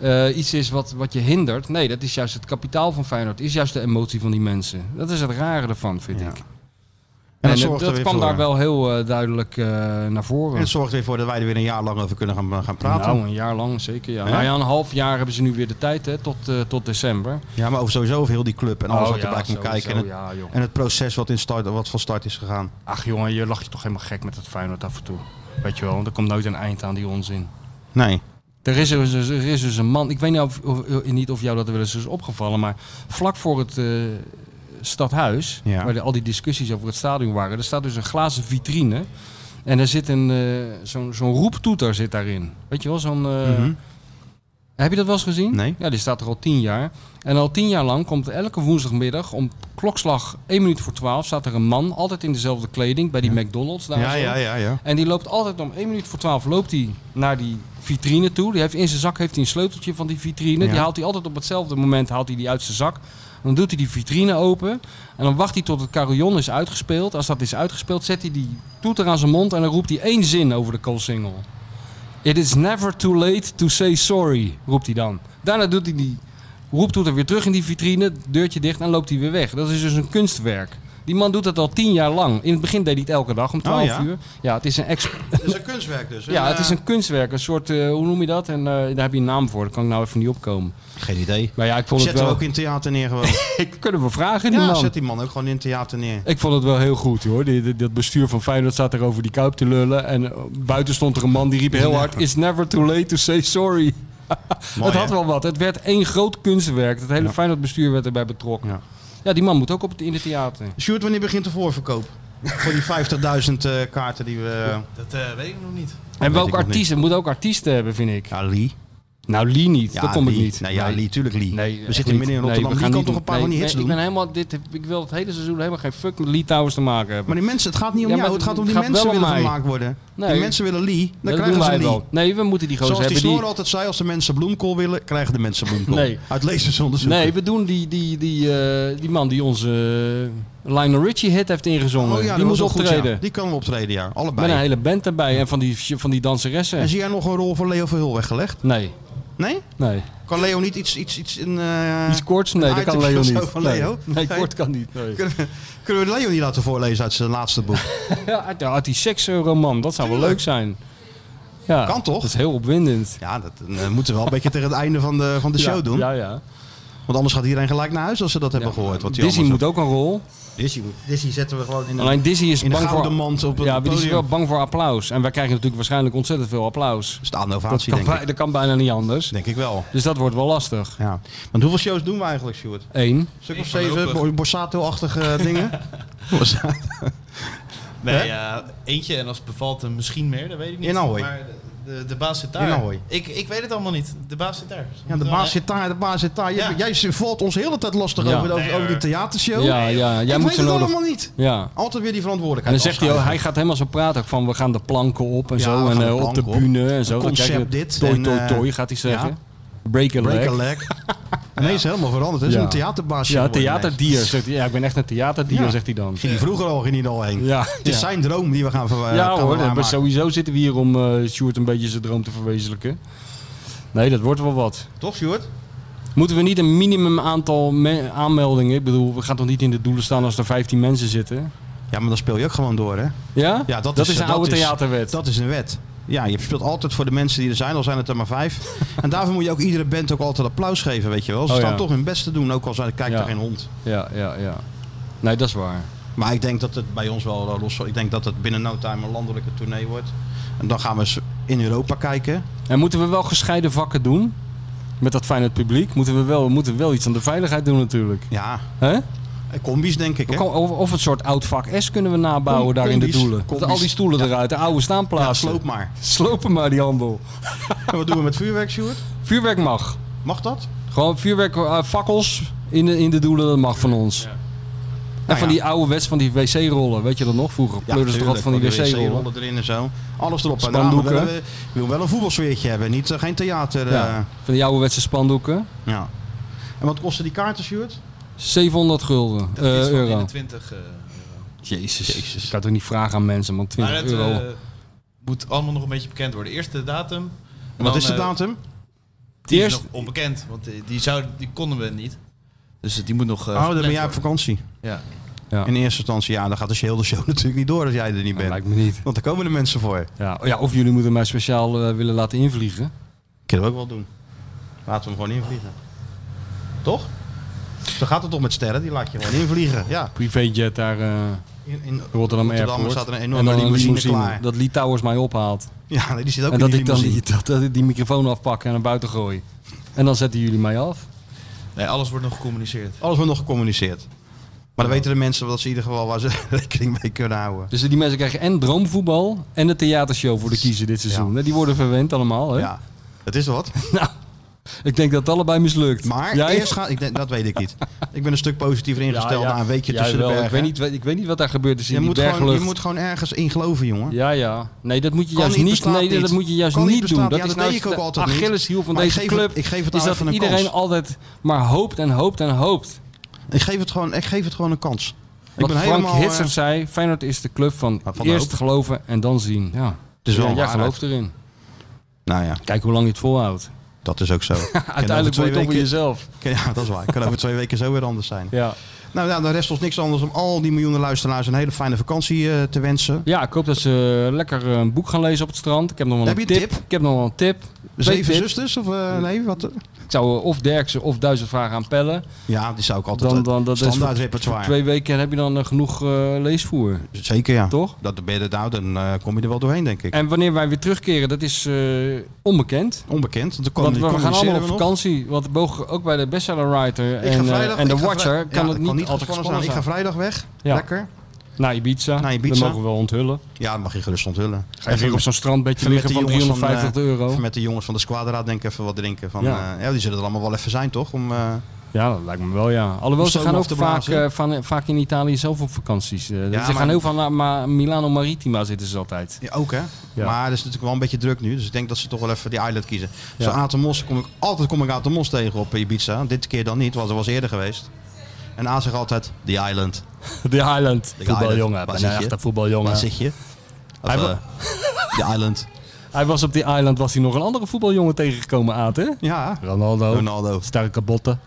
S2: eh, iets is wat, wat je hindert. Nee, dat is juist het kapitaal van Feyenoord. Dat is juist de emotie van die mensen. Dat is het rare ervan, vind
S1: Ja.
S2: ik.
S1: En
S2: En,
S1: dat
S2: eh,
S1: zorgt
S2: dat,
S1: er weer
S2: kwam
S1: voor.
S2: daar wel heel eh, duidelijk eh, naar voren.
S1: En het zorgt er weer voor dat wij er weer een jaar lang over kunnen gaan, gaan praten.
S2: Nou, een jaar lang zeker. Ja.
S1: Hè?
S2: Nou ja, een half jaar hebben ze nu weer de tijd hè, tot, eh, tot december.
S1: Ja, maar over sowieso over heel die club en alles wat
S2: je
S1: Nou, erbij komt kijken. En het,
S2: Oh, ja, joh.
S1: en het proces wat, in start, wat van start is gegaan.
S2: Ach jongen, je lacht je toch helemaal gek met dat Feyenoord af en toe. Weet je wel, want er komt nooit een eind aan die onzin.
S1: Nee.
S2: Er is, dus, er is dus een man, ik weet niet of, of- niet of jou dat wel eens is opgevallen, maar vlak voor het eh, stadhuis,
S1: Ja.
S2: waar de- al die discussies over het stadion waren, er staat dus een glazen vitrine. En er zit een, eh, zo'n, zo'n roeptoeter zit daarin. Weet je wel, zo'n... eh,
S1: Mhm.
S2: Heb je dat wel eens gezien?
S1: Nee.
S2: Ja, die staat er al tien jaar. En al tien jaar lang komt elke woensdagmiddag om klokslag 1 minuut voor 12 staat er een man, altijd in dezelfde kleding, bij die McDonald's daar.
S1: Ja,
S2: zo.
S1: ja, ja, ja.
S2: En die loopt altijd om 1 minuut voor 12 loopt hij naar die vitrine toe. Die heeft, in zijn zak heeft hij een sleuteltje van die vitrine.
S1: Ja.
S2: Die haalt hij altijd op hetzelfde moment haalt hij die uit zijn zak. Dan doet hij die vitrine open. En dan wacht hij tot het carillon is uitgespeeld. Als dat is uitgespeeld, zet hij die toeter aan zijn mond. En dan roept hij één zin over de single. It is never too late to say sorry, roept hij dan. Daarna doet hij die roeptoeter weer terug in die vitrine, deurtje dicht en loopt hij weer weg. Dat is dus een kunstwerk. Die man doet dat al tien jaar lang. In het begin deed hij het elke dag om 12
S1: Oh, ja?
S2: uur. Ja, het is een ex-
S1: Het is een kunstwerk dus.
S2: ja, het is een kunstwerk, een soort, eh, hoe noem je dat? En eh, daar heb je een naam voor, daar kan ik nou even niet opkomen.
S1: Geen idee.
S2: Maar ja, ik vond
S1: Zet
S2: het
S1: hem
S2: wel...
S1: ook in theater neer gewoon.
S2: Ik kunnen we vragen, die
S1: ja,
S2: man.
S1: zet die man ook gewoon in theater neer.
S2: Ik vond het wel heel goed, hoor. Die, die- dat bestuur van Feyenoord staat er over die kuip te lullen. En eh, buiten stond er een man die riep heel hard... It's never too late to say sorry.
S1: Mooi,
S2: het had
S1: hè?
S2: wel wat. Het werd één groot kunstwerk. Het hele Feyenoord bestuur werd erbij betrokken.
S1: Ja.
S2: Ja, die man moet ook op het, in het theater.
S1: Sjoerd, wanneer begint de voorverkoop? Voor die 50.000 eh, kaarten die we...
S3: Dat eh, weet ik nog niet.
S2: En
S1: ik
S2: welke
S1: nog
S2: artiesten? Moet ook artiesten hebben, vind ik.
S1: Ja, Lee.
S2: Nou, Lee niet. dat kom ik
S1: Lee.
S2: niet.
S1: Nee, ja,
S2: Nee.
S1: Lee, tuurlijk Lee.
S2: Nee,
S1: we zitten midden in Rotterdam. die kan toch een paar van die hits
S2: Ik,
S1: doen?
S2: ben helemaal, dit, ik wil het hele seizoen helemaal geen fuck met Lee Towers te maken hebben.
S1: Maar die mensen, het gaat niet om
S2: Ja,
S1: jou.
S2: maar
S1: Het gaat om die
S2: het gaat
S1: mensen
S2: wel om
S1: willen
S2: mij.
S1: gemaakt worden.
S2: Nee.
S1: Die mensen willen Lee. Dan
S2: dat
S1: krijgen
S2: doen
S1: ze
S2: wij
S1: Lee.
S2: wel. Nee, we moeten die gozer
S1: Zoals die
S2: hebben. Die,
S1: snor altijd zei, als de mensen bloemkool willen, krijgen de mensen bloemkool.
S2: Nee.
S1: Uit lezersonderzoek.
S2: nee, we doen die, die, die, eh, die man die onze eh, Lionel Richie hit heeft ingezongen.
S1: Oh ja,
S2: die
S1: dat was
S2: moet
S1: wel goed, ja.
S2: optreden.
S1: Die kan wel optreden, ja. Allebei.
S2: Met een hele band erbij en van die, van die
S1: En
S2: danseressen.
S1: zie jij nog een rol voor Leo Verhul weggelegd?
S2: Nee,
S1: Nee?
S2: nee.
S1: Kan Leo niet iets, iets, iets in... eh,
S2: Iets korts? Nee,
S1: een
S2: dat kan
S1: item
S2: Leo
S1: of zo
S2: niet.
S1: van
S2: Nee.
S1: Leo?
S2: Nee,
S1: Nee.
S2: kort kan niet. Nee.
S1: Kunnen we, kunnen we Leo niet laten voorlezen uit zijn laatste boek?
S2: Ja, uit, uit die seksroman, dat zou wel leuk zijn. Ja,
S1: Kan toch?
S2: Dat is heel opwindend.
S1: Ja, dat eh, moeten we wel een beetje tegen het einde van de, van de show
S2: Ja,
S1: doen.
S2: Ja, ja.
S1: Want anders gaat iedereen gelijk naar huis als ze dat hebben gehoord. Wat die
S2: Disney
S1: allemaal
S2: moet ook een rol.
S1: zo- Dizzy, moet- Dizzy zetten we gewoon in een,
S2: Alleen Disney is
S1: in een
S2: bang
S1: gouden
S2: voor...
S1: mand op het
S2: ja, maar die is
S1: podium.
S2: wel
S1: Dat
S2: bang voor applaus. En wij krijgen natuurlijk waarschijnlijk ontzettend veel applaus.
S1: is de
S2: Dat
S1: innovatie,
S2: kan,
S1: denk
S2: bij,
S1: ik.
S2: dat kan bijna niet anders.
S1: Denk ik wel.
S2: Dus dat wordt wel lastig.
S1: Ja. Want hoeveel shows doen we eigenlijk, Stuart?
S2: Eén.
S1: Een stuk of
S3: Nee,
S1: zeven
S3: voorlopig.
S1: Bo- Borsato-achtige eh, dingen? Borsato. Hè?
S3: Nee, ja, eentje en als het bevalt een misschien meer, dat weet ik niet.
S1: In Ahoy.
S3: Maar de, de, de baas zit daar.
S1: In Ahoy.
S3: Ik, ik weet het allemaal niet. De baas zit daar.
S1: Ja, de baas zit daar, de baas zit daar. Jij, jij valt ons de hele tijd lastig
S2: Ja.
S1: over, over,
S3: Nee,
S1: over die
S3: hoor.
S1: theatershow.
S2: Ja, ja, jij
S1: ik
S2: moet
S1: weet
S2: ze
S1: het
S2: nodig-
S1: allemaal niet.
S2: Ja.
S1: Altijd weer die
S2: En dan
S1: verantwoordelijkheid.
S2: zegt hij, ook, hij
S1: afschuiven.
S2: gaat helemaal zo praten ook van we gaan de planken op en
S1: Ja,
S2: zo.
S1: we
S2: En
S1: gaan de
S2: eh, op de
S1: planken op.
S2: bühne en zo.
S1: Concept
S2: dan krijg je
S1: dit
S2: Toi,
S1: en,
S2: toi,
S1: eh,
S2: toi, gaat hij zeggen. Break a
S1: Break
S2: leg.
S1: a leg. Ineens helemaal veranderd. Het is
S2: Ja.
S1: een theaterbaasje
S2: Ja,
S1: geworden
S2: theaterdier. Zegt hij. Ja, ik ben echt een theaterdier,
S1: Ja.
S2: zegt hij dan.
S1: ineens. Ging die vroeger al ging niet al heen.
S2: Ja,
S1: Het is
S2: ja.
S1: zijn droom die we gaan verwerken.
S2: ja hoor, eh, maar sowieso zitten we hier om eh Sjoerd een beetje zijn droom te verwezenlijken. Nee, dat wordt wel wat.
S1: Toch, Sjoerd?
S2: Moeten we niet een minimum aantal me- aanmeldingen? Ik bedoel, we gaan toch niet in de doelen staan als er 15 mensen zitten?
S1: Ja, maar dan speel je ook gewoon door, hè?
S2: Ja?
S1: Ja, dat,
S2: is een
S1: dat
S2: oude
S1: is-
S2: theaterwet.
S1: Dat is een wet. Ja, je speelt altijd voor de mensen die er zijn, al zijn het er maar vijf. en daarvoor moet je ook iedere band ook altijd applaus geven, weet je wel. Ze
S2: Oh,
S1: staan
S2: ja.
S1: toch hun best te doen, ook al zijn, kijkt
S2: Ja.
S1: er geen hond.
S2: Ja, ja, ja. Nee, dat is waar.
S1: Maar ik denk dat het bij ons wel eh, los zal. Ik denk dat het binnen no time een landelijke tournee wordt. En dan gaan we eens in Europa kijken.
S2: En moeten we wel gescheiden vakken doen? Met dat fijne publiek? Moeten we wel, we moeten wel iets aan de veiligheid doen natuurlijk.
S1: Ja,
S2: hè?
S1: eh, combi's denk ik, hè?
S2: We kan- Of, of het soort oud vak S kunnen we nabouwen
S1: Com-
S2: daar in de
S1: combies,
S2: doelen.
S1: combies.
S2: Dat al die stoelen eruit, de oude
S1: Ja,
S2: staanplaatsen.
S1: sloop maar.
S2: Slopen maar die handel.
S1: En wat doen we met vuurwerk, Sjoerd?
S2: Vuurwerk mag.
S1: Mag dat?
S2: Gewoon vuurwerk, eh, fakkels in de, in de doelen, dat mag van ons. En
S1: Nou
S2: van
S1: ja.
S2: die oude wets van die wc-rollen, weet je dat nog? Vroeger pleurden ze toch altijd
S1: tuurlijk,
S2: van
S1: want
S2: die wc-rollen.
S1: wc-rollen erin en zo. Alles erop en aan. We
S2: Spandoeken.
S1: willen, we willen wel een voetbalsfeertje hebben, niet, eh, geen theater. eh,
S2: Ja,
S1: Ja.
S2: van die ouderwetse spandoeken.
S1: En wat kosten die kaarten, Sjoerd?
S2: 700 gulden, eh, euro.
S3: 20
S2: Jezus. Ik kan toch niet vragen aan mensen, man. 20
S3: Maar het
S2: euro.
S3: eh, moet allemaal nog een beetje bekend worden. Eerst de datum.
S1: En
S3: En
S1: wat
S3: dan,
S1: is de
S3: eh,
S1: datum?
S3: Die is
S2: Eerst-
S3: nog onbekend, want eh, die, zou, die konden we niet. Dus eh, die moet nog...
S1: oh,
S3: eh,
S1: dan ben
S3: gepland
S1: jij op
S3: worden.
S1: vakantie.
S3: Ja.
S2: Ja.
S1: In eerste instantie, ja, dan gaat de hele show natuurlijk niet door als jij er niet
S2: Dat
S1: bent.
S2: lijkt me niet.
S1: Want daar komen de mensen voor.
S2: Ja, oh ja, of jullie moeten mij speciaal eh, willen laten invliegen.
S1: Kunnen we ook wel doen. Laten we hem gewoon invliegen. Toch? Zo gaat het toch met sterren, die laat je gewoon invliegen. Ja.
S2: Privéjet daar eh,
S1: In, in
S2: Rotterdam, Airport.
S1: Rotterdam staat er een
S2: En
S1: enorme
S2: dan een
S1: limousine, klaar.
S2: Dat Litouwers mij ophaalt.
S1: Ja, nee, die zit ook
S2: en
S1: in
S2: dat
S1: die
S2: ik dan
S1: limousine.
S2: die, dat, dat ik die microfoon afpak en naar buiten gooi. En dan zetten jullie mij af.
S3: Nee, alles wordt nog gecommuniceerd.
S1: Alles wordt nog gecommuniceerd. Maar dan weten de mensen dat ze in ieder geval waar ze rekening mee kunnen houden.
S2: Dus die mensen krijgen en droomvoetbal en de theatershow voor de kiezer dit seizoen. hè. Die worden verwend allemaal. Hè?
S1: Ja, dat is wat.
S2: Nou, ik denk dat het allebei mislukt.
S1: Maar
S2: Jij?
S1: eerst gaan... Ik, denk- dat weet ik niet. Ik ben een stuk positiever ingesteld na een weekje
S2: Jij
S1: tussen de
S2: wel.
S1: bergen.
S2: Ik weet, niet, wat- ik weet niet wat daar gebeurd is in
S1: je,
S2: die
S1: moet gewoon,
S2: berglucht.
S1: je moet gewoon ergens in geloven, jongen.
S2: Ja, ja. Nee, dat moet je
S1: Kan
S2: juist
S1: niet,
S2: niet,
S1: bestaat
S2: nee,
S1: niet.
S2: dat moet je juist
S1: Kan niet
S2: niet
S1: bestaan.
S2: doen. Dat
S1: Ja,
S2: is
S1: dat
S2: nou
S1: deed ik ook
S2: de
S1: altijd niet.
S2: Achilleshiel van
S1: Maar ik
S2: deze
S1: geef het-
S2: club.
S1: ik geef het
S2: is
S1: aan
S2: dat
S1: even een
S2: iedereen
S1: kans.
S2: altijd maar hoopt en hoopt en hoopt.
S1: Ik, geef het gewoon, ik geef het gewoon een kans. ik
S2: Wat
S1: ben
S2: Frank
S1: helemaal... eh,
S2: Hitser zei, Feyenoord is de club van,
S1: Van de
S2: eerst
S1: hoop.
S2: geloven en dan zien. Ja.
S1: is wel
S2: Ja, jij
S1: waarheid.
S2: gelooft erin.
S1: nou ja,
S2: Kijk hoe lang je het volhoudt.
S1: dat is ook zo. Ik ken over
S2: Uiteindelijk
S1: twee
S2: word je toch weer
S1: weken-
S2: jezelf.
S1: Ja, dat is waar. Ik kan over twee weken zo weer anders zijn.
S2: Ja.
S1: Nou ja, dan rest ons niks anders om al die miljoenen luisteraars een hele fijne vakantie eh, te wensen.
S2: ja, ik hoop dat ze lekker eh, een boek gaan lezen op het strand. Ik heb nog wel
S1: Heb
S2: een
S1: je een
S2: tip.
S1: tip?
S2: Ik heb nog wel een tip. Twee
S1: Zeven
S2: tips.
S1: zusters of eh, nee, wat?
S2: Ik zou eh, of Derksen of Duizend vragen aan
S1: Ah,
S2: Pellen.
S1: Ja, die zou ik altijd eh,
S2: Dan, dan, dat is
S1: standaard
S2: voor- voor
S1: repertoire.
S2: twee weken heb je dan eh, genoeg eh, leesvoer.
S1: Zeker ja.
S2: Toch?
S1: Dat ben je er nou, dan eh, kom je er wel doorheen denk ik.
S2: En wanneer wij weer terugkeren, dat is eh, onbekend.
S1: Onbekend, want dan
S2: Want we
S1: communiceren
S2: gaan allemaal op
S1: nog.
S2: vakantie. Want mogen ook bij de bestseller writer
S1: Ik ga
S2: en, eh,
S1: vrijdag,
S2: en de
S1: ik ga
S2: watcher
S1: vrij-
S2: kan
S1: ja,
S2: het
S1: dat
S2: niet altijd
S1: gespannen
S2: gespannen
S1: zijn.
S2: zijn.
S1: Ik ga vrijdag weg.
S2: Ja.
S1: Lekker.
S2: Naar Ibiza.
S1: Naar Ibiza.
S2: Dat mogen we wel onthullen.
S1: Ja, dat mag je gerust onthullen.
S2: Ga je weer op zo'n strandbedje
S1: Even met
S2: liggen
S1: de
S2: van
S1: jongens van,
S2: 350
S1: eh,
S2: euro.
S1: even met de jongens van de Squadra denk ik even wat drinken. Van,
S2: Ja.
S1: ja. ja, die zullen er allemaal wel even zijn toch? Om, eh,
S2: Ja, dat lijkt me wel, ja. Alhoewel,
S1: Om
S2: ze
S1: stoom
S2: gaan
S1: af
S2: ook
S1: te
S2: vaak,
S1: blazen.
S2: eh, van, vaak in Italië zelf op vakanties. Eh,
S1: Ja,
S2: ze
S1: maar-
S2: gaan heel veel naar Ma- Milano Maritima zitten ze altijd.
S1: Ja, ook hè.
S2: Ja.
S1: Maar het is natuurlijk wel een beetje druk nu. Dus ik denk dat ze toch wel even die island kiezen.
S2: Ja.
S1: Zo Atemos kom ik altijd kom ik Atemos tegen op Ibiza. Dit keer dan niet, want dat was eerder geweest. En A zegt altijd The Island.
S2: De Highland.
S1: De
S2: Voetbaljongen.
S1: Highland. Waar
S2: Ben
S1: zit
S2: een
S1: je?
S2: echte
S1: Waar
S2: voetbaljongen.
S1: zit je? Of,
S2: Hij
S1: eh,
S2: wa-
S1: the Island.
S2: Hij was op die Island, was hij nog een andere voetbaljongen tegengekomen, Aad, hè?
S1: Ja.
S2: Ronaldo.
S1: Ronaldo.
S2: Sterke botten.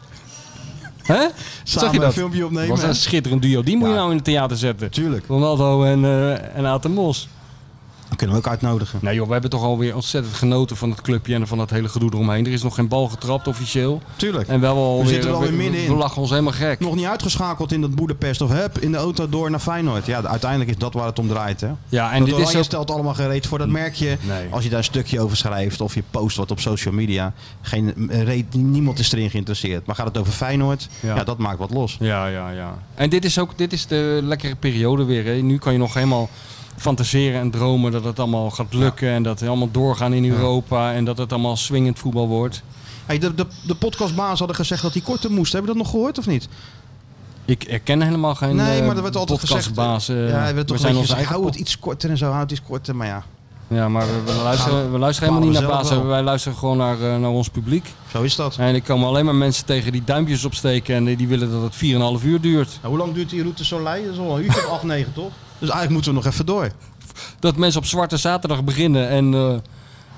S2: Hè? Zag je
S1: Samen
S2: dat?
S1: een filmpje opnemen.
S2: was een schitterend duo. Die moet je
S1: Ja.
S2: nou in het theater zetten.
S1: Tuurlijk.
S2: Ronaldo en, eh en Aad de Mos.
S1: Oké, kunnen we ook uitnodigen.
S2: Nou joh, we hebben toch alweer ontzettend genoten van het clubje en van dat hele gedoe eromheen. Er is nog geen bal getrapt officieel.
S1: Tuurlijk.
S2: En we hebben alweer,
S1: zitten er alweer
S2: we- we-
S1: middenin.
S2: We lachen ons helemaal gek.
S1: Nog niet uitgeschakeld in dat Boedapest of heb in de auto door naar Feyenoord. Ja, uiteindelijk is dat waar het om draait. Hè?
S2: Ja, en
S1: Want
S2: dit is
S1: Oranje
S2: ook-
S1: stelt allemaal geen reet voor. Dat merk je
S2: Nee.
S1: als je daar een stukje over schrijft of je post wat op social media. Geen eh, reet, niemand is erin geïnteresseerd. Maar gaat het over Feyenoord?
S2: Ja.
S1: Ja, dat maakt wat los.
S2: Ja, ja, ja. En dit is ook dit is de lekkere periode weer. Hè. Nu kan je nog helemaal fantaseren en dromen dat het allemaal gaat lukken. En dat we allemaal doorgaan in Europa. En dat het allemaal swingend voetbal wordt.
S1: Hey, de, de, de podcastbaas hadden gezegd dat hij korter moest. Hebben we dat nog gehoord of niet?
S2: Ik herken helemaal geen
S1: nee,
S2: eh,
S1: maar dat werd altijd gezegd.
S2: podcastbaas, eh,
S1: ja, er werd
S2: we
S1: toch
S2: zijn
S1: een
S2: ons
S1: beetje gezegd,
S2: eigen
S1: hou het
S2: pod-
S1: iets korter en zo, houd het iets korter. Maar ja,
S2: Ja, maar we, we luisteren, we luisteren
S1: bepalen
S2: helemaal niet
S1: we
S2: naar
S1: zelf
S2: baas.
S1: wel.
S2: Wij luisteren gewoon naar, eh, naar ons publiek.
S1: zo is dat.
S2: En ik komen alleen maar mensen tegen die duimpjes opsteken. En die- die willen dat het 4,5 uur duurt.
S1: Nou, hoe lang duurt die route zo lei? Dat is al een uurtje of 8, 9 toch? Dus eigenlijk moeten we nog even door.
S2: Dat mensen op Zwarte Zaterdag beginnen en eh,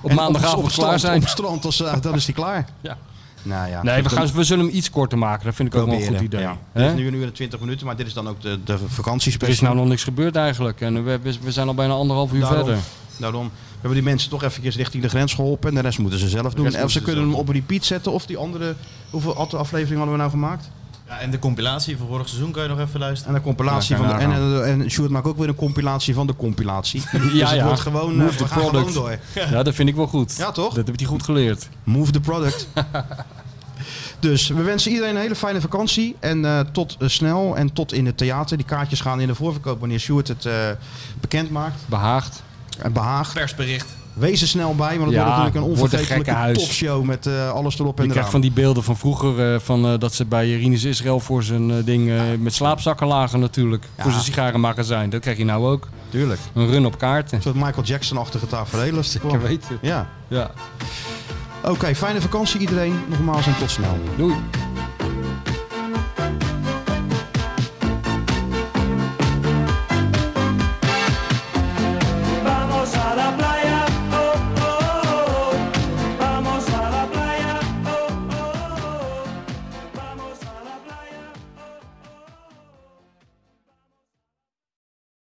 S2: op
S1: En
S2: maandagavond
S1: op, op
S2: klaar
S1: strand-
S2: zijn.
S1: Op strand, als, eh, dan is die klaar.
S2: Ja.
S1: Nou ja.
S2: Nee, we, gaan, we zullen hem iets korter maken. Dat vind ik ook wel een goed
S1: Proberen,
S2: idee.
S1: ja.
S2: Hè?
S1: Het is nu een uur en 20 minuten, maar dit is dan ook de, de
S2: Er is
S1: vakantiespecial.
S2: nou nog niks gebeurd eigenlijk. En we, we- we zijn al bijna anderhalf uur
S1: Daarom.
S2: verder.
S1: Daarom hebben we die mensen toch eventjes richting de grens geholpen. En de rest moeten ze zelf doen.
S3: rest
S1: Of ze
S3: moeten ze
S1: kunnen
S3: zelf
S1: hem op repeat zetten. Of die andere... Hoeveel ad- afleveringen hadden we nou gemaakt?
S3: Ja, en de compilatie van vorig seizoen kan je nog even luisteren.
S1: En de compilatie
S2: Ja,
S1: van de...
S2: kan
S1: En, eh,
S2: je
S1: en, en Sjoerd maakt ook weer een compilatie van de compilatie. ja, dus het
S2: ja.
S1: wordt gewoon... eh,
S2: Move
S1: we
S2: the
S1: gaan
S2: product.
S1: gewoon door.
S2: Ja, dat vind ik wel goed.
S1: Ja, toch?
S2: Dat heb je goed geleerd.
S1: Move the product. dus we wensen iedereen een hele fijne vakantie. En eh, tot eh, snel en tot in het theater. Die kaartjes gaan in de voorverkoop wanneer Sjoerd het eh, bekend maakt.
S2: Behaagd.
S1: En behaagt.
S3: Persbericht.
S1: Wees er snel bij, want het
S2: Ja,
S1: wordt natuurlijk een
S2: wordt een gekke
S1: onvergetelijke
S2: huis.
S1: topshow met eh, alles erop
S2: Je
S1: en
S2: krijgt
S1: eraan.
S2: van die beelden van vroeger. eh, van, eh, dat ze bij Rinus Israël voor zijn eh, ding eh, met slaapzakken lagen natuurlijk. Voor zijn sigarenmagazijn. Dat krijg je nou ook.
S1: Tuurlijk.
S2: Een run op kaarten.
S1: Een soort Michael Jackson-achtige tafereel. als het
S2: Ik
S1: kwam.
S2: weet het.
S1: Ja.
S2: Ja.
S1: Oké, fijne vakantie iedereen. Nogmaals en tot snel.
S2: Doei.